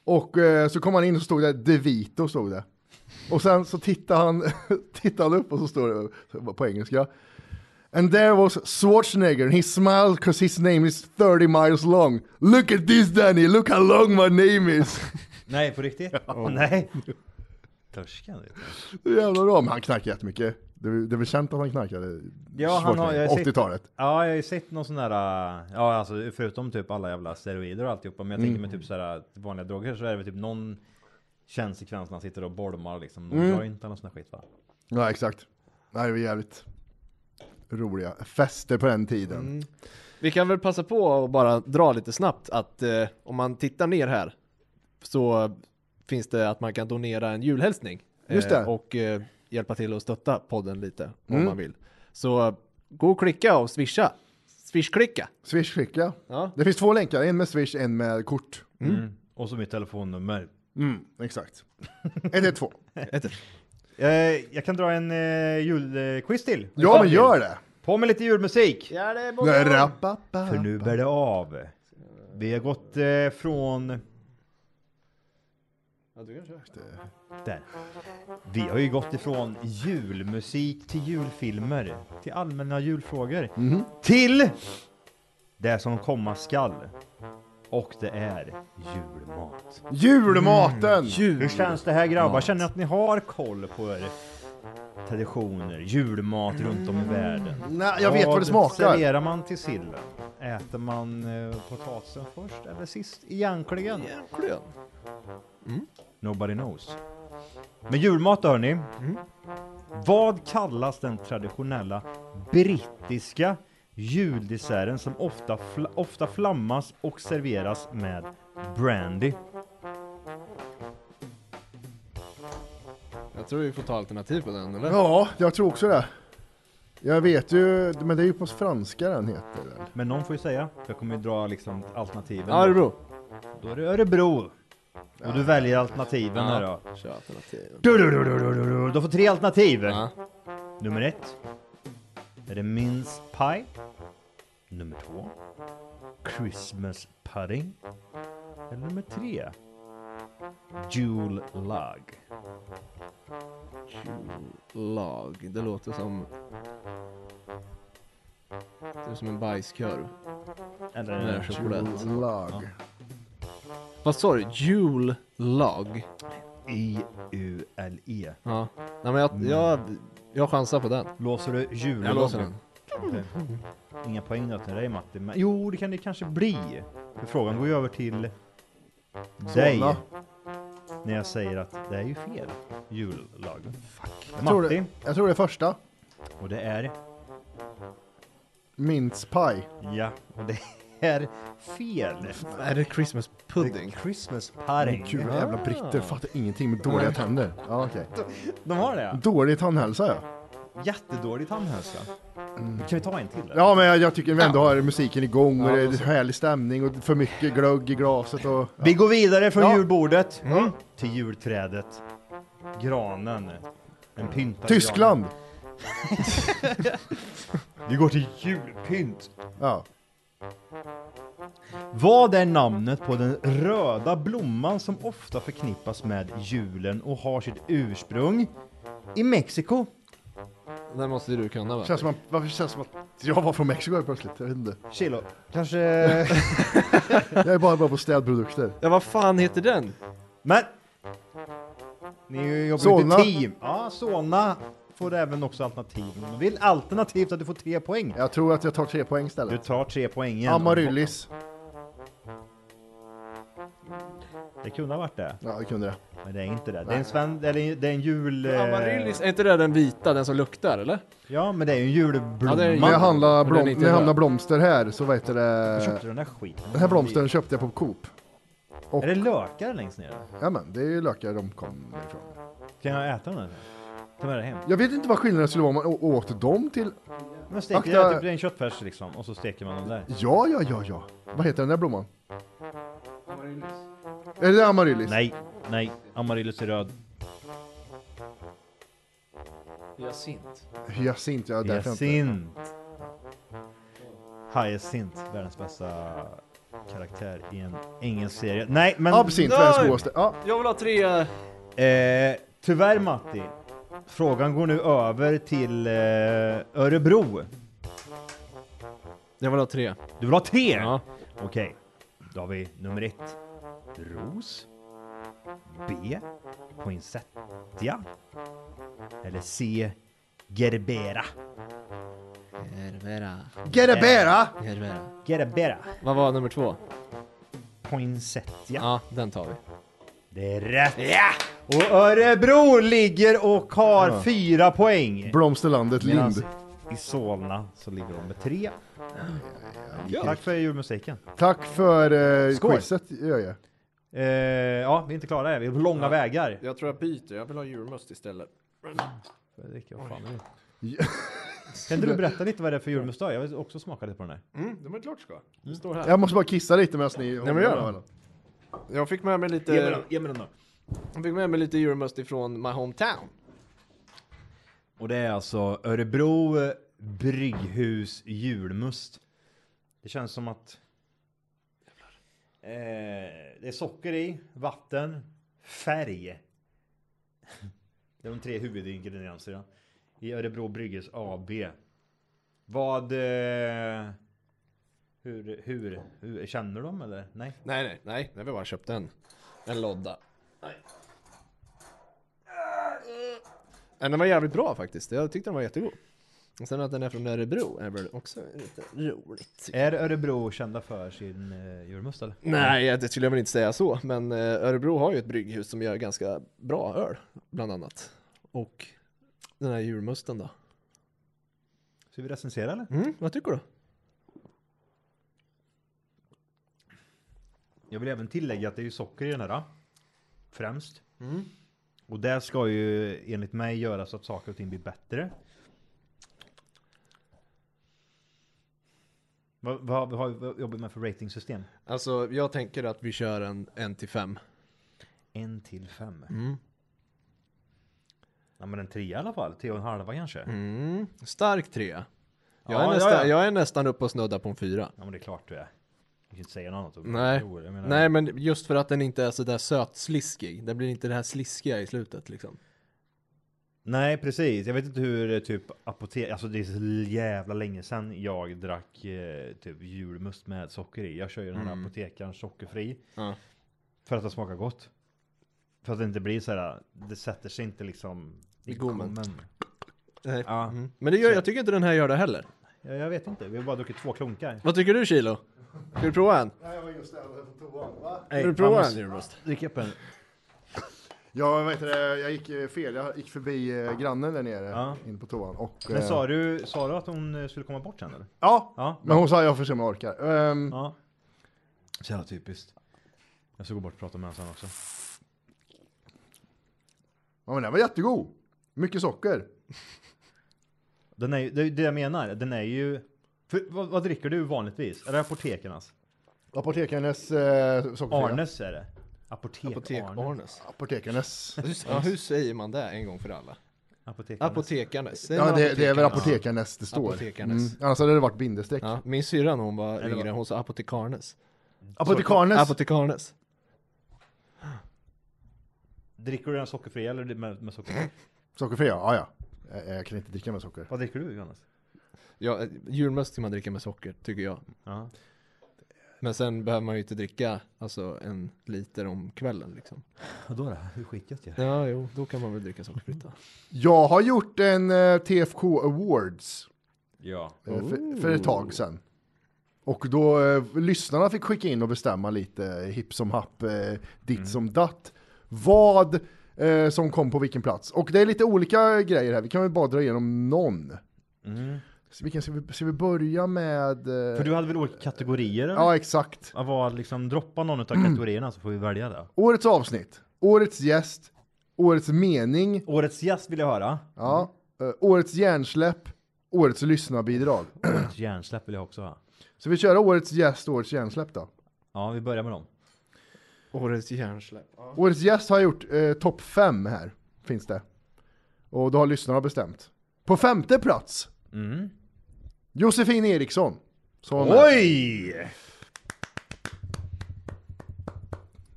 S3: Och eh, så kom han in och så stod det DeVito stod det. Och sen så tittade han, tittade han upp och så står det på engelska. And there was Schwarzenegger and he smiled cause his name is 30 miles long. Look at this Danny, look how long my name is.
S2: Nej, på riktigt? Åh, nej. Törskan vet du.
S3: Det är jävla bra, men han knarkar jättemycket. Det är, väl- det är väl känt att han knarkade
S2: Ja, han har, jag
S3: Schwarzenegger,
S2: har sett-
S3: 80-talet.
S2: Ja, jag har ju sett någon sån där, äh, ja alltså förutom typ alla jävla steroider och alltihopa. Men jag
S3: Mm.
S2: tänker mig typ såhär vanliga droger så är det väl typ någon känns i när han sitter och bolmar liksom. Någon
S3: Mm.
S2: joint eller någon sån där skit va? Mm.
S3: Ja, exakt. Nej, det var jävligt roliga fester på den tiden.
S1: Vi kan väl passa på och bara dra lite snabbt att eh, om man tittar ner här så finns det att man kan donera en julhälsning.
S3: Just det.
S1: och eh, hjälpa till att stötta podden lite om
S3: Mm.
S1: man vill. Så eh, gå och klicka och swisha. Swishklicka.
S3: Swish-skicka.
S1: Ja.
S3: Det finns två länkar, en med Swish, en med kort.
S2: Mm. Och så mitt telefonnummer.
S3: Mm, exakt. 112.
S2: jag, jag kan dra en eh, julquiz till.
S3: Ja, men gör det.
S2: På med lite julmusik.
S1: Ja, det
S2: För nu bär det av. Vi har gått eh, från... Där. Vi har ju gått ifrån julmusik till julfilmer, till allmänna julfrågor, till det som komma skall. Och det är julmat.
S3: Julmaten!
S2: Hur känns det här grabbar? Känner ni att ni har koll på er traditioner, julmat runt om i världen?
S3: Nej, jag vet vad det smakar.
S2: serverar man till sillen? Äter man eh, potatisen först eller sist egentligen?
S1: Egentligen.
S3: Mm.
S2: Nobody knows. Men julmat hör ni.
S3: Mm.
S2: Vad kallas den traditionella brittiska juldesserten som ofta, fl- ofta flammas och serveras med brandy?
S1: Jag tror vi får ta alternativ på den eller?
S3: Ja, jag tror också det. Jag vet ju, men det är ju på franska den heter. väl?
S2: Men någon får ju säga. för Jag kommer ju dra liksom alternativen.
S3: Örebro.
S2: Då är det Örebro. Och du väljer alternativen
S1: Ja,
S2: här då.
S1: kör alternativen.
S2: Du, du, du, du, du, du, du. du får tre alternativ. Nummer ett. Är det mince pie? Nummer två. Christmas pudding. Eller nummer tre. Jule log.
S1: Lag. Det låter som... Det är som en bajskorv.
S2: Eller
S1: Med choklad.
S3: Lag.
S1: Vad sa du? Jule lag?
S2: I-U-L-E.
S1: Ja. Nej men jag, jag, jag chansar på den.
S2: Låser du jullogg?
S1: Jag låser den.
S2: Okej. Inga poäng då till dig Matti. Men, jo, det kan det kanske bli. För frågan går ju över till dig.
S3: Solna.
S2: När jag säger att det är ju fel. Jullag. Fuck.
S3: Jag tror,
S2: Matti.
S3: det, jag tror det är första.
S2: Och det är...
S3: Minspaj.
S2: Ja. Och det är fel.
S1: Är det Christmas pudding?
S2: Christmas
S3: Men
S2: pudding.
S3: Gud, jävla britter fattar ingenting med dåliga tänder. Ja, okej.
S2: De har det?
S3: Dålig tandhälsa, ja.
S2: Jättedålig tandhälsa. Kan vi ta en till? eller?
S3: Mm. Ja, men jag, jag tycker vi ändå har musiken igång och
S2: Ja,
S3: det
S2: då
S3: är
S2: så.
S3: härlig stämning och för mycket glögg i glaset och... Ja.
S2: Vi går vidare från
S3: Ja. Mm.
S2: julbordet till julträdet. Granen. En pyntad
S3: Tyskland!
S2: gran. Vi går till julpynt.
S3: Ja.
S2: Vad är namnet på den röda blomman som ofta förknippas med julen och har sitt ursprung i Mexiko?
S1: Den måste ju du kunna va?
S3: Känns som att, varför känns det som att jag var från Mexiko helt plötsligt? Jag vet inte.
S2: Chilo. Kanske...
S3: Jag är bara bra på städprodukter.
S1: Ja vad fan heter den?
S2: Men! Ni jobbar
S3: Solna.
S2: Solna. team. Ja, Solna får även också alternativ om du vill. Alternativt att du får tre poäng.
S3: Jag tror att jag tar tre poäng
S2: Du
S3: istället.
S2: tar tre poängen.
S3: Amaryllis.
S2: Det kunde ha varit det.
S3: Ja, det kunde det.
S2: Men det är inte det. Det är en, sven, det är en, det är en jul... eh,
S1: Amaryllis, är inte det den vita, den som luktar eller?
S2: Ja, men det är ju en julblomma.
S1: Ja, det är ju-
S3: När jag handlar,
S1: Men den är
S3: blom,
S1: inte
S3: när jag
S1: röd.
S3: handlar blomster här så vad heter
S2: Jag köpte
S3: det...
S2: den där skiten.
S3: Den här blomstern köpte jag på Coop. Och,
S2: Är det lökar längst ner?
S3: ja men det är ju lökar de kommer ifrån.
S2: Kan jag äta den? här? Ta med det hem.
S3: Jag vet inte vad skillnaden skulle vara om man å- åt dem till...
S2: Man steker
S3: Akta-
S2: jag typ en köttfärs liksom och så steker man dem där.
S3: Ja, ja, ja, ja. Vad heter den där blomman? Amaryllis. Är det amaryllis?
S2: Nej, nej. Amaryllis är röd.
S1: Hyacint.
S3: Hyacint, ja därför jag inte.
S2: Hyacint. Hyacint, världens bästa karaktär i en engelsk serie. Nej, men...
S3: Absint,
S1: Nej!
S3: världens godaste. Ja.
S1: Jag vill ha tre...
S2: Eh, tyvärr Matti, frågan går nu över till eh, Örebro.
S1: Jag vill ha tre.
S2: Du vill ha tre?
S1: Ja.
S2: Okej, då har vi nummer ett. Ros. B. Poinsettia. Eller C. Gerbera.
S1: Hervera.
S2: ah!
S3: Gerebera!
S1: Hervera.
S2: Gerbera.
S1: Vad var nummer två?
S2: Poinsettia.
S1: Ja, den tar vi.
S2: Det är rätt! Och Örebro ligger och har fyra poäng.
S3: Blomsterlandet
S2: Medan
S3: Lind.
S2: I Solna så ligger de med tre.
S3: Ja.
S2: Tack för julmusiken.
S3: Tack för eh,
S2: Skål.
S3: quizet, gör jag.
S2: Eh, ja, vi är inte klara än. Vi är på långa
S1: Ja.
S2: vägar.
S1: Jag tror jag byter, jag vill ha julmust istället.
S2: Det dricker jag fan nu. Kan inte du berätta lite vad det är för julmust då? Jag vill också smaka lite på den här.
S1: Mm, det var klart ska. Det står här.
S3: Jag måste bara kissa lite medan ni...
S1: Nej men gör det. Jag fick med mig lite...
S3: Ge mig den,
S2: ge mig den då.
S1: Jag fick med mig lite julmust ifrån my hometown.
S2: Och det är alltså Örebro eh, Brygghus julmust. Det känns som att eh, det är socker i, vatten, färg. Det är de tre huvudingredienserna i Örebro Brygghus AB. Vad... Eh, hur, hur, hur... Känner de eller? Nej?
S1: Nej, nej, nej. Det var bara köpt en. En lodda. Nej. Men den var jävligt bra faktiskt. Jag tyckte den var jättegod. Och sen att den är från Örebro är väl också lite roligt.
S2: Är Örebro kända för sin eh, julmust eller?
S1: Nej, det skulle jag väl inte säga så, men eh, Örebro har ju ett brygghus som gör ganska bra öl, bland annat. Och den här julmusten då?
S2: Ska vi recensera eller?
S1: Mm, vad tycker du?
S2: Jag vill även tillägga att det är ju socker i den här. Främst. Och det ska ju enligt mig göra så att saker och ting blir bättre. Vad, vad, vad, har vi- vad jobbar vi med för ratingsystem?
S1: Alltså, jag tänker att vi kör en 1 till 5.
S2: En till fem. Ja men en trea i alla fall. Tre och en halva kanske.
S1: Mm, stark trea. Jag,
S2: Ja,
S1: är
S2: ja,
S1: nästan,
S2: ja.
S1: jag är nästan uppe och snuddar på en fyra.
S2: Ja men det är klart du är. Du kan inte säga något annat. om
S1: Nej.
S2: det. Jag menar-
S1: Nej, men just för att den inte är så där sötsliskig. Den blir inte det här sliskiga i slutet liksom.
S2: Nej precis, jag vet inte hur eh, typ apotek, alltså det är så jävla länge sedan jag drack eh, typ julmust med socker i. Jag kör ju den här
S1: Mm.
S2: apotekaren sockerfri.
S1: Ja.
S2: För att det smakar gott. För att det inte blir så här, eh, det sätter sig inte liksom
S1: I gommen. Nej.
S2: Ja.
S1: Mm. Men det gör, jag tycker inte den här gör det heller.
S2: Ja, jag vet inte, vi har bara druckit två klunkar.
S1: Vad tycker du Kilo? Ska du prova en?
S3: Nej, jag var just där på toan,
S1: Vill du prova en julmust?
S2: Drick upp en.
S3: Ja, vad heter det? Jag gick eh, fel. Jag gick förbi eh, grannen där nere, in på toan. Och,
S2: Men
S3: eh,
S2: sa du, sa du att hon eh, skulle komma bort sen eller?
S3: Ja,
S2: Ja.
S3: men hon sa jag får se om jag orkar. Ehm,
S2: Ja. Så jävla typiskt. Jag ska gå bort och prata med henne sen också.
S3: ja, men den var jättegod. Mycket socker.
S2: Den är ju, det är ju det jag menar, den är ju... För, vad, vad dricker du vanligtvis? Är det alltså? apotekarnas?
S3: Apotekarnes eh, sockerfria.
S2: Arnes är det. Apotek,
S1: Apotek Arnes.
S3: Apotekarnes.
S1: Ja, hur säger man det en gång för alla?
S2: Apotekarnes.
S1: Apotekarnes. Säger
S3: Ja,
S1: man
S3: det, det är väl
S1: apotekarnes?
S3: apotekarnes det står.
S1: Apotekarnes.
S3: Mm. Annars hade det varit bindestreck.
S1: Ja, min syrra när hon var
S3: Eller vad?
S1: yngre, hon sa apotekarnes.
S3: Apotekarnes?
S1: Apotekarnes.
S2: Dricker du den sockerfria eller med, med socker?
S3: Sockerfria? Ja, ja. Jag, jag kan inte dricka med socker.
S2: vad dricker du Johannes?
S1: Ja, eh, julmust ska man dricka med socker, tycker jag.
S2: Ja.
S1: Men sen behöver man ju inte dricka alltså, en liter om kvällen liksom.
S2: Vadå då? Hur skitgött ju.
S1: Ja, jo, då kan man väl dricka sockerfritt då.
S3: Jag har gjort en eh, TFK Awards
S2: Ja.
S3: eh, för, för ett tag sedan. Och då eh, lyssnarna fick skicka in och bestämma lite eh, hipp som happ, eh, ditt
S2: Mm.
S3: som datt. Vad eh, som kom på vilken plats. Och det är lite olika grejer här, vi kan väl bara dra igenom någon.
S2: Mm.
S3: Så Vilken ska, vi, ska vi börja med? eh,
S2: För du hade väl olika kategorier? Eller?
S3: Ja, exakt.
S2: Ja, vad, liksom, droppa någon av kategorierna så får vi välja det.
S3: Årets avsnitt, årets gäst, årets mening,
S2: Årets gäst vill jag höra.
S3: ja, eh, årets hjärnsläpp, årets lyssnarbidrag.
S2: Årets hjärnsläpp vill jag också ha.
S3: Så vi kör årets gäst och årets hjärnsläpp då.
S2: Ja, vi börjar med dem.
S1: Årets hjärnsläpp.
S3: Årets gäst har jag gjort eh, topp fem här, finns det. Och då har lyssnarna bestämt. På femte plats,
S2: Mm.
S3: Josefin Eriksson. som var med.
S2: Oj!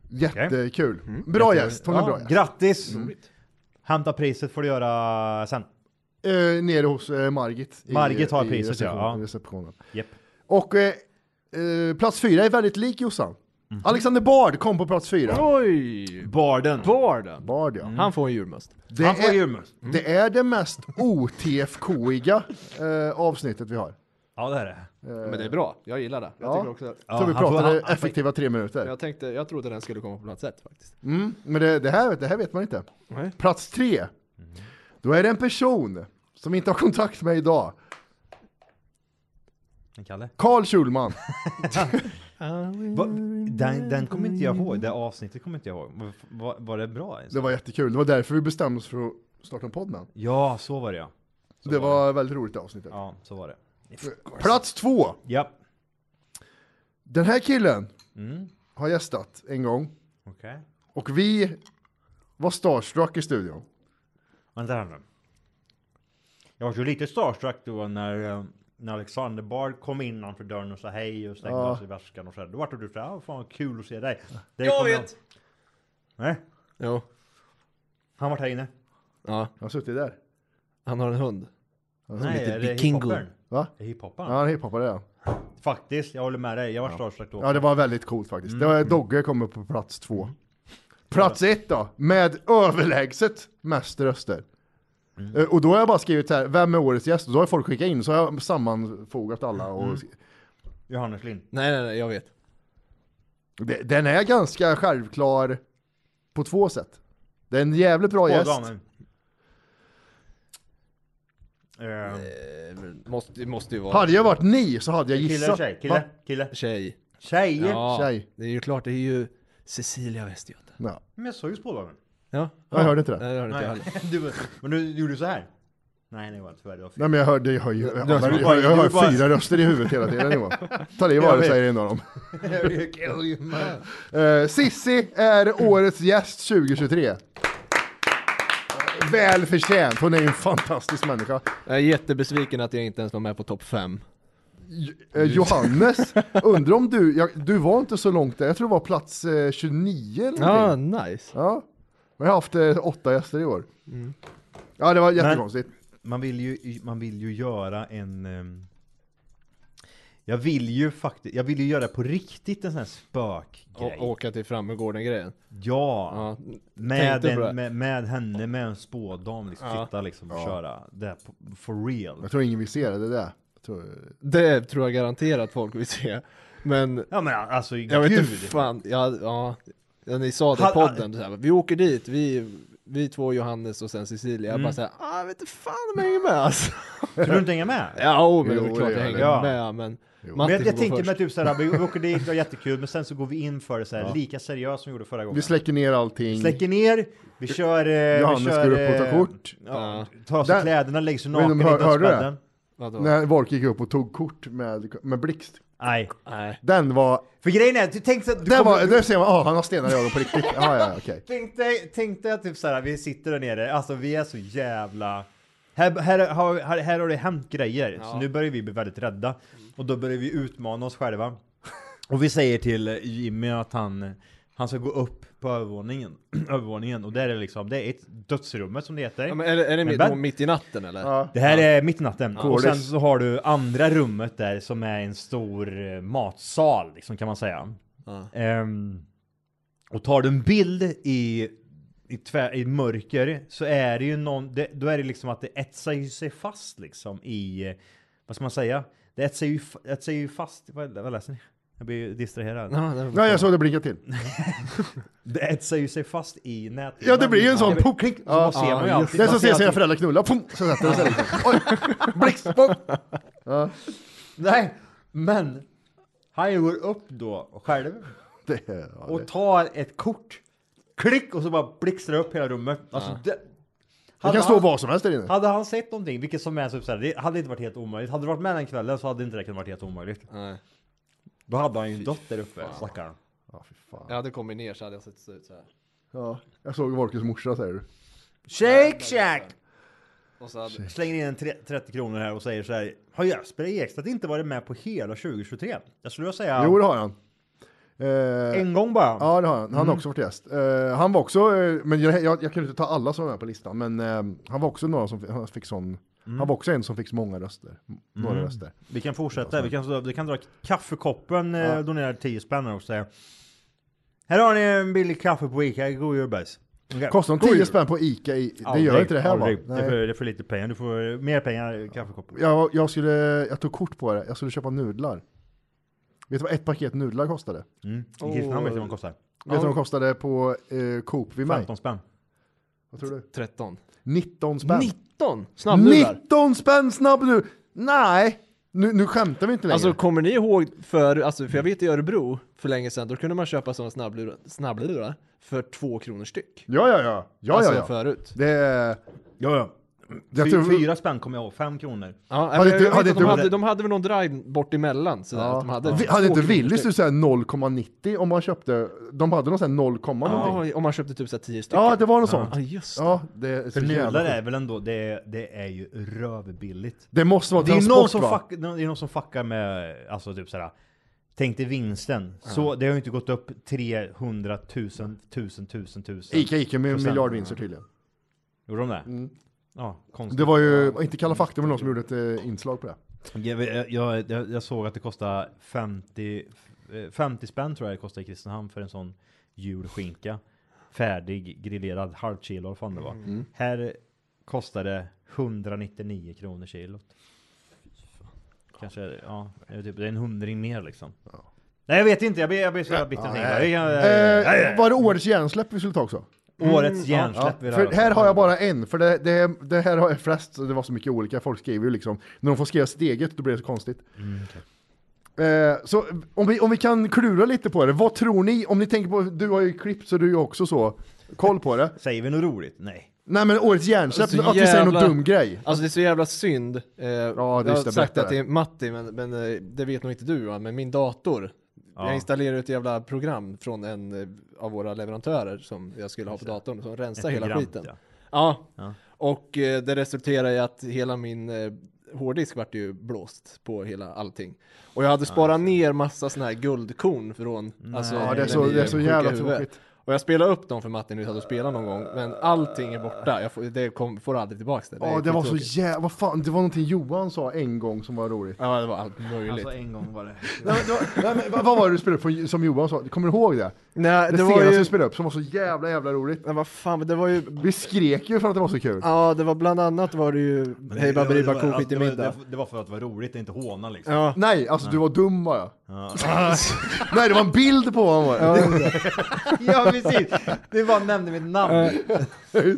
S3: Jättekul. Bra gäst, hon är
S2: Mm. Ja,
S3: bra gäst.
S2: Grattis! Hämta priset får du göra sen.
S3: Eh, nere hos eh, Margit. i-
S2: Margit har
S3: i
S2: priset ja.
S3: reception-
S2: ja.
S3: receptionen.
S2: Japp.
S3: Och eh, eh, plats fyra är väldigt lik Jossan.
S2: Mhm.
S3: Alexander Bard kom på plats fyra.
S1: Oj!
S2: Barden.
S1: Barden. Mm.
S3: Bard ja.
S1: Han får en julmust.
S3: Det
S2: Mm. Han får
S3: är,
S2: julmust.
S3: Det är det mest OTFK-iga eh, avsnittet vi har.
S2: Ja det är det.
S1: Men det är bra, jag gillar det. Eh, Jag
S3: Ja.
S1: tycker också
S2: Ja,
S3: Så vi
S2: han får-
S3: pratade
S2: han- han-
S3: effektiva tre minuter.
S1: Jag tänkte, jag trodde den skulle komma på plats ett faktiskt.
S3: Mm, men det, det, här, det här vet man inte.
S1: Nej.
S3: Plats tre. Då är det en person som inte har kontakt med idag.
S2: Kalle?
S3: Carl Schulman.
S2: Va? Den, den kommer inte jag ihåg, det avsnittet kommer inte jag ihåg. Var, var, var det bra ens?
S3: Det var jättekul. Det var därför vi bestämde oss för att starta en podd med honom.
S2: Ja, så var det ja. Så
S3: Det var väldigt roligt avsnitt.
S2: Ja, så var det.
S3: Plats två.
S2: Ja.
S3: Den här killen
S2: Mm.
S3: har gästat en gång
S2: Okej.
S3: och vi var starstruck i studion.
S2: Vänta här nu. Jag var ju lite starstruck då när, eh, när Alexander Bard kom innanför dörren och sa hej och stängde
S3: Ja.
S2: av sig väskan och så. här. Då vart du så här, "Ah, fan vad kul att se dig. Det
S1: Jag
S2: kommer
S1: vet.
S2: Nej?
S1: Jo.
S2: Han vart här inne.
S1: Ja.
S3: Han har suttit där.
S1: Han har en hund.
S2: Nej, är det hiphopparen?
S3: Va?
S2: Är hiphopparen?
S3: Ja, hiphopare ja.
S2: Faktiskt, jag håller med dig. Jag var starstruck då.
S3: Ja, det var väldigt coolt faktiskt. Det
S1: Mm.
S3: var Dogge kommer på plats två. Plats ett då, med överlägset mest röster.
S1: Mm.
S3: Eh, Och då har jag bara skrivit så här, vem är årets gäst? Och då har folk skickat in, så har jag sammanfogat alla och
S2: Mm. Johannes Lind.
S1: Nej, nej, nej, jag vet.
S3: De- Den är ganska självklar på två sätt. Det är en jävligt bra
S2: Båda
S3: gäst.
S2: har
S3: Eh,
S1: Eh, måste, måste ju vara...
S3: Hade jag varit ni så hade jag
S1: Kille,
S3: gissat.
S1: tjej,
S3: Va?
S1: kille?
S2: Kille?
S1: Tjej.
S2: Tjej?
S1: Ja,
S3: Tjej.
S1: det är ju klart, det är ju Cecilia Västergöta.
S3: Ja.
S2: Men jag sa ju spårvagnen.
S1: Ja.
S3: Jag hörde inte det.
S1: Nej, jag hörde inte jag heller.
S2: du, var- men du gjorde så här. Nej, nej, det var tyvärr. Det var fel.
S3: Nej men jag hör, jag hör, ju- jag
S2: Du-
S3: hör,
S2: du-
S3: jag
S2: du-
S3: hör, jag
S2: du-
S3: hör
S2: du-
S3: fyra röster i huvudet hela tiden Johan. Ta liv
S2: Jag
S3: av det
S2: vet.
S3: säger en av dem.
S2: You kill you, man.
S3: Eh, Sissi är årets gäst 2023. Väl förtjänt, hon är ju en fantastisk människa.
S1: Jag är jättebesviken att jag inte ens var med på topp 5.
S3: Eh, Johannes, undrar om du, jag, du var inte så långt där, jag tror det var plats eh, 29 eller
S2: Ah,
S1: Ja,
S3: någonting.
S1: nice.
S3: Ja, men jag har haft eh, åtta gäster i år.
S2: Mm.
S3: Ja, det var jättekonstigt.
S2: Man vill ju, man vill ju göra en... ehm, Jag vill ju faktiskt, jag vill ju göra på riktigt en sån här spökgrej.
S1: Och åka till Frammegården-grejen.
S2: Ja,
S1: Ja,
S2: med,
S1: tänkte på det.
S2: en, med, med henne, med en spådam liksom,
S1: Ja.
S2: sitta liksom och
S1: Ja.
S2: köra det här på, for real.
S3: Jag tror ingen vill se det, det där. Jag tror, eh,
S1: Det tror jag garanterat folk vill se. Men...
S2: Ja men alltså
S1: Jag vet
S2: gud.
S1: inte fan, ja, ja. Ja, Ni sa det
S2: Ha-
S1: i podden, så här, vi åker dit, vi, vi två, Johannes och sen Cecilia.
S2: Mm.
S1: Jag bara såhär, ah, jag vet inte fan om jag hänger med alltså.
S2: Tror du inte hänga med?
S1: Ja, jo, men
S2: Jo,
S1: det är klart
S2: det
S1: jag
S2: gör
S1: hänger
S2: det. Ja.
S1: med, men...
S2: Men
S1: Matti
S2: jag,
S1: får
S2: jag
S1: gå
S2: tänker
S1: först.
S2: mig typ såhär, vi åker dit, det var jättekul, men sen så går vi in för det såhär,
S3: Ja.
S2: lika seriöst som vi gjorde förra gången.
S3: vi släcker ner allting.
S2: Mm. Släcker ner, vi kör... eh,
S3: Johannes
S2: vi kör,
S3: går upp och tar
S2: eh,
S3: kort.
S2: Ja, tar av sig
S3: Där-
S2: kläderna, lägger sig
S3: Men de
S2: naken,
S3: hör-
S2: inte ens
S3: hörde du det?
S2: bädden.
S1: Vadå?
S3: När Volk gick upp och tog kort med, med blixt.
S2: Nej.
S1: Nej.
S3: Den var...
S2: För grejen är, du tänkte att... du
S3: Där,
S2: kommer-
S3: var, där ser man, ah, han har stenar i ögonen på riktigt. Ah, ja, okej.
S2: Tänk dig, tänk dig att typ såhär, vi sitter där nere, alltså vi är så jävla... Här, här, har- här, här har det hänt grejer, så nu börjar vi bli väldigt rädda. Och då börjar vi utmana oss själva. Och vi säger till Jimmy att han, han ska gå upp på övervåningen. övervåningen och där är det liksom, det är ett dödsrummet som det heter.
S1: Ja, men är det, är det mitt,
S2: bädd.
S1: då mitt i natten eller?
S2: Det här är mitt i natten.
S1: Ja.
S2: Och sen
S1: Kålis.
S2: så har du andra rummet där som är en stor eh, matsal, liksom kan man säga.
S1: Ja.
S2: Ehm, och tar du en bild i, i, tvär, i mörker så är det ju någon, det, då är det liksom att det etsar ju sig fast liksom i, eh, vad ska man säga? Det etsar ju, f- etsar ju fast, vad, vad läser ni? Jag blir ju distraherad.
S3: Nej, jag såg det blinka till.
S2: Det etsar ju sig fast i nätet.
S3: Ja, det blir ju en sån
S2: Ja.
S3: puck.
S2: Så man ser man ju alltid.
S3: Den
S2: man
S3: som ser sina
S2: alltid-
S3: föräldrar knulla, pum, så sätter den sig liksom. Oj, blixt, pum. Ja.
S2: Nej, men han går upp då själv
S3: Det, ja, det.
S2: och tar ett kort. Klick och så bara blixtrar det upp hela rummet. Alltså, det,
S3: det
S2: Hade
S3: kan stå
S2: han-
S3: vad som helst där inne.
S2: Hade han sett någonting, vilket som helst, typ såhär, det hade inte varit helt omöjligt. Hade du varit med den kvällen så hade inte det kunnat varit helt omöjligt.
S1: Nej.
S2: Då hade han ju dött där uppe, stackaren.
S3: Ah,
S1: Jag hade kommit ner så hade jag sett ut så här.
S3: Ja, jag såg Volkes morsa säger du.
S2: Shake shack!
S1: Och så hade...
S2: Slänger in en tre- 30 kronor här och säger så här. Har Jesper Ekstedt inte varit med på hela 2023? Jag skulle vilja säga
S3: Jo, det har han. Eh,
S2: en gång bara.
S3: Ja, det har han. Han har
S2: Mm.
S3: också varit gäst. Eh, han var också, eh, men jag, jag, jag kunde inte ta alla som var med på listan, men eh, han var också några som fick, han fick sån, han var också en som fick många röster. M- Några
S2: Mm.
S3: röster.
S2: Vi kan fortsätta. Vi kan, vi kan dra kaffekoppen, ja. donerar 10 spänn här också. Här har ni en billig kaffe på Ica, god jul bäs. Okay.
S3: Kostar de 10 spänn på Ica, i, det gör inte det här va?
S2: Det är,
S3: Nej.
S2: för, det är för lite pengar, du får mer pengar i kaffekoppen.
S3: Jag, jag, skulle, jag tog kort på det, jag skulle köpa nudlar. Vet du vad ett paket nudlar kostade?
S2: Mm. I Kristinehamn vet du vad de kostar.
S3: Vet du vad de kostade på eh, Coop vid mig?
S2: 15 spänn.
S3: Vad tror du?
S1: 13.
S3: 19 spänn.
S1: 19? Snabbnudlar?
S3: 19 spänn snabb nu! Nej, Nu, nu skämtar vi inte längre.
S1: Alltså kommer ni ihåg för, alltså, för jag vet i Örebro för länge sedan, då kunde man köpa sådana snabblurar, snabblurar för två kronor styck.
S3: ja, ja, ja. Ja,
S1: Alltså,
S3: ja, ja.
S1: förut.
S3: Det är...
S2: Ja, ja.
S3: Jag
S2: Fy-
S3: tror-
S2: Fyra spänn kommer jag ihåg, fem kronor.
S1: Ja,
S3: Hade
S1: jag
S3: inte-
S1: vet
S3: hade
S1: att de,
S3: inte-
S1: hade, de hade väl någon drive bort emellan sådär, att de hade
S3: Vi-
S1: två
S3: hade inte
S1: kronor
S3: Willys
S1: styck.
S3: typ såhär 0,90 om man köpte, de hade någon sån här 0, någonting.
S1: Ja, om man köpte typ såhär tio stycken. Ah,
S3: Ja, det var något
S1: Ja.
S3: sånt.
S1: Ja, just det.
S3: Ja, det är så
S2: För nudlar
S3: jävla
S2: är
S3: sjukt.
S2: väl ändå, det, det är ju rövbilligt.
S3: Det måste vara
S2: det är någon
S3: transport,
S2: som
S3: va?
S2: fuck, Det är någon som fuckar med, alltså typ såhär, tänk dig vinsten. Så det har ju inte gått upp 300 000, 1000, 1000, 1000.
S3: Ica gick ju med
S2: procent.
S3: miljardvinster tydligen.
S2: Gjorde de det? Ja, konstigt.
S3: Det var ju, inte Kalla fakta, men någon som gjorde ett eh, inslag på det.
S2: Jag, jag, jag, jag- jag såg att det kostade 50, eh, 50 spänn tror jag det kostade i Kristinehamn för en sån julskinka. Färdig, grillerad, halv kilo vad fan det var.
S1: Mm.
S2: Här kostade det 199 kronor kilot. Kanske, ja, det är typ, det är en hundring mer liksom. Nej jag vet inte, jag blir, jag blir så jävla bitter. Niklas. Jag- jag- jag- jag-
S3: Eh, var det årets hjärnsläpp vi skulle ta också?
S2: Årets Mm, hjärnsläpp
S3: ja.
S2: vill jag
S3: För
S2: höra.
S3: här har jag bara en, för det, det, det här har jag flest, så det var så mycket olika, folk skriver ju liksom. När de får skriva sitt eget, då blir det så konstigt. Eh, så om vi, om vi kan klura lite på det, vad tror ni, om ni tänker på, du har ju klippt så du är ju också så, koll på det.
S2: Säger vi något roligt? Nej.
S3: Nej men årets hjärnsläpp,
S1: Så
S3: att vi säger någon
S1: jävla-
S3: dum grej.
S1: Alltså det är så jävla synd. Eh, jag
S3: just
S1: har
S3: det,
S1: sagt
S3: berätta
S1: det till
S3: det.
S1: Matti, men, men eh, det vet nog inte du Johan, men min dator.
S2: Ja.
S1: Jag installerade ett jävla program från en eh, av våra leverantörer som jag skulle ha på datorn, som rensar
S2: Ett
S1: hela
S2: program,
S1: skiten.
S2: ja.
S1: Ja. ja.
S2: Ja.
S1: Och eh, det resulterade i att hela min eh, hårddisk vart ju blåst på hela allting. Och jag hade sparat ner massa såna här guldkorn från... Alltså,
S3: Mm. Ja, det är
S1: när
S3: så-
S1: ni
S3: det är så
S1: sjuka
S3: jävla
S1: i huvudet.
S3: tråkigt.
S1: Och jag spelade upp dem för Matti nu, så att du spelar någon gång, men allting är borta. Jag får, det kom, får aldrig tillbaka det.
S3: Ja
S1: är
S3: det var så
S1: skittråkigt.
S3: jävla, vad fan, det var någonting Johan sa en gång som var roligt.
S1: Ja, det var allt möjligt.
S2: Alltså en gång var det.
S3: Nej, men, det var- nej, men, vad- vad var det du spelade upp från- som Johan sa? Kommer du ihåg det?
S1: Nej,
S3: det
S1: det, var
S3: senaste
S1: ju...
S3: du spelade upp som var så jävla jävla roligt.
S1: Nej, vad fan, men det var ju...
S3: Vi skrek ju för att det var så kul.
S1: Ja, det var bland annat var det ju Hej Baberiba
S2: Det var-
S1: Kokit i
S2: det var-
S1: middag.
S2: Det var för att det var roligt, inte håna liksom.
S1: Ja.
S3: Nej, alltså du var dum bara.
S2: Ja.
S3: nej, det var en bild på honom bara.
S2: ja precis, du bara nämnde mitt
S1: Eh,
S2: namn.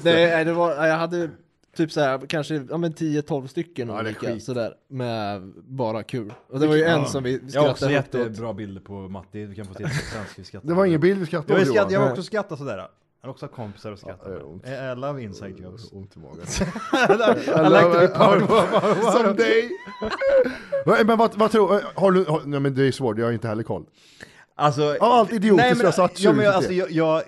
S1: Nej, det var... Jag hade typ så här, kanske ja, men 10-12 stycken
S3: det är
S1: olika
S3: skit.
S1: sådär med bara kul. Och det var ju en som vi
S2: Jag har
S1: skrattade
S2: också
S1: högt åt.
S2: jättebra bilder på Matti, du kan få titta på sen ska vi skratta.
S3: Det var ingen bild vi skrattade
S2: Jag har
S3: åt
S2: skratt,
S3: Johan.
S2: jag har också skrattat sådär. Jag har också haft kompisar och skrattat. Eh,
S3: det är ont.
S2: I I love inside jokes.
S3: Ont i magen.
S2: I like to be part of
S3: Someday. Nej, men vad, vad tror har du, har, nej men det är svårt, jag har inte heller koll.
S2: Alltså,
S3: Ja, allt idiotiskt jag har satt
S2: ja, men
S3: 20
S2: jag, alltså, jag, jag,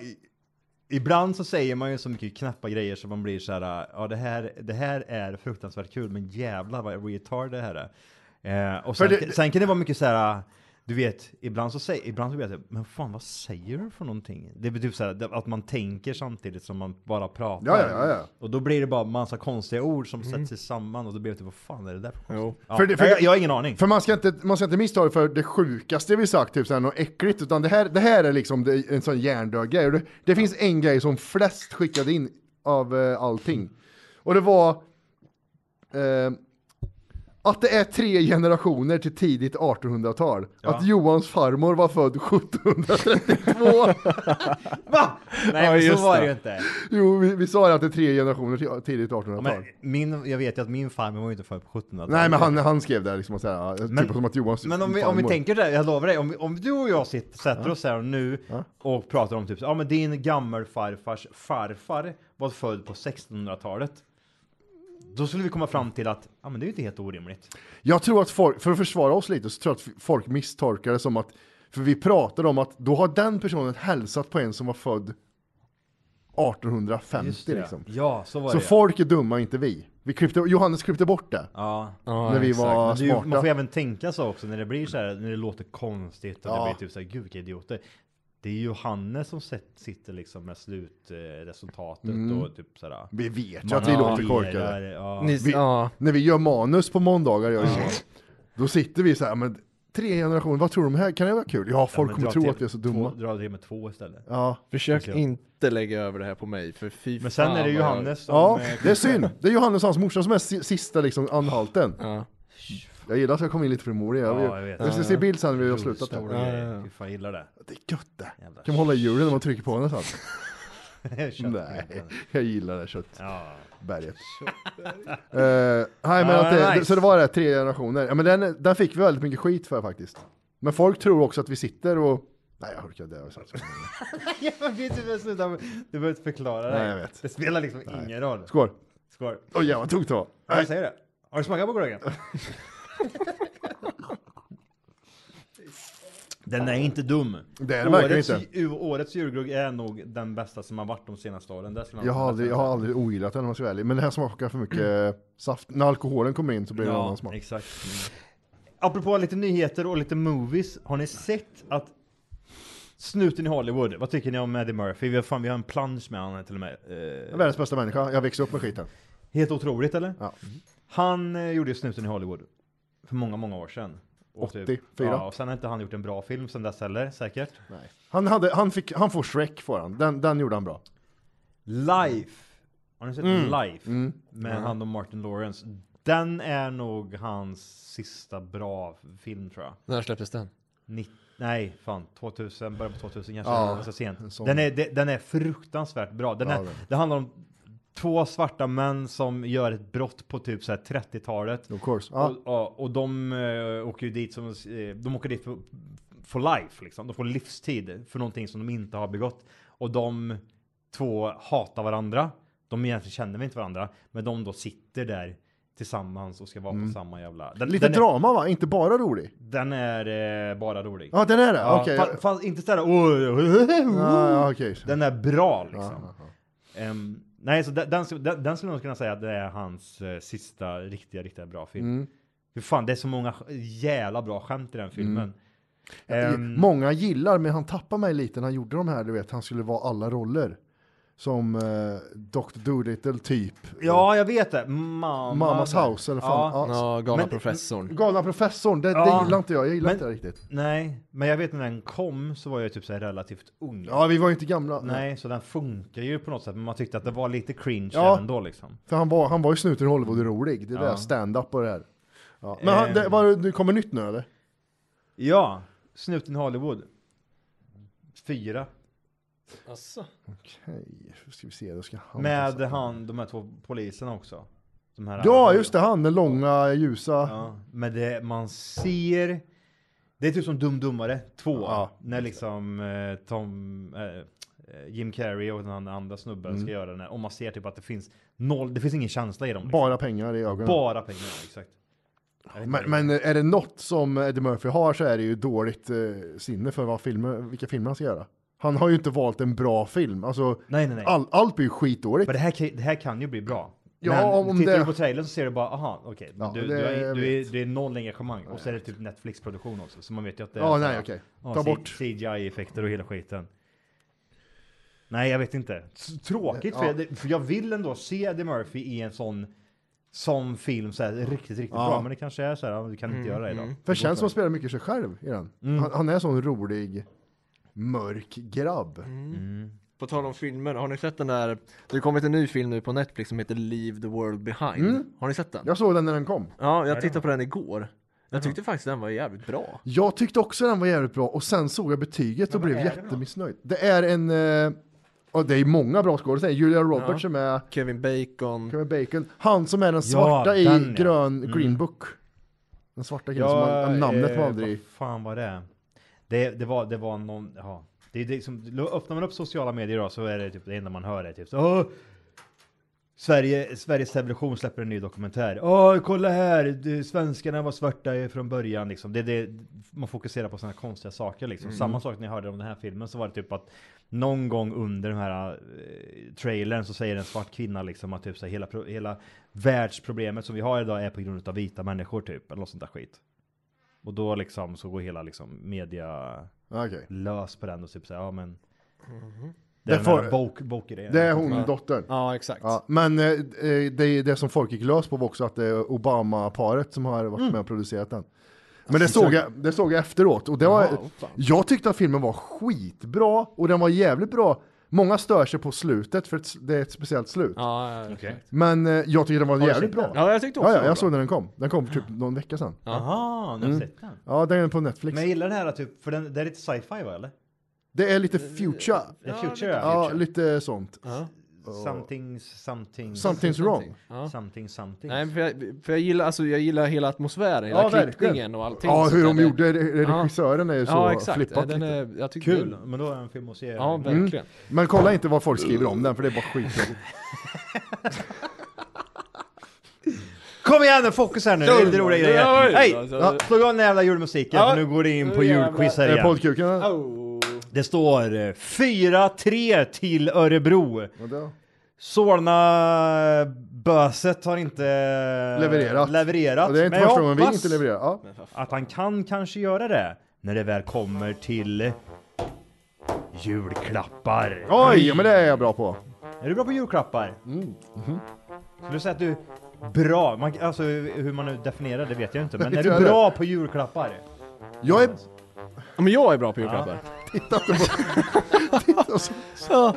S2: Ibland så säger man ju så mycket knäppa grejer som man blir så här, ja det här, det här är fruktansvärt kul, men jävlar vad retard det här är. Eh, och sen,
S3: För det-
S2: sen kan det vara mycket så här, du vet, ibland så säger, ibland så blir jag så här, men fan vad säger du för någonting? Det blir typ så här, det- att man tänker samtidigt som man bara pratar.
S3: Ja, ja, ja, ja.
S2: Och då blir det bara massa konstiga ord som sätts sig samman och då blir det typ, vad fan är det där för
S1: Mm. Jo.
S2: konstigt? Ja,
S3: För det- för
S2: jag,
S3: det-
S2: jag har ingen aning.
S3: För man ska inte, man ska inte missta det för det sjukaste vi sagt, typ såhär något äckligt, utan det här, det här är liksom det, en sån hjärndöd grej. Och Det, det finns en grej som flest skickade in av eh, allting. Och det var eh, att det är tre generationer till tidigt 1800-tal. Att Johans farmor var född 1732.
S2: Va? Nej,
S1: Ja,
S2: men
S1: just
S2: så var
S1: det.
S2: det ju inte.
S3: jo, vi, vi sa det att det är tre generationer till tidigt 1800-tal.
S2: Men min, jag vet ju att min farmor var ju inte född på 1700-talet.
S3: Nej men han, han skrev där liksom, såhär, ja,
S2: Men-
S3: typ som att Johans
S2: Men om vi, om vi
S3: farmor-
S2: tänker där, jag lovar dig, om, om du och jag sitter, sätter oss här nu och pratar om typ, så, ja men din gammelfarfars farfar var född på 1600-talet. Då skulle vi komma fram till att, ja men det är ju inte helt orimligt.
S3: Jag tror att folk, för att försvara oss lite, så tror jag att folk misstolkar det som att, för vi pratade om att då har den personen hälsat på en som var född 1850
S2: det.
S3: liksom.
S2: Ja, så var
S3: Så
S2: det ja.
S3: folk är dumma, inte vi. vi klippte, Johannes klippte bort det.
S2: Ja.
S3: när vi var
S2: Men det är ju, man får
S3: smarta.
S2: även tänka så också när det blir så här, när det låter konstigt och
S3: Ja.
S2: det blir typ så här, gud vilka idioter. Det är ju Hannes som sett, sitter liksom med slutresultatet
S3: Mm.
S2: och typ så här.
S3: Vi vet ju
S2: man
S3: att vi låter
S2: agerar,
S3: korkade.
S2: Ja.
S1: Ni,
S3: Vi,
S1: ja.
S3: När vi gör manus på måndagar, gör ja. då sitter vi så här, men tre generationer, vad tror de här, kan det vara kul? Ja, folk
S2: men
S3: kommer
S2: dra
S3: tro
S2: till-
S3: att vi är så
S2: två-
S3: dumma.
S2: Dra det med två istället.
S3: Ja.
S1: Försök
S2: Okej.
S1: inte lägga över det här på mig, för fy
S2: Men sen är
S1: fan
S2: det
S1: vad jag-
S2: Johannes som...
S3: Ja,
S2: eh,
S3: det är synd. Det är Johannes och hans morsa som är si- sista liksom anhalten.
S1: Ja.
S3: Jag gillar att jag kom in lite för morig. Jag,
S2: Ja, jag vet.
S3: jag ska se bild sen när vi har slutat.
S2: Stor
S3: här.
S2: grej. Fy fan, jag gillar det.
S3: Det är gött det. Kan man hålla i hjulen när man trycker på den så här. Nej, jag gillar det köttberget.
S9: Köttberg.
S3: Eh, nej, men
S9: Ja,
S3: att det,
S9: nice.
S3: Så det var det, tre generationer. Ja, men den, den fick vi väldigt mycket skit för faktiskt. Men folk tror också att vi sitter och... Nej, jag orkar det. har jag sagt.
S2: jag vet inte, typ- sluta. Du behöver inte förklara det.
S3: Nej, jag vet.
S2: Det spelar liksom
S3: Nej.
S2: ingen roll.
S3: Skål.
S2: Skål.
S3: Oj, jävlar vad tungt det var.
S2: Ja, Jag säger det. Har du smakat på glöggen? Den är inte dum.
S3: Det är den verkligen
S2: årets,
S3: inte.
S2: ju- Årets julglögg är nog den bästa som har varit de senaste åren. Det skulle
S3: Jag har
S2: säga.
S3: aldrig, jag har aldrig ogillat den om jag ska vara ärlig. Men det här smakar för mycket saft. När alkoholen kommer in så blir det en
S2: Ja,
S3: annan smak.
S2: exakt. Mm. Apropå lite nyheter och lite movies. Har ni sett att snuten i Hollywood, vad tycker ni om Eddie Murphy? Vi har, fan, vi har en plansch med honom till och med. Eh,
S3: Världens bästa människa. Jag växte upp med skiten.
S2: Helt otroligt eller?
S3: Ja.
S2: Han eh, gjorde ju snuten i Hollywood för många, många år sedan. Och typ-
S3: 84.
S2: ja, och sen har inte han gjort en bra film sen dess heller, säkert.
S3: Nej. Han, hade, han, fick, han får Shrek får han. Den, den gjorde han bra.
S2: Life. Har ni sett
S3: Mm.
S2: Life?
S3: Mm.
S2: Med
S3: Mm.
S2: han och Martin Lawrence. Den är nog hans sista bra film tror jag.
S1: När släpptes den?
S2: Ni- nej, fan. 2000, början på 2000 kanske.
S1: Ja,
S2: det var så
S1: en
S2: sent.
S1: sån.
S2: Den, är, de- den är fruktansvärt bra. Den
S1: Ja,
S2: är,
S1: den.
S2: det handlar om två svarta män som gör ett brott på typ så här 30-talet.
S3: Of course. Ja.
S2: Och, ja, och de eh, åker ju dit som, eh, de åker dit för, for life liksom. De får livstid för någonting som de inte har begått. Och de två hatar varandra. De egentligen känner väl inte varandra, men de då sitter där tillsammans och ska vara på samma jävla... Den,
S3: Mm. Lite
S2: den är,
S3: drama va? Inte bara rolig.
S2: den är eh, bara rolig.
S3: Ja, den är det? Okej.
S2: fa- fa- inte sådär... Oh,
S3: Ja, okej.
S2: Den är bra liksom. Ehm, nej, så den, den, skulle- den, den skulle jag nog kunna säga att det är hans eh, sista riktiga, riktiga bra film.
S3: Mm.
S2: Hur fan, det är så många sk- jävla bra skämt i den filmen.
S3: Jag-
S2: Ehm,
S3: Många gillar, men han tappade mig lite när han gjorde de här, du vet, han skulle vara alla roller. Som eh, Dr. Dolittle typ.
S2: ja, jag vet det. Mamma,
S3: Mammas house eller fan.
S2: Ja. Men-
S3: Galna professorn, det,
S2: Ja.
S3: det gillar inte jag. Jag gillar
S2: Men-
S3: inte det riktigt.
S2: Nej, men jag vet när den kom så var jag typ så här relativt ung.
S3: Ja, vi var ju inte gamla.
S2: Nej, så den funkar ju på något sätt. Men man tyckte att det var lite cringe
S3: Ja.
S2: även då liksom.
S3: För han var, han var ju snuten i Hollywood rolig. Det
S2: Ja.
S3: där stand-up och det här. Ja. Men han,
S2: Ehm.
S3: det, var, det kommer nytt nu eller?
S2: Ja, Snuten i Hollywood. Fyra.
S1: Asså?
S3: Okej, ska vi se. Då ska han
S2: Med han, de här två poliserna också. De här
S3: alltså. Ja, just det. Han, den långa, ljusa.
S2: Ja, men det man ser. Det är typ som Dum Dummare 2. när liksom eh, Tom, eh, eh, Jim Carrey och den andra- andra snubben
S3: Mm.
S2: ska göra den här. Och man ser typ att det finns noll, det finns ingen känsla i dem. Liksom.
S3: Bara pengar i ögonen.
S2: Bara pengar, exakt. Jag vet
S3: Men,
S2: inte.
S3: men är det något som Eddie Murphy har så är det ju dåligt eh, sinne för vad filmer, vilka filmer han ska göra. Han har ju inte valt en bra film. Alltså,
S2: Nej, nej, nej.
S3: All, allt blir ju skitdåligt.
S2: Men det här, kan- det här kan ju bli bra.
S3: Ja,
S2: men
S3: om
S2: tittar
S3: det-
S2: du på trailern så ser du bara, aha, okej. men
S3: Ja,
S2: du,
S3: det-
S2: du, är,
S3: jag
S2: du, är, det är noll engagemang. Och så är det typ Netflix-produktion också. Så man vet ju att det är...
S3: Ja,
S2: så här,
S3: nej, okej.
S2: ja,
S3: Ta
S2: C-
S3: bort.
S2: CGI-effekter och hela skiten. Nej, jag vet inte. S- Tråkigt, för,
S3: Ja.
S2: jag, för jag vill ändå se Eddie Murphy i en sån som film så här, riktigt, riktigt
S3: Ja.
S2: bra. Men det kanske är så här, ja, du kan inte
S3: Mm,
S2: göra det idag.
S3: För det känns som att han spelar mycket sig själv i den.
S2: Mm.
S3: Han, han är en sån rolig, mörk grabb.
S1: På tal om filmer, har ni sett den där? Det har kommit en ny film nu på Netflix som heter Leave the World Behind.
S3: Mm.
S1: Har ni sett den?
S3: Jag såg den när den kom.
S1: Ja, jag tittade på den igår. Jag tyckte faktiskt den var jävligt bra.
S3: Jag tyckte också den var jävligt bra och sen såg jag betyget och blev
S1: är det då?
S3: jättemissnöjd. Det är en... Eh, och det är många bra skådespelare. Julia Roberts som är...
S1: Kevin Bacon.
S3: Kevin Bacon. Han som är den svarta i
S2: den, ja.
S3: grön
S2: Mm.
S3: Green Book. Den svarta killen som har, namnet var aldrig...
S2: eh, Vad fan var det? Det, det, var, det var någon... Ja. Det, är det, som, öppnar man upp sociala medier då så är det typ det enda man hör är typ så, "Åh, Sverige, Sveriges Television släpper en ny dokumentär. Åh, kolla här! Du, svenskarna var svarta i- från början liksom. Det, det, man fokuserar på sådana konstiga saker liksom.
S1: Mm.
S2: Samma sak när jag hörde om den här filmen så var det typ att någon gång under den här eh, trailern så säger en svart kvinna liksom att typ så här, hela, pro- hela världsproblemet som vi har idag är på grund av vita människor typ. Eller något sånt där skit. Och då liksom så går hela liksom media
S3: Ah, Okej.
S2: lös på den och typ så här, ja men.
S1: Mhm.
S2: Det är
S3: Det
S2: den här
S3: får-
S2: bok, bok i det.
S3: Det är hon, dottern.
S1: Ja, exakt.
S3: Ja, men eh, eh, det är det som folk gick lös på var också att det är Obama-paret som har varit
S2: Mm.
S3: med och producerat den. Men det
S9: Alltså,
S3: såg, jag,
S9: exakt.
S3: det såg jag efteråt och det var,
S9: Jaha, fan.
S3: jag tyckte att filmen var skitbra och den var jävligt bra. Många stör sig på slutet för att det är ett speciellt slut.
S1: Ja, ja,
S2: Okej.
S3: Men eh, jag tyckte den var
S2: Har du
S3: jävligt
S2: sett
S3: bra.
S2: den? Ja, jag tyckte också
S3: ja,
S2: den
S3: ja,
S2: var
S3: jag
S2: bra.
S3: såg när den kom. Den kom typ någon vecka sedan.
S2: Jaha, nu har jag sett den.
S3: Ja, den är på Netflix.
S2: Men jag gillar det här typ, för den, det är lite sci-fi va eller?
S3: Det är lite future.
S2: Ja, future, ja.
S3: ja. lite sånt.
S2: Something's, something.
S3: Something's wrong.
S1: Ja.
S2: Something, something.
S1: Nej, för jag, för jag, gillar, alltså, jag gillar hela atmosfären, hela
S2: Ja, verkligen.
S1: klippningen och allting.
S3: Ja,
S1: sånt
S3: hur
S1: där.
S3: de
S1: Det-
S3: gjorde re- regissören är ju så flippat
S1: Den är, jag tycker
S2: Kul,
S1: det-
S2: men då är det en film att se.
S1: Ja, verkligen.
S3: Mm. Men kolla inte vad folk skriver om den, för det är bara skit.
S2: Kom igen nu, fokus här nu. Det är lite roliga
S1: Ja,
S2: grejer.
S1: ja,
S2: Hej!
S1: alltså,
S2: Ja, Slå igång den jävla julmusiken,
S1: Ja.
S2: för nu går det in på
S1: Ja, jävlar.
S2: julquiz här
S1: Är det
S2: igen.
S3: Kuken,
S2: Det står eh, 4-3 till Örebro.
S3: då?
S2: Solna-böset eh, har inte eh,
S3: Levererat.
S2: levererat.
S3: Och det är inte
S2: men jag
S3: första gången vi
S2: hoppas
S3: inte levererar. Ja.
S2: Att han kan kanske göra det när det väl kommer till julklappar.
S3: Oj, Mm, ja, men det är jag bra på.
S2: Är du bra på julklappar?
S3: mhm.
S2: Skulle du säga att du bra, man, alltså hur man nu definierar det vet jag inte, men
S3: Nej,
S2: är du
S3: inte jag
S2: bra på julklappar?
S3: Jag är...
S1: Men jag är bra på julklappar.
S3: Titta inte på... Titta så...
S1: Ja.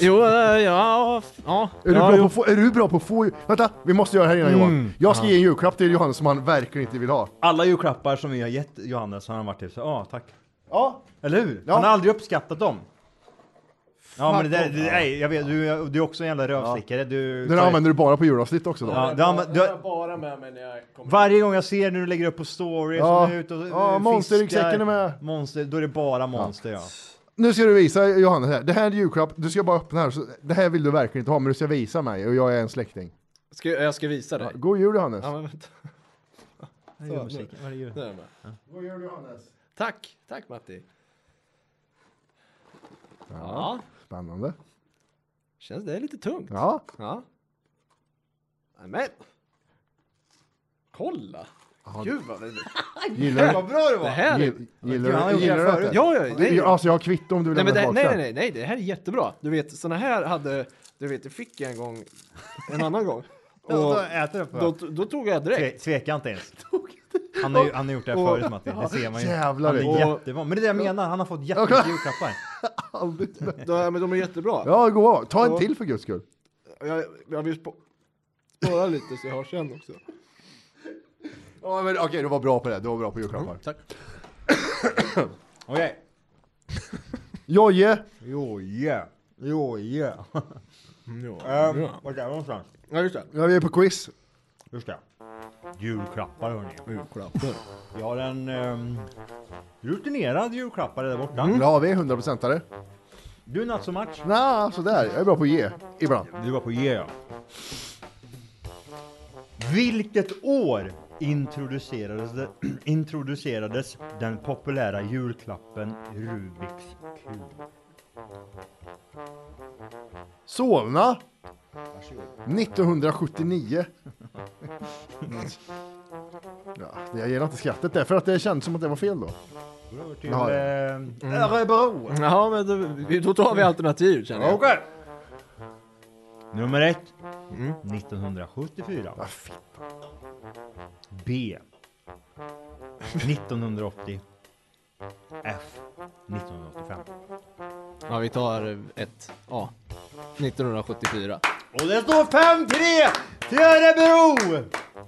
S1: Jo, ja, ja, ja.
S3: Är du,
S1: ja,
S3: bra
S1: jo.
S3: på, få- är du bra på att få... Vänta, vi måste göra det här innan Johan.
S2: Mm.
S3: Jag ska
S2: Ja.
S3: ge en julklapp till Johan som han verkligen inte vill ha.
S2: Alla julklappar som vi har gett Johannes har han varit typ så, ja ah, tack.
S3: Ja.
S2: Eller hur? Han har aldrig uppskattat dem. Ja men det där,
S3: off.
S2: det, nej, jag vet, du, du är också en jävla rövslickare. Du,
S3: Den här använder du bara på julavsnitt också då?
S2: Ja, du använder- du-
S1: bara med mig när jag
S2: Varje gång jag ser när du lägger upp på stories,
S3: Ja.
S2: och du är ute och
S3: Ja,
S2: eh,
S3: monsterryggsäcken
S2: fiskar.
S3: är med.
S2: Monster, då är det bara monster ja.
S3: Nu ska du visa Johannes här. Det här är en julklapp, du ska bara öppna här. Så det här vill du verkligen inte ha, men du ska visa mig och jag är en släkting.
S1: Ska, jag ska visa dig.
S3: God jul Johannes!
S1: Ja, men vänta.
S2: Här är musiken, här är ju-
S1: Nu är den med.
S3: God jul Johannes!
S1: Tack, tack Matti. Ja,
S3: Spännande.
S1: känns det är lite tungt.
S3: Ja.
S1: Ja. Nämen. Kolla! Gud vad...
S3: Gillar du-
S1: vad bra det var! Det här är...
S3: Gill- Gillar
S2: Han har
S3: du
S2: gjort
S3: gillar
S2: det
S3: du
S2: här
S3: detta?
S1: Ja, ja, nej.
S3: Du- Alltså jag har kvitto om du vill
S1: Nej, men
S3: lämna
S1: det,
S3: tillbaka
S1: nej, nej, nej, nej, det här är jättebra. Du vet, såna här hade, du vet, det fick jag en gång, en annan gång.
S2: Ja, då äter du på
S1: då, då tog jag
S2: Tve,
S1: direkt.
S2: tveka inte ens. Han har, ju, han har gjort det här
S1: Och-
S2: förut Matti, det ser man ju.
S3: Jävlar,
S2: han
S3: det-
S2: är jättebra. Men det är det jag menar, han har fått jättemycket julklappar.
S1: Ja, men de är jättebra.
S3: Ja, gå. Ta en
S1: Och-
S3: till för guds skull.
S1: Jag, jag vill spå- spara lite så jag har sen också.
S3: Ja, men okej, du var bra på det. Du var bra på julklappar.
S1: Tack.
S2: Okej.
S3: Jojje!
S2: Jo, yeah. Jo, yeah.
S1: Ja,
S2: Ehm, Vart är vi någonstans?
S1: ja just det.
S3: Ja, vi är på quiz.
S2: Just det. Julklappar hörni.
S1: Julklappar.
S2: Vi har en ehm, rutinerad julklappare där borta.
S3: Mm. Ja, vi är 100%are.
S2: Du not so much.
S3: Nja, sådär. Jag är bra på att ge. Ibland.
S2: Du var på G ja. Vilket år introducerades, det, introducerades den populära julklappen Rubiks kub?
S3: Solna! 1979. Ja, jag gillar inte skrattet där, för att det kändes som att det var fel då.
S2: Går över till
S3: Ja.
S2: eh, Örebro.
S1: Ja, men då, då tar vi alternativ känner jag.
S2: Okej. Nummer ett.
S3: Mm. Ah,
S2: 1974. B. 1980. F. 1985.
S1: Ja, vi tar eh, ett A. 1974.
S2: Och det står 5-3 till Örebro!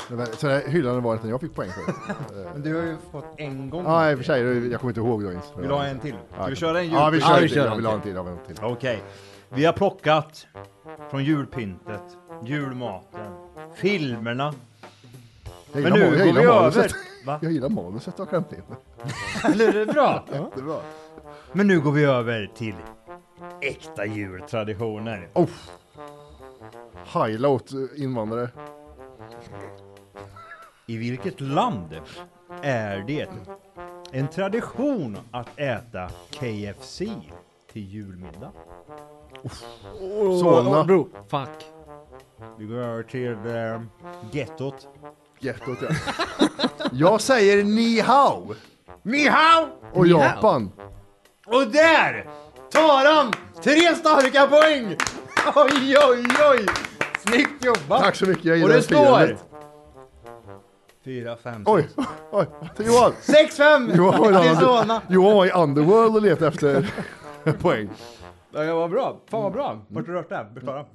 S3: Det var- Så där hyllande var det inte när jag fick poäng för.
S2: Men du har ju fått en gång.
S3: Ja, i och för sig. Jag kommer inte ihåg då ens.
S2: Vill du ha en till? Ska
S3: Ja.
S2: vi köra en
S3: Ja, vi
S2: julklapp?
S3: kör
S1: Ja,
S3: en
S1: vi
S3: till.
S1: kör
S3: Jag
S1: en
S3: vill ha en till. Jag vill ha en till.
S2: Okej. Vi har plockat från julpyntet, julmaten, filmerna. Men
S3: Jag gillar,
S2: nu
S3: ma- jag
S2: går vi
S3: gillar manuset.
S2: över. Va?
S3: Jag gillar manuset du har klämt in.
S2: Eller är det bra?
S3: Det är bra.
S2: Men nu går vi över till äkta jultraditioner.
S3: Oh. Highlight eh, invandrare.
S2: I vilket land är det en tradition att äta KFC till julmiddag?
S3: Solna.
S1: bro. Fuck.
S2: Vi går över till eh, gettot.
S3: Gettot ja. Jag säger ni hao
S2: Ni hao!
S3: och Japan.
S2: Och där tar han tre starka poäng! Oj, oj, oj! Snyggt jobbat!
S3: Tack så mycket, jag
S2: Och
S3: gillar
S2: det står
S3: firandet.
S2: 4, 5,
S3: Oj,
S2: 6,
S3: oj, Johan.
S2: 6, 5
S3: Johan var, i
S2: till Solna!
S3: Under- Johan var i Underworld och letade efter poäng.
S2: Ja, jag var bra. Fan vad bra. Vart du rört där? Förklara.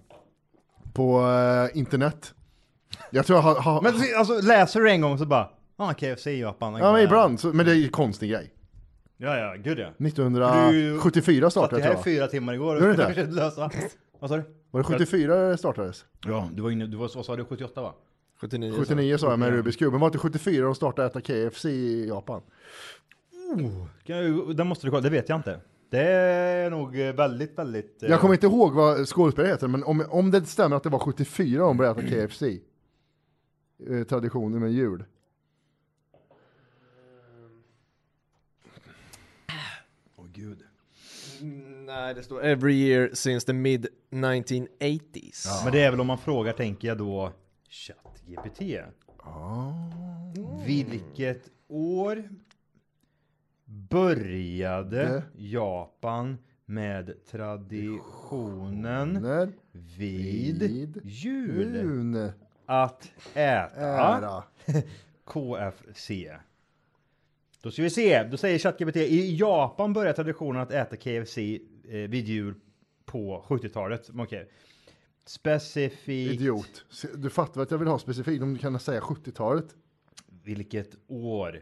S3: På eh, internet. Jag tror jag har... har
S2: Men se, alltså läser du en gång så bara, ah, KFC i Japan.
S3: ja, men ibland. Så, men det är ju en konstig grej.
S2: Ja, ja, gud ja.
S3: 1974 startade
S2: det. här
S3: jag
S2: är
S3: tror jag.
S2: fyra timmar igår
S3: Gör
S2: och
S3: det
S2: jag
S3: inte?
S2: försökte lösa. Vad sa du?
S3: Var det 74 det startades?
S2: Ja, du var inne, du var, vad sa du, 78 va?
S1: 79,
S3: 79 sa jag med Rubiks kub, men var det inte 74 de startade äta KFC i Japan?
S2: Oh, kan jag- den måste du kolla, det vet jag inte. Det är nog eh, väldigt, väldigt... eh,
S3: Jag kommer inte ihåg vad skådespelaren heter, men om, om det stämmer att det var 74 de började äta KFC, eh, traditionen med jul.
S2: Åh gud.
S1: Nej, det står every year since the mid 1980s.
S2: Ja. Men det är väl om man frågar, tänker jag då, ChatGPT.
S3: Ah.
S2: Vilket år började
S3: Det.
S2: Japan med traditionen vid, jul
S3: Jul.
S2: att äta
S3: Ära.
S2: KFC? Då ska vi se, då säger ChatGPT, i Japan började traditionen att äta KFC eh, vid jul på 70-talet. Okej. Specifikt.
S3: Idiot. Se, Du fattar att jag vill ha specifikt, om du kan säga 70-talet.
S2: Vilket år?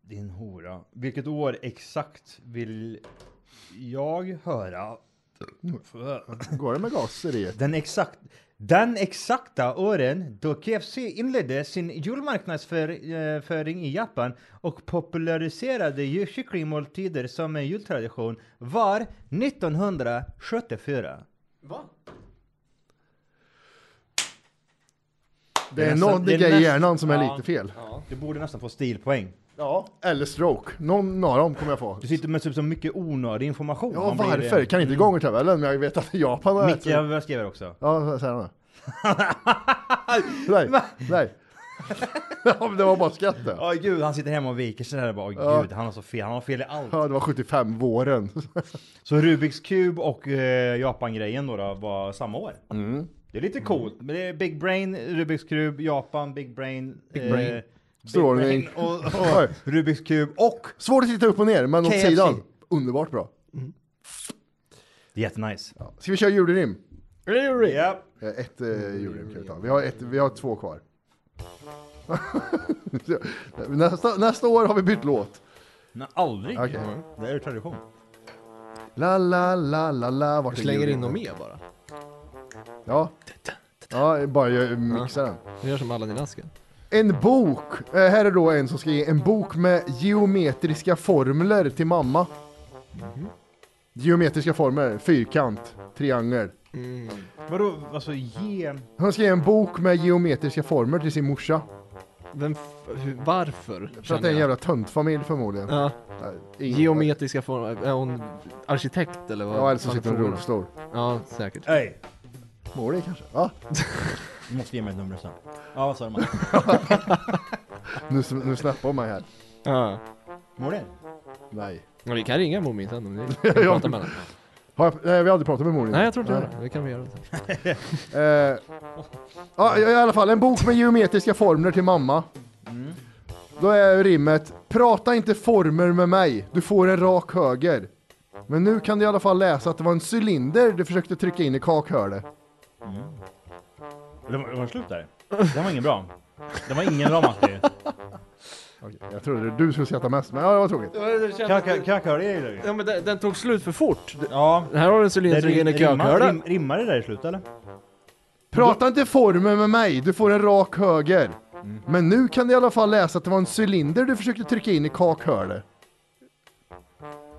S2: Din hora. Vilket år exakt vill jag höra?
S3: Går det med gas i det?
S2: Den, exakt, den exakta åren då KFC inledde sin julmarknadsföring i Japan och populariserade ju kycklingmåltider som en jultradition var 1974.
S3: Det är någonting i hjärnan som är lite fel.
S2: Du borde nästan få stilpoäng.
S3: Ja. Eller stroke. Någon av dem kommer jag få.
S2: Du sitter med typ så mycket onödig information.
S3: Ja,
S2: Man blir-
S3: varför? Kan inte gångertabellen, men jag vet att Japan har
S2: Micke
S3: ätit-
S2: jag skriver också.
S3: Ja, säg det. nej, nej. ja, men det var bara skratt det.
S2: Ja gud, han sitter hemma och viker sig där och bara, åh
S3: Ja.
S2: gud, han har så fel, han har fel i allt.
S3: Ja, det var 75, våren.
S2: Så Rubiks kub och eh, Japan-grejen då, då var samma år. Det är lite coolt, men det är Big Brain, Rubiks kub, Japan, Big Brain.
S3: Big
S2: eh,
S3: Brain.
S2: Big
S3: Strålning.
S2: Brain och,
S3: Oj.
S2: och Rubiks kub och
S3: Svårt att titta upp och ner, men åt
S2: KFC.
S3: sidan. Underbart bra.
S2: Jättenice.
S3: Ska vi köra julrim?
S2: Ja.
S3: Eh, Ett eh, julrim kan vi ta. Vi har, ett, vi har två kvar. nästa, nästa år har vi bytt låt.
S2: Nej, aldrig.
S3: Okej.
S2: Det är ju tradition.
S3: La, la, la, la, la. Vart är
S1: Du slänger in
S3: julrimmen?
S1: dem med bara.
S3: Ja. Ja, bara jag mixar den.
S1: Du gör som alla dina askar.
S3: En bok. Eh, här är då en som ska ge en bok med geometriska formler till mamma.
S1: Mhm.
S3: Geometriska formler. Fyrkant. Triangel.
S1: Mm.
S2: Vadå, alltså ge...
S3: Hon ska ge en bok med geometriska former till sin morsa.
S1: Vem, f- hur, varför?
S3: För att det är en jävla töntfamilj förmodligen.
S1: Ja.
S3: ingen-
S1: Geometriska former. Är hon arkitekt eller vad?
S3: Ja, eller så
S1: vad
S3: sitter hon i
S1: frågar
S3: rullstol.
S1: Ja, säkert.
S2: Hej!
S3: Målig kanske? Ja.
S2: Du måste ge mig ett nummer sen. Ja, vad sa man?
S3: Nu, nu snappar man här.
S1: Ja.
S2: Mår du?
S3: Nej.
S1: Men vi kan ringa Momin sen om ni vill
S3: Ja.
S1: prata med henne.
S3: Har jag, nej, vi har aldrig pratat med mor
S1: Nej, jag tror inte det. Det kan vi göra.
S3: Eh, ja, i alla fall, en bok med geometriska formler till mamma.
S1: Mm.
S3: Då är rimmet, prata inte former med mig, du får en rak höger. Men nu kan du i alla fall läsa att det var en cylinder du försökte trycka in i kakhörnet.
S2: Det var, var det slut där? Det var ingen bra. Det var ingen bra Matti.
S3: Jag trodde du skulle skratta mest, men ja, det var tråkigt.
S2: Kakahörde
S1: Ja, men den, den tog slut för fort.
S2: Ja.
S1: Här har du en cylinder som ligger i kökhörnan.
S2: rim, Rimmar det där i slutet eller?
S3: Prata inte former med mig, du får en rak höger. Men nu kan du i alla fall läsa att det var en cylinder du försökte trycka in i kakhörnet.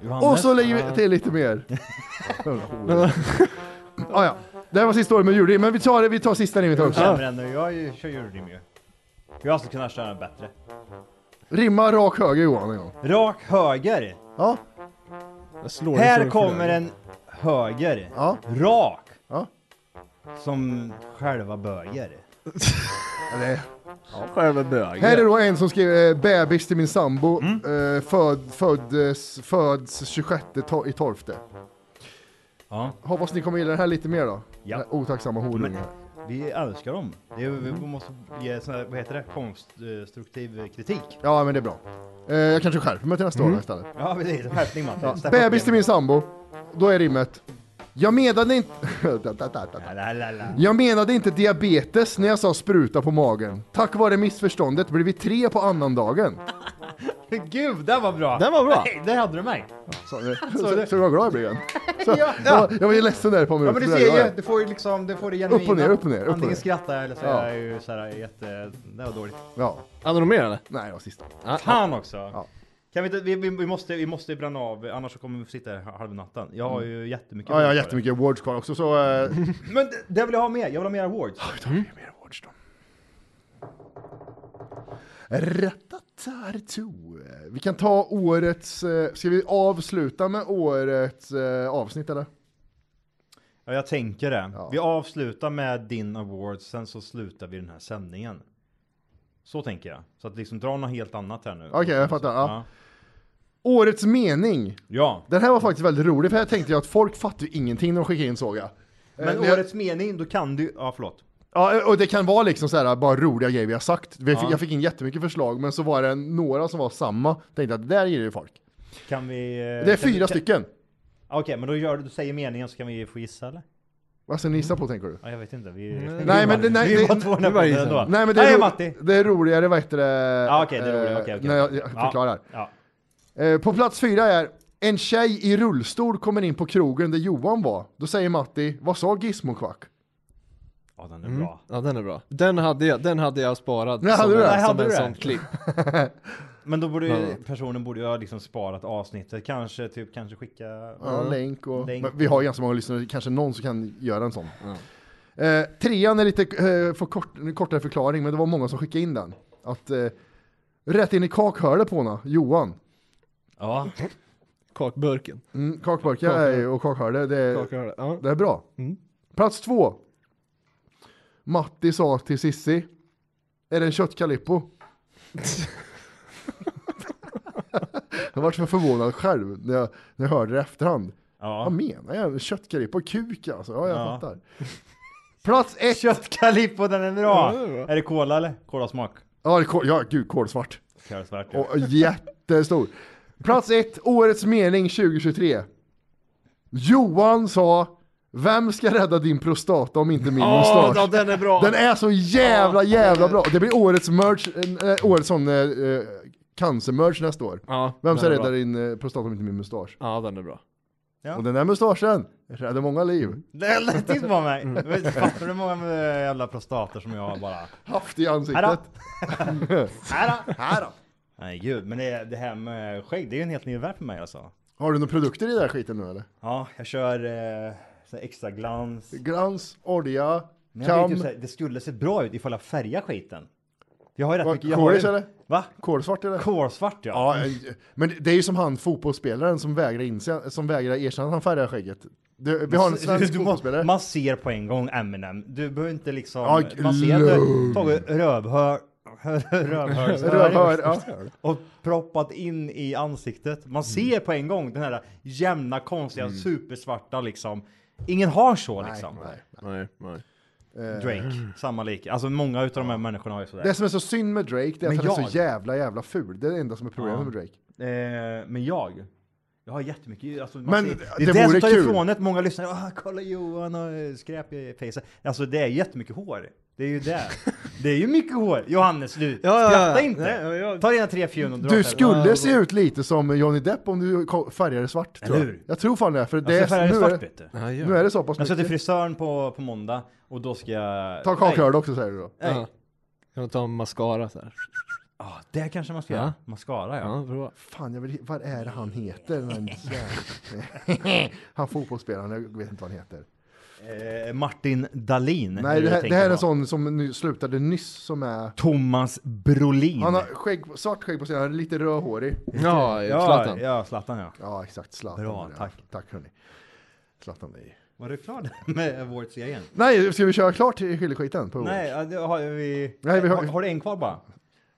S2: Johannes?
S3: Och så lägger vi till lite mer. ah, ja. Det här var sista året med julrim, men vi tar, det- vi tar sista rimmet
S2: Jag
S3: också.
S2: känner den nu, jag ju- kör julrim ju. Jag skulle kunna köra den bättre.
S3: Rimma rak höger Johan en gång.
S2: Rak höger.
S3: Ja.
S2: Här kommer en höger.
S3: Ja.
S2: Rak.
S3: Ja.
S2: Som själva böger.
S3: Eller,
S1: Själva bögen.
S3: här är då en som skriver eh, bebis till min sambo. Eh, föd, föddes, föds 26 to- i 12.
S2: Ja.
S3: Hoppas ni kommer gilla den här lite mer då.
S2: Ja.
S3: Den här Otacksamma horungar.
S2: Vi älskar dem. Det är, vi måste ge sån här, vad heter det, konstruktiv kritik.
S3: Ja men det är bra. Eh, jag kanske skärper mig till nästa år istället.
S2: Ja precis, skärpning Matti. Steppa upp
S3: Bebis till
S2: igen.
S3: min sambo. Då är rimmet. Jag menade inte... Jag menade inte diabetes när jag sa spruta på magen. Tack vare missförståndet blev vi tre på annandagen.
S2: Gud, den var bra!
S3: Den var bra.
S2: Nej, Där hade du mig!
S3: Så, så,
S2: Så
S3: så,
S2: det-
S3: så jag var glad jag blev igen. Så,
S2: Ja.
S3: jag, jag var ju ledsen där på
S2: Ja
S3: mig.
S2: men du ser ju, du får ju liksom, du får det genuina.
S3: Upp och ner, upp och ner, upp och
S2: Antingen
S3: ner.
S2: skrattar jag eller så är
S3: Ja.
S2: jag ju såhär jätte, det var dåligt.
S3: Ja.
S1: Hade du mer eller?
S3: Nej, det var sista.
S2: Fan också! Kan vi inte, vi, vi, vi måste, vi måste bränna av, annars så kommer vi sitta här halv natten. Jag har ju jättemycket
S3: Mm. Ja,
S2: awards
S3: jag har
S2: kvar.
S3: jättemycket awards kvar också så...
S2: Mm.
S3: eh,
S2: Men det, det vill jag ha med, jag vill ha mer awards. Ja, vi
S3: tar mer awards då. Ratatartu. Vi kan ta årets... eh, Ska vi avsluta med årets eh, avsnitt eller?
S2: Ja, jag tänker det. Vi avslutar med din award, sen så slutar vi den här sändningen. Så tänker jag. Så att liksom dra något helt annat här nu.
S3: Okej, jag fattar. Ja. Årets mening.
S2: Ja.
S3: Den här var faktiskt väldigt rolig för här tänkte jag att folk fattar ju ingenting när de skickar in såg jag.
S2: Men
S3: Eh, när jag-
S2: årets mening, då kan du, ja förlåt.
S3: Ja, och det kan vara liksom så här, bara roliga grejer vi har sagt. Vi fick,
S2: Ja.
S3: Jag fick in jättemycket förslag, men så var det några som var samma. Tänkte att det där gillar ju folk.
S2: Kan vi... eh,
S3: det
S2: kan
S3: är
S2: vi-
S3: fyra
S2: kan-
S3: stycken.
S2: Ja, Okej, men då gör, du säger meningen så kan vi få gissa eller?
S3: Vad ska ni gissa på tänker du?
S2: Ja, jag vet inte. Vi, vi
S3: Nej men,
S2: var-
S3: det, nej,
S2: vi
S3: det,
S2: var två när vi ändå.
S3: nej men det är,
S2: Nej,
S3: ro-
S2: Matti!
S3: det är roligare, vad heter det?
S2: Ja, okej, det är roligare,
S3: eh,
S2: okej, okej.
S3: När jag, jag
S2: Ja,
S3: förklarar.
S2: ja.
S3: Eh, På plats fyra är, en tjej i rullstol kommer in på krogen där Johan var. Då säger Matti, vad sa Gizmo Kvack?
S2: Ja den är
S1: bra. Ja den är bra. Den hade jag, den hade jag sparat
S3: Nej, hade
S1: som,
S3: du det?
S1: en, som
S3: Hade
S1: en
S3: du det?
S1: sån klipp.
S2: Men då borde ju-
S1: Ja.
S2: personen borde ju ha liksom sparat avsnittet, kanske typ kanske skicka...
S3: Ja, länk och...
S2: Länk.
S3: Men vi har ju ganska många lyssnare, kanske någon som kan göra en sån. Eh, trean är lite eh, för kort, en kortare förklaring, men det var många som skickade in den. Att eh, rätt in i kakhörnet på henne, Johan.
S2: Ja.
S1: Kakburken.
S3: Mm, kakburkar
S1: Kakhörde.
S3: är ju- och kakhörde, det, är-
S1: Kakhörde, ja.
S3: det är bra. Plats två. Matti sa till Sissi, är det en köttkalippo? jag vart så förvånad själv när jag, när jag hörde det i efterhand.
S2: Ja.
S3: Vad menar jag? Köttkalippo? Kuk alltså? Ja, jag
S2: Ja.
S3: fattar. Plats ett!
S2: Köttkalippo, den är bra!
S3: Ja, det är bra.
S2: är det cola eller? Colasmak?
S3: Ja, det är kol, ja gud, kolsvart.
S2: Kolsvart, ja.
S3: Och jättestor. Plats ett, årets mening 2023. Johan sa, vem ska rädda din prostata om inte min
S1: Åh,
S3: mustasch?
S1: ja, den är bra.
S3: Den är så jävla, jävla bra. Det blir årets merch, eh, årets sån eh, eh, cancermerch nästa år.
S1: Ja,
S3: vem ska
S1: den är
S3: rädda
S1: bra.
S3: din eh, prostata om inte min mustasch?
S1: Ja den är bra.
S2: Ja.
S3: Och den där mustaschen räddar många liv.
S2: Nej, Titta på mig! Vet du, Fattar du hur många eh, jävla prostater som jag har bara...
S3: Haft i ansiktet.
S2: Här då!
S3: Här då!
S2: Nej gud, men det, det här med skägg, det är ju en helt ny värld för mig alltså.
S3: Har du några produkter i den här skiten nu eller?
S2: Ja, jag kör eh, så här extra glans.
S3: Glans, olja,
S2: Men jag vet
S3: kam.
S2: ju, så här, det skulle se bra ut ifall jag färgar skiten. Jag har ju rätt
S3: Vad,
S2: mycket... jag har
S3: kolis,
S2: ju-
S3: eller?
S2: Va?
S3: Kolsvart eller?
S2: Kolsvart ja.
S3: Ja, eh, men det är ju som han fotbollsspelaren som vägrar, inse, som vägrar erkänna att han färgar skägget. Det, vi har en svensk
S2: Du må-
S3: fotbollsspelare.
S2: Man ser på en gång Eminem. Du behöver inte liksom...
S3: Ja,
S2: man ser
S3: lugn.
S2: du tagit rövhör... Rövhör,
S3: Rövhör, ja. Mm.
S2: Och proppat in i ansiktet. Man ser på en gång den här jämna, konstiga, supersvarta liksom. Ingen har så liksom.
S1: Nej, nej.
S2: Drake, samma lik. Alltså många utav de här människorna har ju sådär.
S3: Eh. Det som är så synd med Drake det är att
S2: Men
S3: han är
S2: jag-
S3: så jävla jävla ful. Det är det enda som är problemet
S2: Ja.
S3: med Drake.
S2: Eh, men jag? Jag har jättemycket, alltså, man
S3: Men
S2: ser,
S3: det vore
S2: som tar
S3: kul.
S2: ifrån ett, många lyssnar, ah, kolla Johan och eh, skräp i fejset. Alltså det är jättemycket hår. Det är ju det. det är ju mycket hår. Johannes, du,
S1: Ja, ja,
S2: skratta
S1: ja.
S2: inte.
S1: Nej, ja, ja.
S2: Ta dina tre fjun och dra
S3: Du
S2: åt helvete.
S3: skulle se ut lite som Johnny Depp om du ko- färgade svart. Tror jag.
S2: hur?
S3: jag tror fan det. För det
S2: Jag
S3: är,
S2: ska färga det
S3: nu,
S2: svart vet du.
S3: är, nu är det så pass
S2: Jag ska till
S3: mycket.
S2: frisören på, på måndag och då ska jag...
S3: Ta kakhörd också säger du då.
S2: Nej.
S1: Ja. Kan du ta en mascara så här?
S2: Ja, det kanske man ska
S1: Ja.
S2: göra. Mascara ja.
S1: Ja, bra.
S3: Fan, jag vill, vad är det han heter? Den jävla- han fotbollsspelaren, jag vet inte vad han heter.
S2: Eh, Martin Dahlin.
S3: Nej,
S2: du
S3: det här, det
S2: tänker
S3: här är
S2: på.
S3: en sån som nu slutade nyss som är...
S2: Thomas Brolin.
S3: Han har skägg, svart skägg på sidan, han är lite rödhårig.
S1: Ja,
S2: ja,
S1: Zlatan.
S2: Ja, Zlatan ja.
S3: Ja, exakt. Zlatan.
S2: Bra,
S3: ja.
S2: tack.
S3: Tack hörni. Zlatan är ju-
S2: Var du klar där med Awards-serien?
S3: Nej, ska vi köra klart till skilleskiten? På
S2: Nej, ja, det har vi...
S3: Nej, vi har-
S2: har... Har du en kvar bara?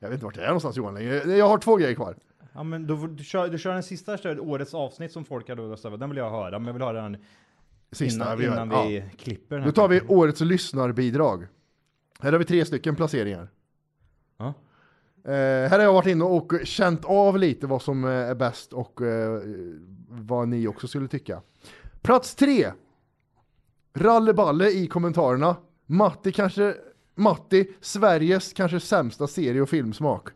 S3: Jag vet inte vart jag är någonstans Johan längre. Jag har två grejer kvar.
S2: Ja, men då, får- du, kör, du kör den sista, kör årets avsnitt som folk har då röstat över. Den vill jag höra, men jag vill höra den
S3: Sista
S2: innan,
S3: vi gör,
S2: innan vi
S3: ja.
S2: klipper den
S3: Nu tar vi årets lyssnarbidrag. Här har vi tre stycken placeringar.
S2: Ja.
S3: Eh, här har jag varit inne och känt av lite vad som eh, är bäst och eh, vad ni också skulle tycka. Plats tre Ralleballe i kommentarerna. Matti kanske, Matti, Sveriges kanske sämsta serie och filmsmak.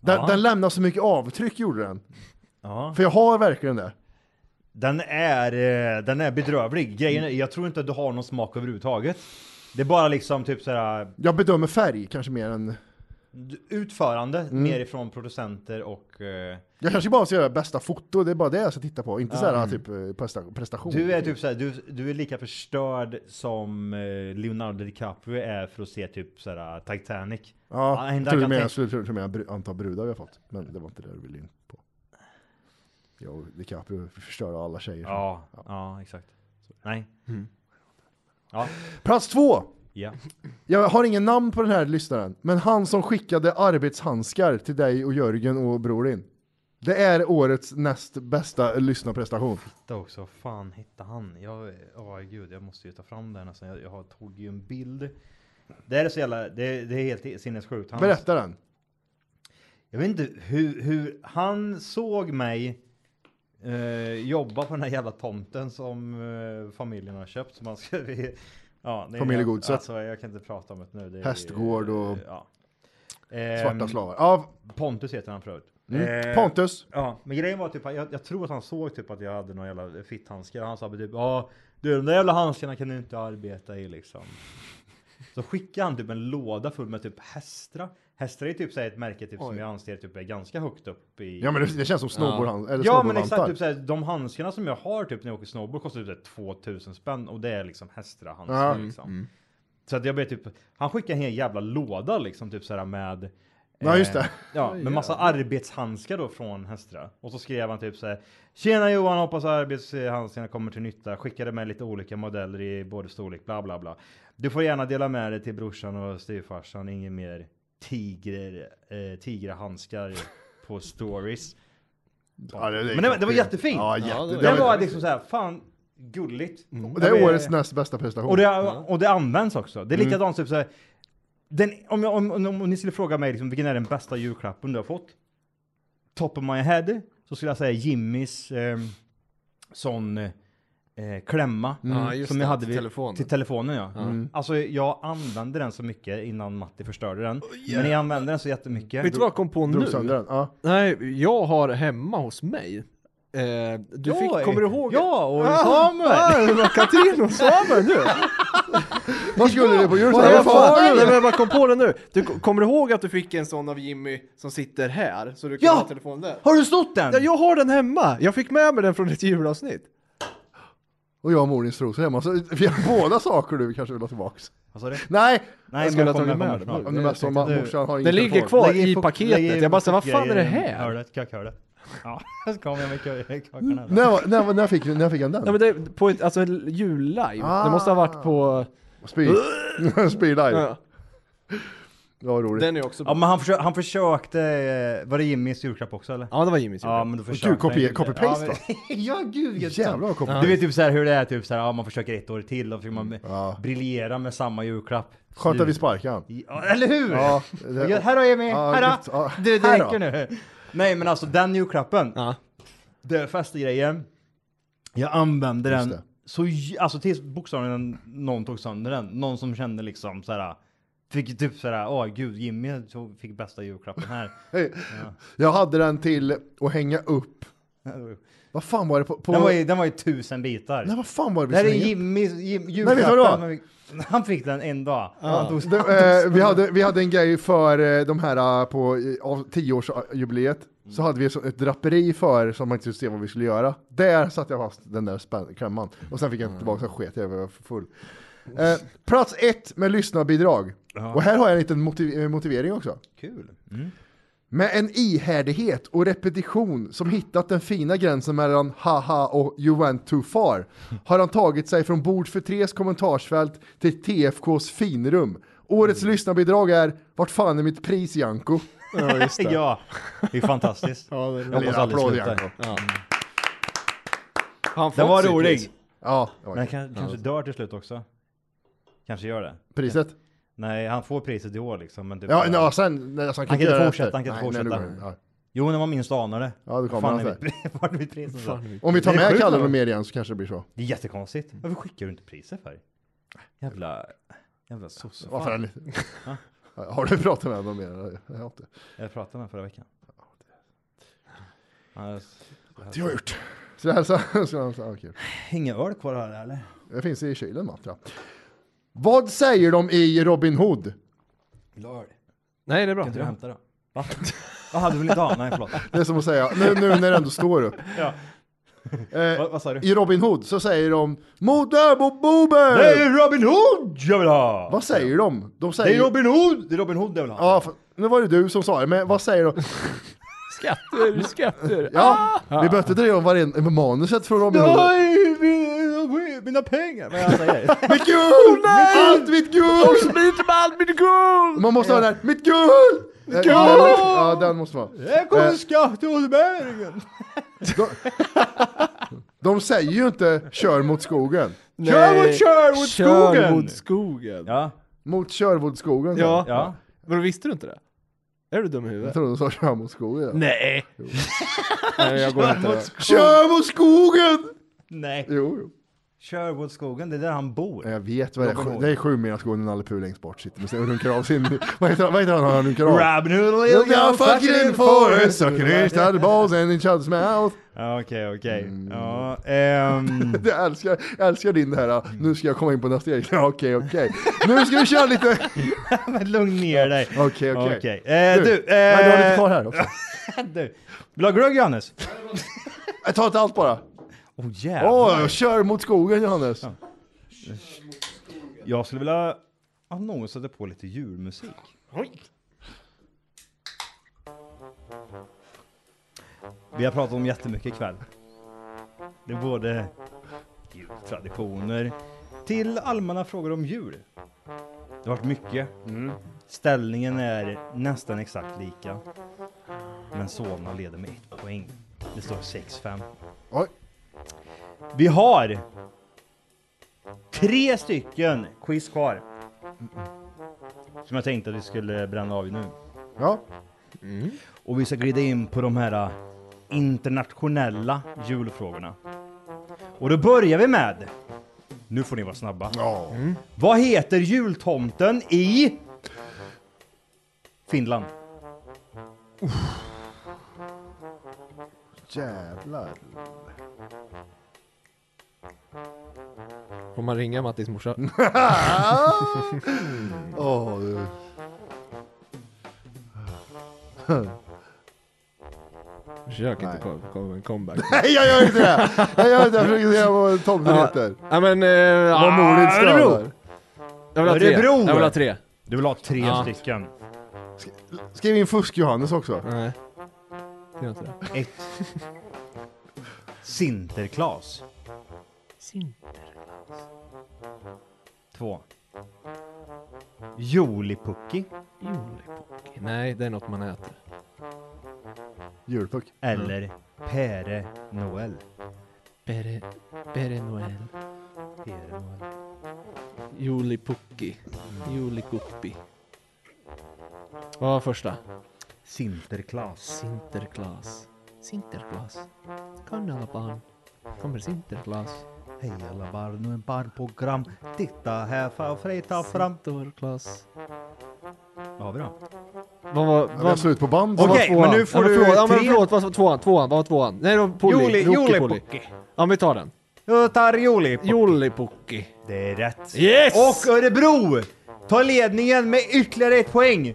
S3: Den,
S2: Ja.
S3: den lämnar så mycket avtryck gjorde den.
S2: Ja.
S3: För jag har verkligen det.
S2: Den är, eh, den är bedrövlig. Grejen är, jag tror inte att du har någon smak överhuvudtaget. Det är bara liksom typ såhär
S3: Jag bedömer färg kanske mer än...
S2: utförande
S3: Mm.
S2: mer ifrån producenter och... eh,
S3: Jag kanske bara ska göra bästa foto, det är bara det jag ska titta på. Inte
S2: Ja.
S3: så här typ eh, presta- prestation.
S2: Du är typ såhär, du, du är lika förstörd som eh, Leonardo DiCaprio är för att se typ såhär Titanic.
S3: Ja,
S2: Han- han
S3: jag tror du
S2: kan
S3: menar- jag
S2: tänka-
S3: skulle tro med bru- antal brudar vi har fått. Men det var inte det du ville in på. Jag och DiCaprio förstör alla tjejer.
S2: Ja, ja, exakt. Nej. Mm. Ja.
S3: Plats två!
S2: Ja.
S3: Jag har ingen namn på den här lyssnaren, men han som skickade arbetshandskar till dig och Jörgen och bror din. Det är årets näst bästa lyssnarprestation.
S2: hitta också. Vad fan hittade han? Jag, åh gud, jag måste ju ta fram den. Alltså, jag, jag har- tog ju en bild. Det är så jävla, det, det är helt sinnessjukt. Han-
S3: Berätta den.
S2: Jag vet inte hur, hur han såg mig eh, jobba på den här jävla tomten som eh, familjen har köpt. Som han ska, ja, det är-
S3: Familjegodset.
S2: Alltså, jag kan inte prata om det nu. Det är-
S3: Hästgård och
S2: ja. Ehm, eh,
S3: svarta slavar. Ja.
S2: Pontus heter han förut.
S3: Mm. Pontus.
S2: Ja, men grejen var typ, jag, jag tror att han såg typ att jag hade några jävla fitthandskar. Han sa typ, ja du de där jävla handskarna kan du inte arbeta i liksom. Så skickade han typ en låda full med typ Hästra. Hästra är typ såhär ett märke typ, som jag anser typ är ganska högt upp i...
S3: Ja, men det- det känns som snowboardhand- eller
S2: Ja men
S3: snowboardvantar.
S2: exakt, typ såhär, de handskarna som jag har typ när jag åker snowboard kostar typ såhär 2000 spänn och det är liksom Hästra handskar
S3: Ja.
S2: liksom. Så att jag blev typ, han skickade en hel jävla låda liksom typ såhär med
S3: Ja, just det.
S2: eh, Ja, med massa arbetshandskar då från Hästra. Och så skrev han typ så här. Tjena Johan, hoppas arbetshandskarna kommer till nytta. Skickade med lite olika modeller i både storlek, bla bla bla. Du får gärna dela med dig till brorsan och styvfarsan. Inget mer tiger, eh, tigerhandskar på stories.
S3: Ja, det- det är
S2: Men det, var- det var
S3: klockrent.
S2: jättefint.
S3: Ja, jätte- det
S2: det
S3: var-
S2: var liksom så här, fan gulligt.
S1: Mm.
S3: Och det är årets näst bästa prestation.
S2: Och det, och det används också. Det är
S3: Mm.
S2: likadant typ så här, den, om, jag, om, om, om ni skulle fråga mig liksom, vilken är den bästa julklappen du har fått? Top of my head så skulle jag säga Jimmys ehm, sån eh, klämma
S1: Mm. Ja, just
S2: som
S1: det,
S2: jag hade
S1: till
S2: vid,
S1: telefonen.
S2: Till telefonen ja.
S1: Mm.
S2: Alltså jag använde den så mycket innan Matti förstörde den.
S1: yeah.
S2: Men jag använde den så jättemycket.
S1: Vet du vad jag kom på
S2: Drog
S1: nu?
S2: sönder den,
S1: Nej, jag har hemma hos mig. Eh, du
S2: Ja,
S1: fick, kommer du ihåg?
S2: ja, och
S1: Ah,
S2: Samuel.
S1: Ah, det var Katrin och Samuel nu!
S3: Vad skulle du på
S1: Vad är
S3: julklapp?
S1: jag far? Nej, men jag bara kom på det nu. Du, kommer du ihåg att du fick en sån av Jimmy som sitter här? Så du kan
S3: Ja!
S1: ha telefonen där?
S2: Har du snott den?
S1: Ja, jag har den hemma! Jag fick med mig den från ett julavsnitt.
S3: Och jag har Morins trosor hemma, så vi har båda saker du kanske vill ha tillbaks.
S2: Vad sa du?
S3: Nej!
S2: Nej,
S3: jag
S2: men
S3: skulle ha
S2: jag
S3: tagit
S2: kommer- jag
S3: med
S2: kommer
S3: den.
S2: snart.
S3: Men
S2: Jag
S3: som
S2: tänkte-
S3: morsan har
S1: Den
S3: ingen
S1: ligger
S3: telefon.
S1: kvar
S2: Lägg
S1: i
S2: fok-
S1: paketet.
S2: lägg i
S1: Jag bara, så vad fan är det
S2: grejen.
S1: här?
S2: Hörlet, kakhörlet. Ja, Mm. så kom jag med kö- kakan här.
S3: När, när, när, fick, när fick han den?
S1: Nej men det, på ett, alltså en jul-live. Det måste ha varit på...
S3: Speed. Speed live.
S1: Ja.
S3: Ja, vad roligt.
S1: Den är också
S2: Ja men han, försö- han försökte, eh, var det Jimmys julklapp också eller?
S1: Ja det var Jimmys
S2: julklapp. Ja men då
S3: Och
S2: försökte
S3: gud,
S2: han
S3: copy-
S2: ju det.
S3: copy-paste,
S2: ja, men- ja gud vilket
S3: Jävlar vad
S2: sant.
S3: copy-paste.
S2: Du vet typ såhär hur det är, typ såhär, ja man försöker ett år till och så vill man briljera med samma julklapp.
S3: Skönt att vi
S2: Slut.
S3: sparkar han.
S2: Ja, eller hur?
S3: Ja,
S2: Och jag- här har Jimmy,
S3: Ja,
S2: här
S3: gud, ja,
S2: då! Du, det
S3: här då.
S2: räcker nu. Nej men alltså den julklappen, det fäste grejen. Jag använde
S3: Just
S2: den så, j- alltså tills bokstavligen någon tog sönder den. Någon som kände liksom såhär, fick typ såhär, åh gud Jimmy tog- fick bästa julklappen här.
S3: Hej. Jag hade den till att hänga upp. Vad fan var det på... på...
S2: Den var, ju, den var ju tusen bitar.
S3: Nej, vad fan var det
S2: Det här är
S3: skulle hänga upp?
S2: Jimmy, Jim,
S3: Nej, vet du vad det var?
S2: julklappen. Han fick den en dag. Han tog-
S3: Det, eh, vi, hade, vi hade en grej för eh, de här eh, på eh, av- 10-årsjubileet.
S2: Mm.
S3: Så hade vi så- ett draperi för som man inte skulle se vad vi skulle göra. Där satte jag fast den där spänn- klämman. Och sen fick
S2: Mm.
S3: jag inte tillbaka, så sket jag i, jag var för full. Eh, plats ett med lyssnarbidrag.
S2: Ja.
S3: Och här har jag en liten motiv- eh, motivering också.
S2: Kul.
S3: Med en ihärdighet och repetition som hittat den fina gränsen mellan haha och you went too far har han tagit sig från bord för tres kommentarsfält till TFKs finrum. Årets lyssnarbidrag är Vart fan är mitt pris Janko?
S2: Ja, just det. Ja, det är fantastiskt.
S3: ja, det är
S2: Jag hoppas
S3: roligt.
S2: aldrig
S3: Applåd,
S2: slutar.
S3: Janko.
S2: Ja.
S1: Han
S2: Den var
S1: sitt
S2: rolig.
S1: pris.
S3: Ja, det var
S2: Men han
S3: kul.
S2: kan,
S3: Ja,
S2: kanske dör till slut också. Kanske gör det.
S3: Priset?
S2: Nej, han får priset i år liksom. Men typ
S3: Ja,
S2: så-
S3: ja sen, nej, alltså,
S2: han, kan inte
S3: göra det
S2: fortsätta.
S3: efter.
S2: Han kan inte
S3: Nej, nej,
S2: fortsätta.
S3: nu går det. Ja.
S2: Jo, när man minst anar det.
S3: Ja, det kommer
S2: Fan,
S3: han
S2: är
S3: så
S2: vi- Vart är vi priset?
S3: Fan, är vi- Om vi tar
S2: Det är
S3: med
S2: sjukt,
S3: Kalle
S2: va?
S3: och mer igen så kanske det blir så.
S2: Det är jättekonstigt. Varför skickar du inte priset för? Jävla... Jävla sosse.
S3: Varför är
S2: Fan.
S3: det-
S2: Ja.
S3: Har du pratat med honom mer? eller? Jag har inte.
S2: Jag pratade med honom förra veckan. Det
S3: Det har jag gjort. Så det här så, så, så ah, kul.
S2: Ingen öl kvar här eller?
S3: Det finns i kylen va? tror jag. Vad säger de i Robin Hood?
S1: Nej, det är bra.
S2: Kan inte du
S1: Ja.
S2: hämta det? Va? Jaha, du vill inte ha? Nej, förlåt.
S3: Det är som att säga, nu, nu när det ändå står upp.
S2: Ja.
S3: Eh,
S2: vad, vad sa du?
S3: I Robin Hood så säger de Mot Öbo Bober!
S2: Det är Robin Hood jag vill ha!
S3: Vad säger de? de säger,
S2: Det är Robin Hood! Det är Robin Hood jag vill ha.
S3: Ja, fa- nu var det du som sa det, men vad säger de?
S1: Skatter, skatter.
S3: Ja, vi behöver inte driva om varenda med manuset från Robin Hood.
S2: Nej, mina, mina pengar! Vad
S1: alltså,
S2: jag säger?
S3: Mitt guld! Allt mitt
S1: De
S3: guld!
S1: smiter med allt mitt guld!
S3: Man måste ha den här, mitt guld! Eh,
S2: guld!
S3: den- Ja, den måste man.
S2: Här
S3: Eh,
S2: kommer skatteåterbäringen!
S3: De säger ju inte kör mot skogen.
S2: Kör mot kör mot
S1: Kör
S2: skogen!
S1: mot skogen.
S2: Ja,
S3: Mot Körvodskogen.
S1: Ja.
S3: sa de.
S2: ja.
S1: Vadå, visste du inte det? Är du dum i
S3: Jag
S1: huvudet?
S3: trodde de sa kör mot skogen.
S1: Nej! Nej, jag går inte
S2: mot
S1: där.
S2: skogen.
S3: Kör mot skogen!
S2: Nej.
S3: Jo, jo.
S2: Kör mot skogen, det är där han bor.
S3: Ja, Jag vet vad det är.
S2: Robin Hood.
S3: Det är sju meter skogen och Nalle Puh längst bort sitter med sig och runkar av sin... Vad heter han? Vad heter han? Han runkar av.
S2: Robin Hood och
S3: Look out fucking forest, I can reach out the balls and each other's mouth.
S2: Ja, Okej, okej. Ja,
S3: Mm.
S2: ehm...
S3: Jag älskar, jag älskar din det här, nu ska jag komma in på nästa grej. Ja, Okej, okej. Nu ska vi köra lite...
S2: Men lugn ner dig.
S3: Okej, okej.
S2: Okej. Eh, du,
S3: Nej, du har lite
S2: eh,
S3: kvar här också.
S2: du. Vill du ha glögg Johannes?
S3: Jag tar inte allt bara.
S2: Åh jävlar.
S3: Åh, kör mot skogen Johannes.
S2: Jag skulle vilja att någon sätter på lite julmusik. Vi har pratat om jättemycket ikväll. Det är både jultraditioner till allmänna frågor om jul. Det har varit mycket. Ställningen är nästan exakt lika. Men Solna leder med ett poäng. Det står 6-5.
S3: Oj.
S2: Vi har tre stycken quiz kvar. Som jag tänkte att vi skulle bränna av nu.
S3: Ja,
S2: Och vi ska glida in på de här äh, internationella julfrågorna. Och då börjar vi med... Nu får ni vara snabba.
S3: Ja.
S2: Vad heter jultomten i... Finland?
S3: jävlar.
S1: Får man ringa Mattis morsa?
S3: Åh, du.
S1: Försök inte komma kom, en comeback.
S3: Nej, jag gör inte det! Jag gör inte det, jag försöker se vad tomten heter.
S1: Ja men... Eh,
S3: Vad modigt
S1: ah,
S3: stöder.
S1: Jag vill ha tre.
S2: Örebro.
S1: Jag vill ha tre.
S2: Du vill ha tre
S1: Ja.
S2: stycken.
S3: Skriv in fusk-Johannes också.
S1: Nej. Det gör inte det.
S2: Ett. Sinterklas. Två. Jolipucki
S1: Nej, det är något man äter.
S3: Julpuck.
S2: eller Pere Noel.
S1: Bere... Bere Noel.
S2: Pere Noel.
S1: Julipukki. Julikuppi. Vad var första?
S2: Sinterklas.
S1: Sinterklaas. Sinterklaas. Kan alla barn. Kommer Sinterklaas.
S2: Hej alla barn, nu är barnprogram. Titta här för frita fram.
S1: Sinterklaas.
S2: Vad har vi då?
S1: Vad var...
S3: Vi har
S1: Vad...
S3: slut på band.
S2: Okej,
S3: Vad var
S2: men
S3: tvåan?
S2: nu får du
S1: förlåt, ja, men
S2: tre.
S1: förlåt, vad var tvåan? Tvåan, vad var tvåan? Nej, det var Polly.
S2: Juli-
S1: Rocky
S2: Julipukki.
S1: Polly. Ja, vi tar den.
S2: Jag tar Jolipukki.
S1: Jolipukki.
S2: Det är rätt.
S1: Yes!
S2: Och Örebro tar ledningen med ytterligare ett poäng.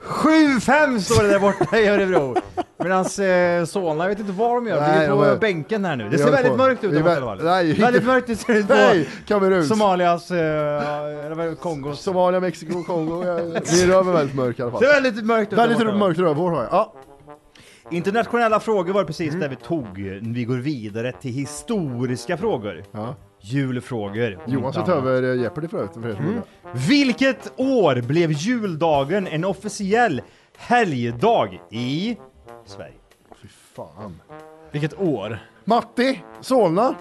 S2: 7-5 står det där borta i Örebro. Medan eh, Solna, jag vet inte vad de gör.
S3: Nej,
S2: Nej, ligger på
S3: de är-
S2: bänken här nu.
S3: vi
S2: Det ser
S3: håller
S2: väldigt
S3: på.
S2: mörkt ut
S3: Vi
S2: där borta i
S3: vä-
S2: alla fall.
S3: Nej, inte-
S2: Väldigt mörkt ut ser det ut
S3: Nej,
S2: på
S3: Kamerun.
S2: Somalias, eh, eller vad är det, Kongos. Det
S3: Somalia, Mexiko, Kongo. ja, ja. Min röv är väldigt mörk i alla fall.
S2: ser väldigt mörkt ut där
S3: Väldigt
S2: borta.
S3: mörkt rövhår har jag. Ja,
S2: Internationella frågor var precis
S3: Mm.
S2: där vi tog. Vi går vidare till historiska frågor.
S3: Ja.
S2: Julfrågor. om
S3: Johan
S2: inte
S3: ska ta
S2: annat.
S3: över eh, Jeopardy för övrigt. För er
S2: Mm.
S3: som undrar.
S2: Vilket år blev juldagen en officiell helgdag i Sverige?
S3: Fy fan.
S1: Vilket år?
S3: Matti, Solna.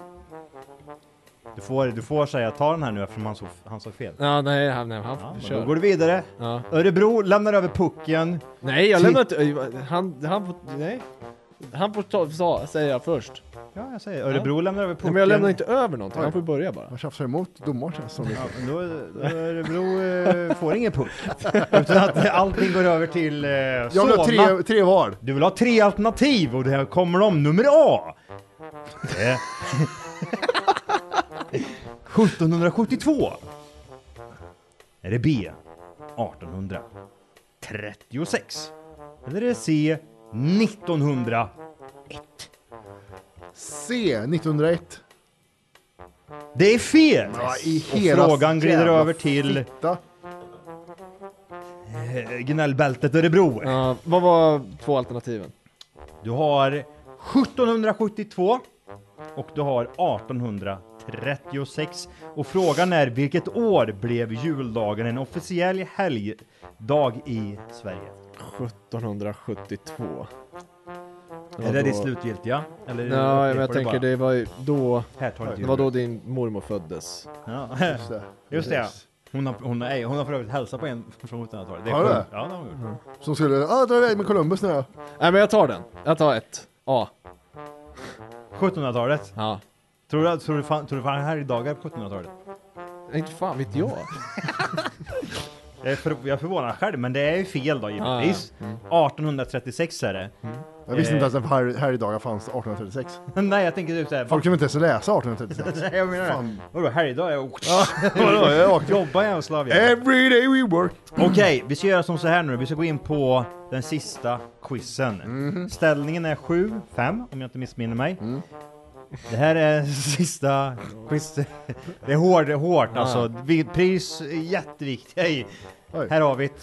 S2: Du får, du får säga ta den här nu eftersom han såg, han såg fel.
S1: Ja, nej, han, nej, han
S2: men
S1: kör.
S2: Då går du vidare.
S1: Ja.
S2: Örebro lämnar över pucken.
S1: Nej, jag
S2: till-
S1: lämnar inte... Han, han får... Nej. Han får ta, sa, säga först.
S2: Ja, jag säger Örebro lämnar över
S1: Nej,
S2: pucken.
S1: men jag lämnar inte över någonting. Han får ju börja bara.
S3: Man tjafsar emot domaren känns som.
S2: Ja, men då, då Örebro eh, får ingen puck. Utan att allting går över till eh, Jag
S3: vill ha tre- tre val.
S2: Du vill ha tre alternativ och det här kommer de. Nummer A. Eh, 1772. Är det B? 1836. Eller är det C? 1900.
S3: C, 1901.
S2: Det är fel!
S3: Ja, i
S2: och
S3: hela
S2: frågan glider
S3: jävla
S2: över till
S3: fitta.
S2: eh, gnällbältet Örebro.
S1: Ja, vad var två alternativen?
S2: Du har 1772 och du har 1836. Och frågan är vilket år blev juldagen en officiell helgdag i Sverige?
S1: 1772.
S2: Är det ditt slutgiltiga? Eller
S1: Nej, men
S2: upprepar
S1: jag
S2: du
S1: tänker
S2: bara?
S1: det var ju då...
S2: Här tar du
S1: Det var då din mormor föddes.
S2: Ja, just det. Just det. Hon har, hon, nej, hon har för övrigt hälsat på en från 1700-talet. Det är
S3: Har du
S2: sjukt.
S3: det?
S2: Ja, det har hon gjort.
S3: Som skulle, ah dra iväg med Columbus nu då.
S1: Nej, men jag tar den. Jag tar ett. A.
S2: 1700-talet?
S1: Ja.
S2: Tror du, tror du, fan, tror du fan här i dagar på 1700-talet?
S1: Inte fan vet jag.
S2: Jag är, för, jag är förvånad själv, men det är ju fel då givetvis.
S3: Ja, ja. Mm.
S2: 1836 är det.
S3: Jag visste inte
S2: Eh,
S3: ens att här, här i dagar fanns 1836.
S2: Nej, jag tänker typ såhär...
S3: Folk kunde inte ens läsa 1836.
S2: Nej, jag menar det.
S3: Fan.
S2: Vadå, helgdag? Jag...
S3: Ja,
S2: Vadå,
S3: jag
S2: jag
S3: åkte.
S2: jobbar jag en slav
S3: Every day we work.
S2: Okej, vi ska göra som så här nu Vi ska gå in på den sista quizen.
S3: Mhm.
S2: Ställningen är 7-5 om jag inte missminner mig.
S3: Mm.
S2: Det här är sista quiz. Det är hårt, det är hårt alltså. Vi- Pris är jätteviktiga i.
S3: Oj.
S2: Här har vi det.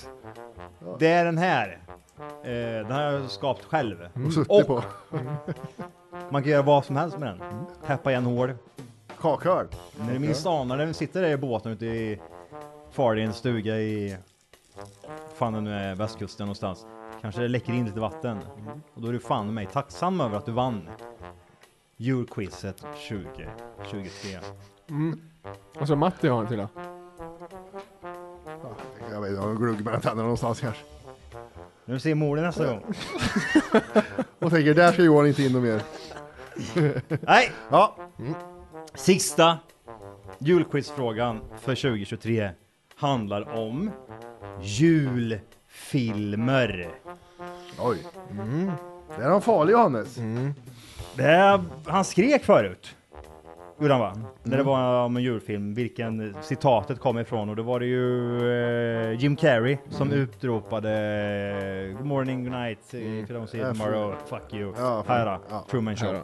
S2: Det är den här. Eh, Den har jag skapat själv.
S3: Och suttit på.
S2: man kan göra vad som helst med den.
S3: Mm.
S2: Täppa igen hål.
S3: Kakhörd.
S2: När du minst anar den sitter där i båten ute i Fardins stuga i... Fan det nu är västkusten någonstans. Kanske det läcker in lite vatten. Och då är du fan mig tacksam över att du vann. Julquizet 2023.
S1: Och så Matti har en till då.
S3: Jag vet, jag har en glugg mellan tänderna någonstans kanske.
S2: Nu ser Morden nästa gång.
S3: Och tänker, där ska Johan inte in och mer.
S2: Nej!
S3: Ja.
S2: Sista julquizfrågan för 2023 handlar om julfilmer.
S3: Oj.
S2: Mm.
S3: Det är han farlig Johannes.
S2: Det här, han skrek förut. Gjorde han va? När det
S3: Mm.
S2: var om en julfilm, vilken citatet kom ifrån. Och då var det ju eh, Jim Carrey som
S3: Mm.
S2: utropade eh, Good morning, good night, mm. if you don't see it
S3: Ja,
S2: tomorrow, fuck you.
S3: Ja, fan.
S2: här då,
S3: Ja.
S2: Truman Show.
S3: Här då.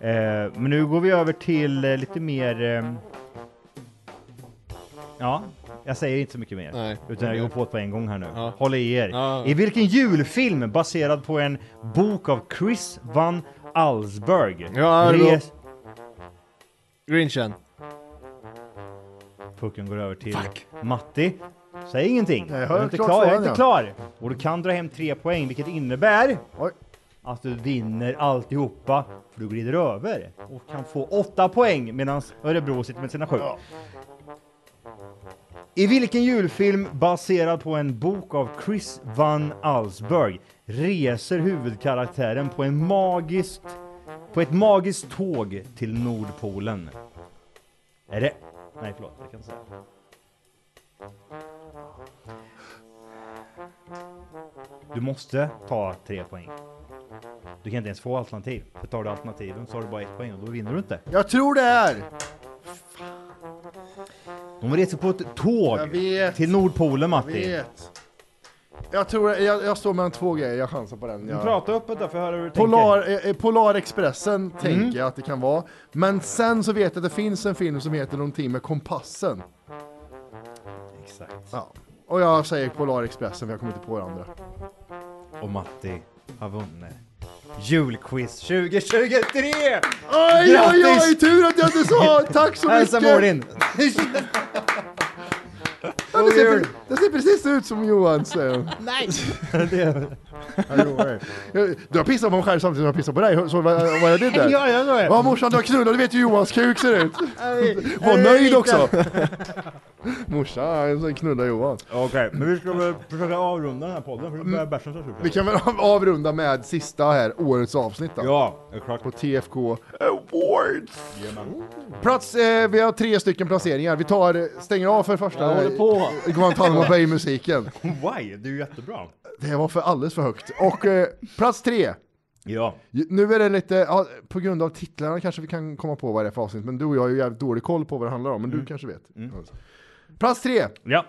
S3: Mm.
S2: Eh, men nu går vi över till eh, lite mer... ehm, ja, jag säger inte så mycket mer.
S1: Nej.
S2: Utan jag går på det på en gång här nu.
S1: Ja.
S2: Håll i er.
S1: Ja.
S2: I vilken julfilm baserad på en bok av Chris Van Allsburg?
S1: Ja, det är
S2: res-
S1: Grinchen.
S2: Pucken går över till Matti. Säg ingenting.
S3: Nej,
S2: jag
S3: jag har
S2: är inte
S3: klart
S2: klar. Jag är
S3: svarat,
S2: inte
S3: ja.
S2: klar. Och du kan dra hem tre poäng, vilket innebär
S3: Oj.
S2: att du vinner alltihopa. För du glider över och kan få åtta poäng medan Örebro sitter med sina sju. I vilken julfilm baserad på en bok av Chris Van Allsburg reser huvudkaraktären på, en magiskt, på ett magiskt tåg till Nordpolen? Är det... Nej, förlåt. Jag kan inte säga. Du måste ta tre poäng. Du kan inte ens få alternativ. För tar du alternativen så har du bara ett poäng och då vinner du inte.
S3: Jag tror det är.
S2: De reser på ett tåg
S3: Jag vet.
S2: till Nordpolen,
S3: Jag
S2: Matti.
S3: vet. Jag tror, jag, jag står mellan två grejer, jag chansar på den.
S2: Men
S3: Jag...
S2: Prata öppet där för jag höra hur du
S3: Polar, eh, eh, Polarexpressen
S2: Mm.
S3: tänker jag att det kan vara. Men sen så vet jag att det finns en film som heter någonting med kompassen.
S2: tänker. Exakt.
S3: Ja. Och jag säger Polarexpressen för jag kommer inte på det andra.
S2: Och Matti har vunnit julquiz 2023!
S3: Oj, oj, oj,
S2: Grattis!
S3: tur att jag inte sa! Tack så mycket!
S2: Hälsa Morin!
S3: Ja, det, ser, pre- det ser precis ut som Johans. eh.
S10: Nice!
S3: Jag- Du har pissat på mig själv samtidigt som jag pissar på dig. Så vad, vad är det där?
S10: Ja, jag tror det.
S3: Ja, morsan du har knullat, du vet ju hur Johans kuk ser ut. Var
S10: är
S3: nöjd
S10: lite.
S3: också. Morsan knullar Johan.
S2: Okej, men vi ska väl försöka avrunda den här podden för det börjar bärsen ta slut.
S3: Vi kan väl av- avrunda med sista här, årets avsnitt då.
S2: Ja, exakt.
S3: På TFK Awards. Plats, eh, vi har tre stycken placeringar. Vi tar, stänger av för första.
S2: Jag håller på.
S3: eh, Guantanamo Bay-musiken.
S2: Why? Det är ju jättebra.
S3: Det var för alldeles för högt. Och eh, plats tre.
S2: Ja.
S3: Nu är det lite, ja, på grund av titlarna kanske vi kan komma på vad det är för avsnitt, men du och jag har ju jävligt dålig koll på vad det handlar om, men
S1: Mm.
S3: du kanske vet. Plats tre.
S2: Ja.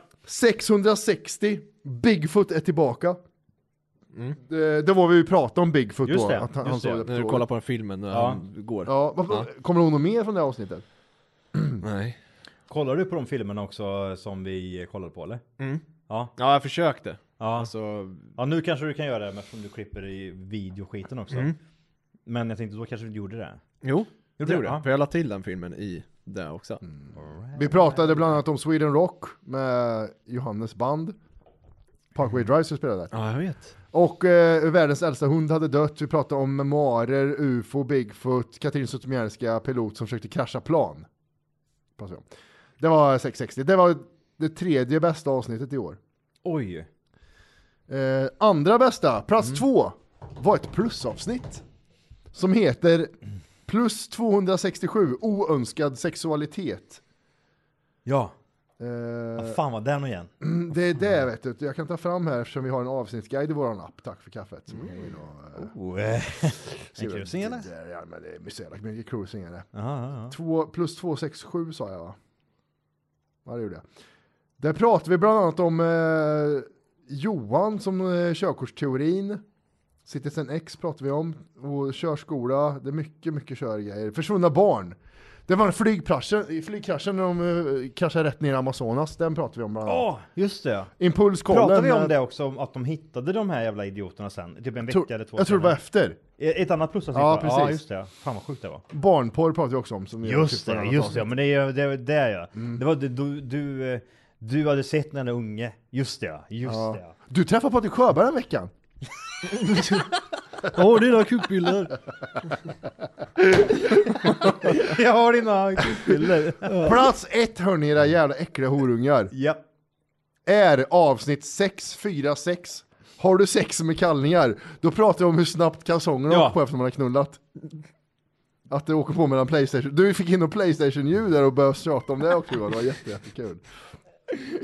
S3: 660. Bigfoot är tillbaka. Eh, Det, det var vi ju pratade om Bigfoot
S1: Mm. Just
S3: då.
S1: det,
S3: att han,
S1: just
S3: han
S1: det. När du kollar på den filmen när
S3: Ja.
S1: han går. Mm.
S3: Ja, vad-
S1: Ja.
S3: Kommer du ihåg något mer från det här avsnittet?
S1: Nej.
S2: Kollar du på de filmerna också som vi kollade på eller?
S1: Mm.
S2: Ja.
S1: Ja, jag försökte.
S2: Ja.
S1: Alltså...
S2: ja, nu kanske du kan göra det eftersom du klipper i videoskiten också.
S1: Mm.
S2: Men jag tänkte då kanske du gjorde det.
S1: Jo,
S2: Gjorde
S1: det Mm. gjorde
S2: det?
S1: jag. För jag la till den filmen i det också.
S3: Vi pratade bland annat om Sweden Rock med Johannes band. Parkway Drive som spelade där.
S1: Ja, jag vet.
S3: Och eh, världens äldsta hund hade dött. Vi pratade om memoarer, ufo, Bigfoot, Katrin Zytomierska, pilot som försökte krascha plan. Pratade vi om. Det var 660. Det var det tredje bästa avsnittet i år.
S2: Oj.
S3: Eh, andra bästa, plats
S2: Mm.
S3: två, var ett plusavsnitt. Som heter Plus 267, oönskad sexualitet.
S2: Ja.
S3: Eh,
S2: Fan vad den igen.
S3: Mm, Det är det vet du. Jag kan ta fram här eftersom vi har en avsnittsguide i våran app. Tack för kaffet. Mm.
S2: Oh, eh. En krusning, eller?
S3: Ja, men det är mycket mycket cruising är det.
S2: Aha, aha.
S3: Två, plus 267 sa jag va? Ja det gjorde jag. Där pratade vi bland annat om eh, Johan som eh, körkortsteorin. Citizen X pratade vi om. Och körskola. Det är mycket, mycket körgrejer. Försvunna barn. Det var en flygkraschen, flygkraschen när de eh, kraschade rätt ner i Amazonas. Den pratade vi om bland annat.
S2: Ja, just det.
S3: Impulskollen.
S2: Pratade vi om
S3: men-
S2: det också, om att de hittade de här jävla idioterna sen? Typ en vecka
S3: Tror-
S2: eller två
S3: jag tror det var efter.
S2: E- Ett annat plusavsnitt
S3: Ja,
S2: va? Ja,
S3: precis.
S2: just det. Fan vad sjukt det var.
S3: Barnporr pratade vi också om. Som vi har tyckt
S2: Just
S3: var Mm.
S2: det,
S3: annat
S2: just det.
S3: avsnitt.
S2: Men det är det, är- det är jag. Det var det, du, du, eh, du hade sett när den unge. Just det, just
S3: Ja.
S2: det.
S3: Du träffade Patrik Sjöberg den veckan.
S2: Jag har dina kukbilder. jag har dina kukbilder.
S3: Plats ett hörni era jävla äckliga horungar.
S2: Japp.
S3: Är avsnitt 646. Har du sex med kallningar, då pratar vi om hur snabbt kalsongerna
S2: Ja.
S3: åker på efter man har knullat. Att det åker på mellan Playstation. Du fick in något Playstation-ljud där och började tjata om det också. Johan. Det var jätte, jättekul.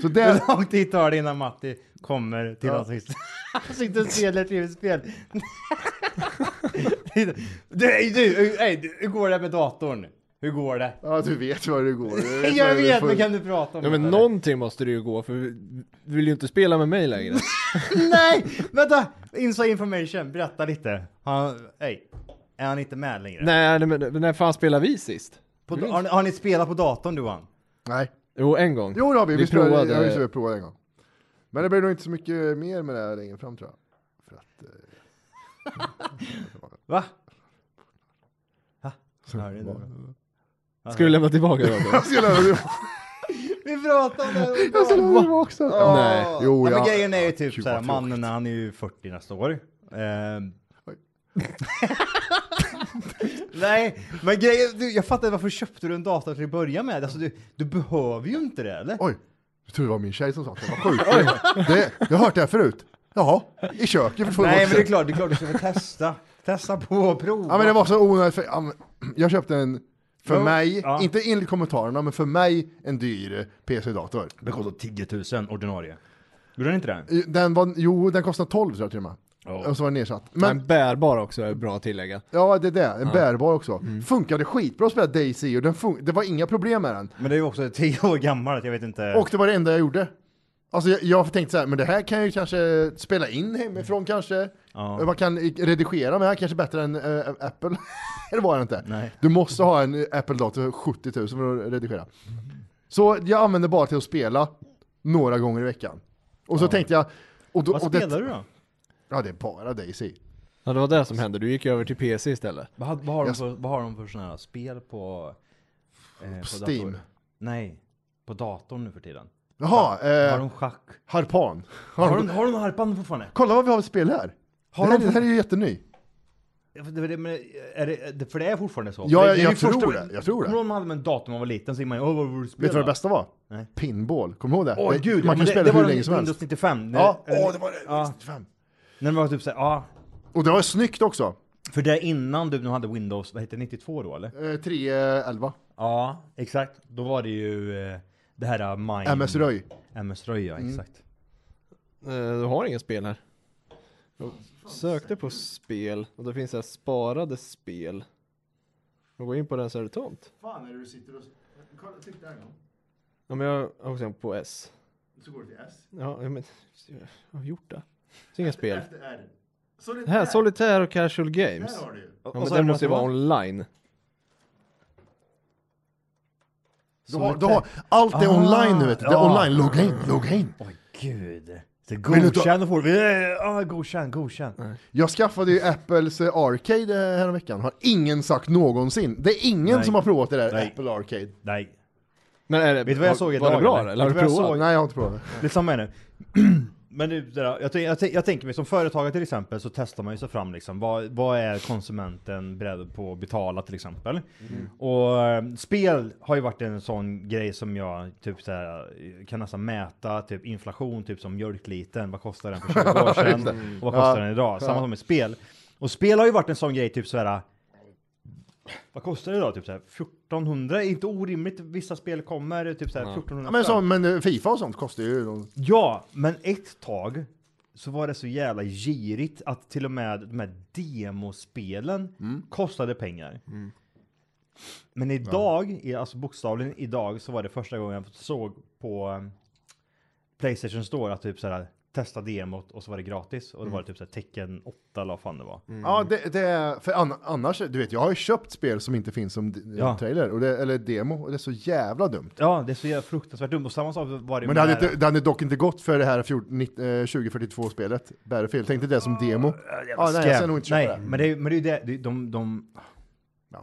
S3: Så det...
S2: Hur lång tid tar det innan Matti kommer till
S3: Ja.
S2: hans sista? Han sitter och spelar ett tv-spel. du, du, ey, du, hur går det med datorn? Hur går det?
S3: Ja, du vet vad det går.
S2: Jag vet, men kan du prata om
S1: Ja,
S2: det?
S1: men någonting måste det ju gå för vi du vill ju inte spela med mig längre.
S2: Nej! Vänta! Inside information, berätta lite. Han, ey, är han inte med längre?
S1: nej, nej, men när fan spelade vi sist?
S2: På, har, ni, har ni spelat på datorn du och han?
S3: Nej.
S1: Jo, en gång.
S3: Jo, det har vi. Vi, spelade-
S1: provade.
S3: Ja, just det, vi provade en gång. Men det blir nog inte så mycket mer med det här längre fram tror jag. eh,
S2: Va?
S1: Ska vi lämna tillbaka då?
S3: Jag ska lämna tillbaka.
S2: Vi pratade om det.
S3: Jag ska lämna tillbaka också.
S2: Ja.
S3: Nej. Jo,
S2: ja, men
S3: jag-
S2: grejen är ju typ
S3: Gud,
S2: såhär,
S3: vad
S2: mannen han är ju 40 nästa år. Ehm. Nej, men grejen, du, jag fattar varför köpte du en dator till att börja med? Alltså du, du behöver ju inte det eller?
S3: Oj, jag tror det var min tjej som sa att jag var sjuk. det, jag har hört det här förut. Jaha, i köket för två
S2: Nej men
S3: månader
S2: det är
S3: sedan.
S2: klart, det är klart du ska få testa. Testa på och prova.
S3: Ja men det var så onödigt, för, ja, men, jag köpte en, för
S2: Ja.
S3: mig,
S2: Ja.
S3: inte enligt kommentarerna, men för mig en dyr PC-dator.
S2: Det kostade 10 000 ordinarie. Gjorde den inte det?
S3: Den var, jo den kostade 12 tror jag till och med. Och så var den nedsatt. Men
S1: Men bärbar också är bra att tillägga.
S3: ja det är det, en
S1: Ja. Mm.
S3: bärbar också. Funkade skitbra att spela Daisy och den fun- det var inga problem med den.
S2: Men det är ju också 10 år gammalt, jag vet inte.
S3: Och det var det enda jag gjorde. Alltså jag, jag tänkte så här, men det här kan jag ju kanske spela in hemifrån kanske.
S2: Mm. Ja.
S3: Man kan redigera med det här kanske bättre än eh, Apple. Eller var det inte? Du måste ha en Apple-dator för 70 000 för att redigera.
S2: Mm.
S3: Så jag använde bara till att spela några gånger i veckan. Och så
S2: Ja.
S3: tänkte jag... Och
S2: Vad spelar du då?
S3: Ja, det är bara Daisy.
S1: Ja, det var det som hände. Du gick över till PC istället.
S2: Vad, har- vad, har, de
S3: Jag-
S2: för, vad har de för sådana här spel på... eh, på
S3: Steam.
S2: Nej, på datorn nu för tiden.
S3: Jaha, eh,
S2: Har de schack?
S3: Harpan.
S2: Har de, har de harpan fortfarande?
S3: Kolla vad vi har för spel här.
S2: Har
S3: det, här
S2: de-
S3: det här är ju jätteny.
S2: Ja, För det, men är det, för det är fortfarande så?
S3: Ja,
S2: För
S3: jag-
S2: det är
S3: jag
S2: ju
S3: tror det, jag tror
S2: Kommer
S3: det.
S2: du ihåg när man hade en dator när man var liten? Så gick man ju, åh vad vill du spela?
S3: Vet du vad det bästa var?
S2: Nej.
S3: Pinball, kommer du ihåg det?
S2: Åh
S3: det,
S2: gud,
S3: man
S2: ja, men
S3: kan
S2: det,
S3: spela
S2: det
S3: hur
S2: var
S3: länge som
S2: Windows
S3: helst.
S2: 95.
S3: Ja,
S2: eller-
S3: åh, det var det, Windows 95.
S2: När man var typ såhär, ja.
S3: Och det var snyggt också.
S2: För det innan du nu hade Windows, vad hette det, 92 då eller?
S3: Eh, 311.
S2: Ja, exakt. Då var det ju eh, det här eh, Mime...
S3: MS-röj.
S2: MS-röj, ja
S1: Mm.
S2: exakt.
S1: Eh, Du har inget spel här. Jag sökte på spel och det finns här sparade spel. Och går in på den så är det tomt.
S3: Fan är det du sitter och... Kolla, tryck där en gång.
S1: Ja men jag har också en på S.
S3: Så går det till S.
S1: Ja ja, men jag har gjort det. Så inga spel.
S3: Efter R. Så det
S1: Här, Solitaire och Casual Games.
S3: Där har du ju.
S1: Ja,
S3: Och-
S1: men
S3: och så
S1: den
S3: är det
S1: måste ju
S3: något
S1: vara online.
S3: Du har, du har, allt är
S2: Ah,
S3: online nu vet du. Det är
S2: ja.
S3: online, logga in, logga in.
S2: Oj gud. Så
S3: Vill du ta-
S2: godkänn får vi. Ja, godkänn, godkänn.
S3: Jag skaffade ju Apples eh, Arcade eh, häromveckan. Har ingen sagt någonsin. Det är ingen
S2: Nej.
S3: som har provat det där
S2: Nej.
S3: Apple Arcade.
S2: Nej.
S1: Men är det,
S2: Vet du vad jag såg idag?
S1: Var det bra
S2: eller?
S1: eller? Har du
S2: Vet du vad jag
S1: provat?
S2: såg?
S3: Nej, jag har inte provat det.
S2: Lite samma är det. Men nu, det där, jag, tänk- jag, tänk- jag tänker mig som företagare till exempel så testar man ju sig fram liksom. Vad, vad är konsumenten beredd på att betala till exempel?
S3: Mm.
S2: Och eh, spel har ju varit en sån grej som jag typ så här, kan nästan mäta typ inflation, typ som mjölkliten. Vad kostade den för 20 år
S3: Just
S2: sedan?
S3: det.
S2: Och vad kostar
S3: Ja.
S2: den idag? Samma
S3: Ja.
S2: som med spel. Och spel har ju varit en sån grej typ så här. Vad kostar det idag? Typ så här 1400? Inte orimligt. Vissa spel kommer typ så här 1400.
S3: Ja, men,
S2: spänn.
S3: så, men eh, Fifa och sånt kostar ju... någon-
S2: Ja, men ett tag så var det så jävla girigt att till och med de här demospelen
S3: Mm.
S2: kostade pengar. Men idag, i- alltså bokstavligen idag, så var det första gången jag såg på um, Playstation Store att typ så här testa demot och så var det gratis och det
S3: Mm.
S2: var typ så här tecken 8 eller vad fan det var.
S3: Ja, det, det är... För an, annars, du vet, jag har ju köpt spel som inte finns som d-
S2: Ja.
S3: trailer, och det, eller demo, och det är så jävla dumt.
S2: Ja, det är så jävla fruktansvärt dumt och samma sak var det
S3: Men det
S2: med
S3: hade,
S2: det här-
S3: inte, det hade dock inte gått för det här eh, 14, 2042-spelet, Battlefield. Tänkte det som demo.
S2: Jävla
S3: Ah, nej, jag
S2: scam.
S3: ska nog inte köpa
S2: nej,
S3: det.
S2: men det, är- men det är ju det, det de, de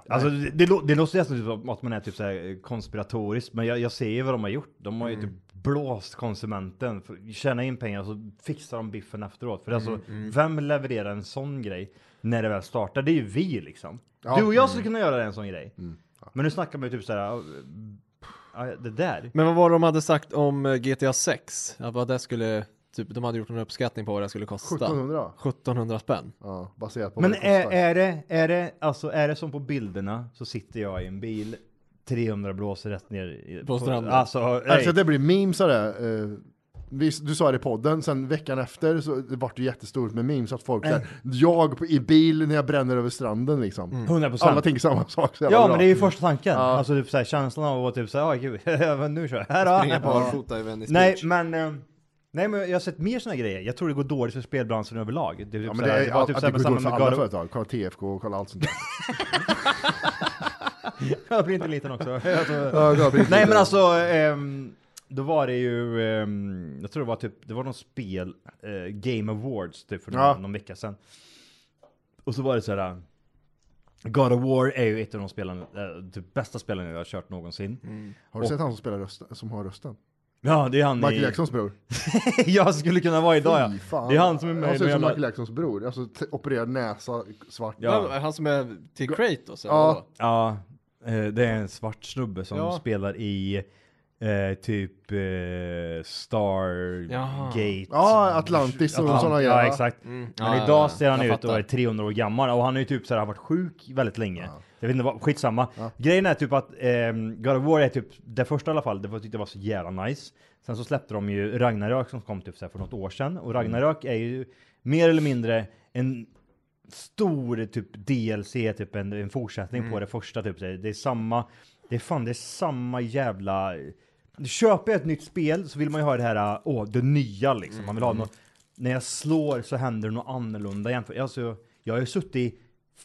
S2: Alltså det, det, lå- det låter nästan typ som att man är typ så här konspiratoriskt, men jag, jag ser ju vad de har gjort. De har ju
S3: Mm.
S2: typ blåst konsumenten, för, tjäna in pengar och så fixar de biffen efteråt. För
S3: Mm,
S2: alltså, vem levererar en sån grej när det väl startar? Det är ju vi liksom.
S3: Ja. Mm.
S2: Du och jag skulle kunna göra en sån grej. Men nu snackar man ju typ så här, ja, det där.
S1: Men vad var det de hade sagt om eh, GTA 6? Att vad det skulle, typ, de hade gjort en uppskattning på vad det skulle kosta.
S3: 1700.
S1: 1700 spänn.
S3: Ja, baserat på
S2: Men eh,
S3: vad det
S2: är,
S3: kostar.
S2: är, det, är, det, alltså, är det som på bilderna så sitter jag i en bil, 300 blåser rätt ner i-
S1: På stranden.
S2: Alltså,
S3: Alltså
S2: nej.
S3: det blir memes av det. eh, vi- Du sa det i podden, sen veckan efter så det vart det jättestort med memes att folk
S2: Mm.
S3: såhär, jag på, i bil när jag bränner över stranden liksom.
S2: 100%.
S3: Alla tänker samma sak. så jävla
S2: Ja
S3: bra.
S2: men det är ju första tanken. Alltså typ såhär känslan av att typ såhär, ja gud, men nu kör jag. Här då.
S1: Springa
S2: Ja.
S1: barfota i Venice
S2: Nej
S1: Beach.
S2: men, eh, nej men jag har sett mer såna grejer. Jag tror det går dåligt för spelbranschen överlag. Det är typ
S3: Ja, men det
S2: såhär,
S3: är
S2: var
S3: att,
S2: typ
S3: att
S2: såhär
S3: det
S2: med
S3: går
S2: samma
S3: dåligt för
S2: med
S3: alla
S2: God of-
S3: företag. Kolla TFK och kolla allt sånt där.
S2: Jag blir inte liten också. Jag tror-
S3: jag blir inte
S2: nej
S3: liten.
S2: men alltså, ehm, då var det ju, ehm, jag tror det var typ, det var någon spel, eh, Game Awards typ för
S3: Ja.
S2: någon, någon vecka sedan. Och så var det såhär, God of War är ju ett av de spelen, eh, typ bästa spelen jag har kört någonsin.
S3: Har du sett han som, spelar rösten, som har rösten?
S2: Ja, det är han
S3: Michael
S2: i...
S3: Jacksons bror.
S2: jag skulle kunna vara idag ja.
S3: Fy fan.
S2: Det är han som är med
S3: Han
S2: i
S3: ser
S2: någon
S3: ut som
S2: jävla-
S3: Michael Jacksons bror. Alltså t- opererad näsa, svart.
S2: Ja.
S1: Han som är till Kratos? eller
S3: Ja.
S1: vadå?
S2: Ja, eh, det är en svart snubbe som
S1: Ja.
S2: spelar i eh, typ eh,
S1: Jaha.
S2: Stargate.
S3: Ja, Atlantis och
S2: Atlant-
S3: sådana
S2: Ja,
S3: Alltså, grejer.
S2: exakt.
S1: Mm. Ja,
S2: Men
S1: ja,
S2: idag
S1: ja.
S2: ser han
S1: Jag
S2: ut
S1: fattar.
S2: och är 300 år gammal och han är ju typ så här, har varit sjuk väldigt länge. Jag vet inte vad, skitsamma. Grejen är typ att ehm, God of War är typ det första i alla fall, det var, tyckte jag var så jävla nice. Sen så släppte de ju Ragnarök som kom typ så här för något år sedan och Ragnarök är ju mer eller mindre en stor typ DLC, typ en, en fortsättning på det första typ. Det det är samma, det är fan det är samma jävla... Köper jag ett nytt spel så vill man ju ha det här, åh, det nya liksom. Man vill ha något, när jag slår så händer det något annorlunda jämfört. Alltså, jag har ju suttit i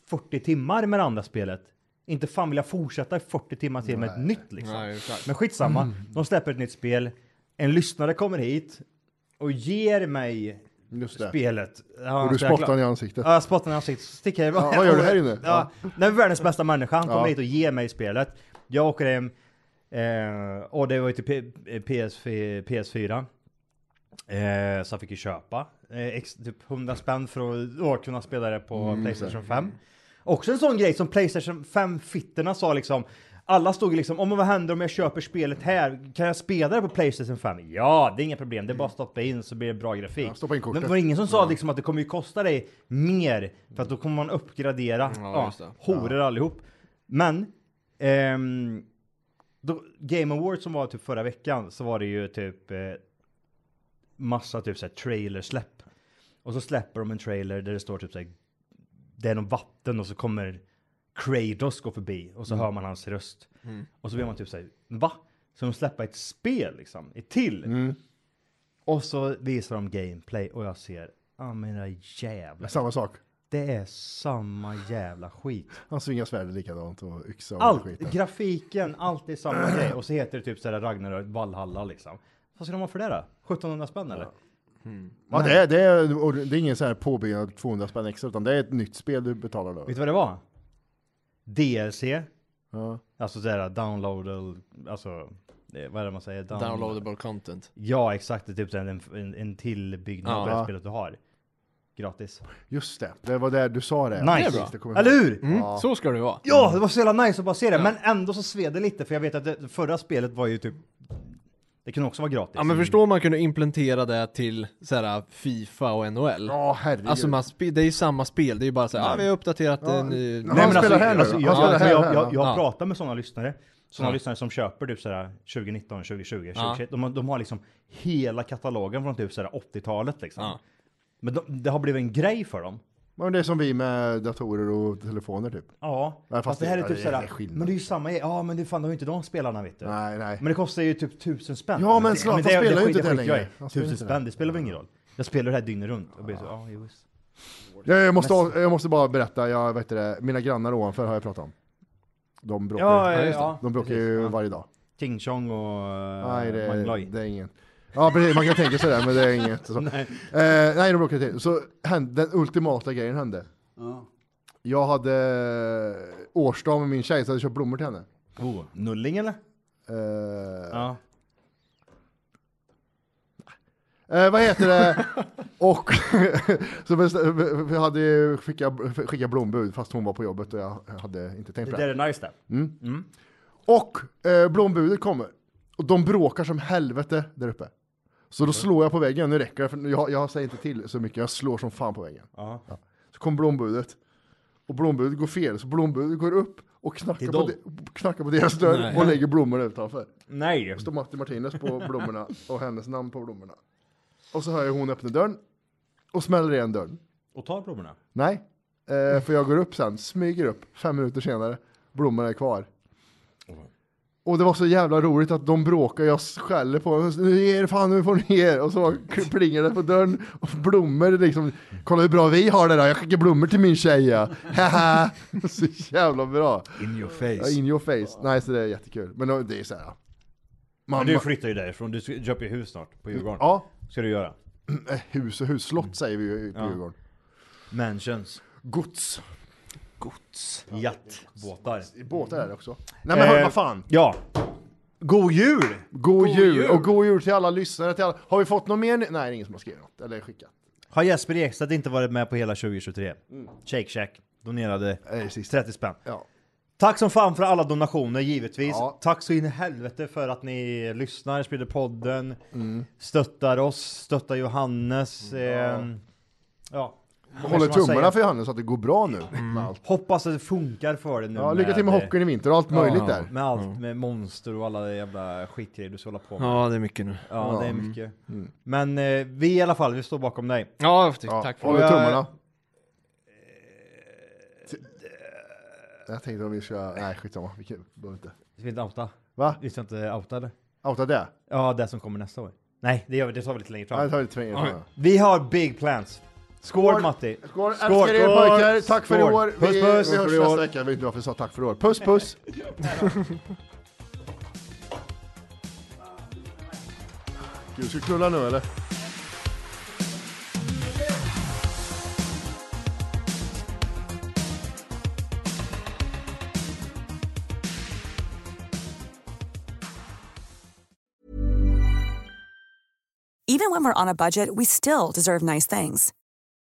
S2: 40 timmar med det andra spelet. Inte fan vill jag fortsätta i 40 timmar till med ett nytt liksom.
S1: Nej, exakt.
S2: Men skitsamma, de släpper ett nytt spel. En lyssnare kommer hit och ger mig
S3: Just det.
S2: spelet. Ja,
S3: Och du
S2: så
S3: spottar
S2: jäkla-
S3: honom i ansiktet.
S2: Ja, jag spottar i ansiktet. Så Sticker jag
S3: Ja, vad gör du här inne?
S2: Ja, den är världens bästa människa. Han kommer
S3: Ja.
S2: hit och ger mig spelet. Jag åker hem, Eh, och det var ju till P- PS4, PS4. Eh, så jag fick ju köpa eh, ex, typ 100 spänn för att då, kunna spela det på
S3: Mm,
S2: Playstation
S3: så.
S2: 5. Också en sån grej som Playstation 5-fitterna sa liksom alla stod ju liksom, om vad händer om jag köper spelet här? Kan jag spela det på Playstation 5? Ja, det är inga problem. Det är bara att stoppa in så blir det bra grafik.
S3: Ja, stoppa in kortet.
S2: Men det var ingen som sa liksom att det kommer ju kosta dig mer för att då kommer man uppgradera. Ja,
S1: just det.
S2: horor allihop. Men ehm, då, Game Awards som var typ förra veckan så var det ju typ eh, massa typ såhär trailersläpp. Och så släpper de en trailer där det står typ såhär det är någon vatten och så kommer Kratos gå förbi och så
S4: Mm.
S2: hör man hans röst.
S4: Mm.
S2: Och så blir man typ såhär va? Ska de släppa ett spel liksom? Ett till?
S4: Mm.
S2: Och så visar de gameplay och jag ser, ja men era jävlar.
S3: Samma sak.
S2: Det är samma jävla skit.
S3: Han svingar svärdet likadant och yxa och
S2: Allt,
S3: skiten.
S2: grafiken, allt är samma grej. Och så heter det typ sådär Ragnarök Valhalla liksom. Vad ska de ha för det då? 1700 spänn eller?
S3: Ja, det, är, det, är, och det är ingen så här påbyggnad 200 spänn extra, utan det är ett nytt spel du betalar då.
S2: Vet du vad det var? DLC.
S3: Ja.
S2: Alltså sådär downloadable, alltså eh, vad är det man säger? Down-
S1: Downloadable content.
S2: Ja exakt, det är typ såhär en, en, en tillbyggnad
S1: Ja.
S2: på det
S1: Ja.
S2: spelet du har. Gratis.
S3: Just det, det var där du sa det.
S2: Nice!
S3: Precis, det kommer jag
S2: Eller
S3: ihåg. Mm.
S2: hur?
S3: Ja.
S1: Mm, ska det vara.
S2: Ja, det var så jävla nice att bara se det, men ändå så sved det lite för jag vet att det förra spelet var ju typ Det kunde också vara gratis.
S1: Ja men förstår man kunde implementera det till så här, Fifa och NHL.
S3: Ja herregud.
S1: Alltså man spe- det är ju samma spel, det är ju bara så här,
S2: Nej.
S1: ah, vi har uppdaterat
S2: Ja.
S1: en ny...
S2: Nej, men alltså, alltså, jag,
S1: Ja,
S2: alltså, jag,
S1: ja,
S2: jag, jag
S1: ja.
S2: pratar med sådana lyssnare, sådana
S1: Ja.
S2: lyssnare som köper typ sådär 2019, 2020, 2021.
S1: Ja.
S2: De, har- de har liksom hela katalogen från typ sådär 80-talet liksom. Men de, det har blivit en grej för dem.
S3: Men det är som vi med datorer och telefoner typ.
S2: Ja,
S3: Ja, fast
S2: fast det här
S3: det-
S2: är
S3: ja,
S2: typ
S3: det är
S2: sådär,
S3: skillnad.
S2: men det är ju samma grej. Ja, men det fan, de har ju inte de spelarna vet du.
S3: Nej, nej.
S2: Men det kostar ju typ tusen spänn.
S3: Ja, men
S2: det-
S3: Zlatan
S2: det-
S3: spelar ju
S2: skit-
S3: inte det
S2: skiter jag i.
S3: längre. Han spelar
S2: Tusen
S3: inte
S2: spänn,
S3: det.
S2: det spelar väl ingen roll. Jag spelar det här dygnet runt. Och blir så, ja, jo, visst.
S3: Jag, jag, måste, av- jag måste bara berätta, jag, vet det, mina grannar ovanför har jag pratat om. De bråkar,
S2: Ja,
S3: ju-
S2: ja, ja.
S3: de bråkar
S2: Precis,
S3: ju
S2: ja.
S3: varje dag.
S2: Ching Chong och
S3: Nej,
S2: uh,
S3: det, det är ingen. Ja, precis, man kan tänka sig det, men det är inget. Så.
S2: Nej.
S3: nej. Eh, nej, de bråkade till. Så hände, den ultimata grejen hände.
S9: Ja.
S3: Jag hade eh, årsdag med min tjej, så jag hade köpt blommor till henne.
S2: Oh, nulling eller?
S3: Eh,
S2: Ja.
S3: Eh, vad heter det? och så bestä- vi hade ju skicka, skicka blombud fast hon var på jobbet och jag hade inte tänkt
S2: Det
S3: på
S2: där
S3: det.
S2: är nice det.
S3: Mm.
S2: Mm.
S3: Och eh, blombudet kommer. Och de bråkar som helvete där uppe. Så då slår jag på väggen, nu räcker det för jag, jag säger inte till så mycket, jag slår som fan på väggen.
S2: Ja.
S3: Så kom blombudet. Och blombudet går fel, så blombudet går upp och knackar,
S2: Till
S3: på,
S2: dem?
S3: de, knackar på deras dörr
S2: Nej.
S3: och lägger blommorna utanför.
S2: Nej.
S3: Och står Matti Martinez på blommorna och hennes namn på blommorna. Och så hör jag hon öppna dörren och smäller igen dörren.
S2: Och tar blommorna.
S3: Nej, eh, för jag går upp sen, smyger upp fem minuter senare, blommorna är kvar. Och det var så jävla roligt att de bråkar, jag skäller på dem, nu ger er fan, nu får ni ge er. Och så plingar det på dörren och blommor liksom, kolla hur bra vi har det då, jag skickar blommor till min tjej ja. Haha. Så jävla bra.
S2: In your face.
S3: Ja, in your face. Nej, så det är jättekul. Men det är så här.
S2: Men
S3: Man-
S2: du flyttar ju därifrån, du ska- köper ju hus snart på Djurgården.
S3: Ja.
S2: Ska du göra.
S3: Eh, Hus och hus, slott säger vi ju på
S2: Ja.
S3: Djurgården.
S2: Mansions.
S3: Gods.
S1: Gods.
S2: Yacht. Båtar.
S3: Båtar är det också. Nej men hör,
S2: Eh,
S3: vad fan.
S2: Ja. God jul!
S3: God, jul.
S2: jul.
S3: och god jul till alla lyssnare. Till alla. Har vi fått något mer? nu? Nej, det är ingen som har skrivit något eller skickat.
S2: Har Jesper Ekstedt inte varit med på hela 2023? Shake Shack donerade 30 spänn.
S3: Ja.
S2: Tack som fan för alla donationer givetvis.
S3: Ja.
S2: Tack så in i helvete för att ni lyssnar, sprider podden,
S3: Mm.
S2: stöttar oss, stöttar Johannes. ehm, ja.
S3: Jag håller
S2: Vad ska man
S3: tummarna
S2: säga?
S3: för Johannes att det går bra nu. Med allt.
S2: Hoppas att det funkar för dig nu.
S3: Ja, lycka till med hockeyn i vinter och allt möjligt där.
S2: Med allt, med monster och alla jävla skitgrejer du ska hålla på med.
S1: Ja, det är mycket nu.
S2: Ja,
S1: Ja,
S2: det är
S1: mm.
S2: mycket.
S1: Mm.
S2: Men eh, vi i alla fall, vi står bakom dig.
S1: Ja, t- tack för
S3: Håller
S1: det.
S3: tummarna. Jag tänkte om vi ska... Nej, skitsamma. Vi kan- behöver inte.
S2: Vi ska inte outa.
S3: Va?
S2: Vi ska inte outa det.
S3: Outa det?
S2: Ja, det som kommer nästa år. Nej, det gör vi. Det tar vi lite längre fram.
S3: Ja, det tar vi lite längre fram, ja.
S2: Vi har big plans. Skål, Matti!
S3: Skål, älskar er pojkar. Tack för i
S2: Skål.
S3: år. Vi,
S2: Puss, puss!
S3: vi hörs
S2: För i år.
S3: nästa vecka. Jag vet inte varför jag sa tack för i år. Puss, puss! Gud, ska vi knulla nu eller?
S10: Even when we're on a budget, we still deserve nice things.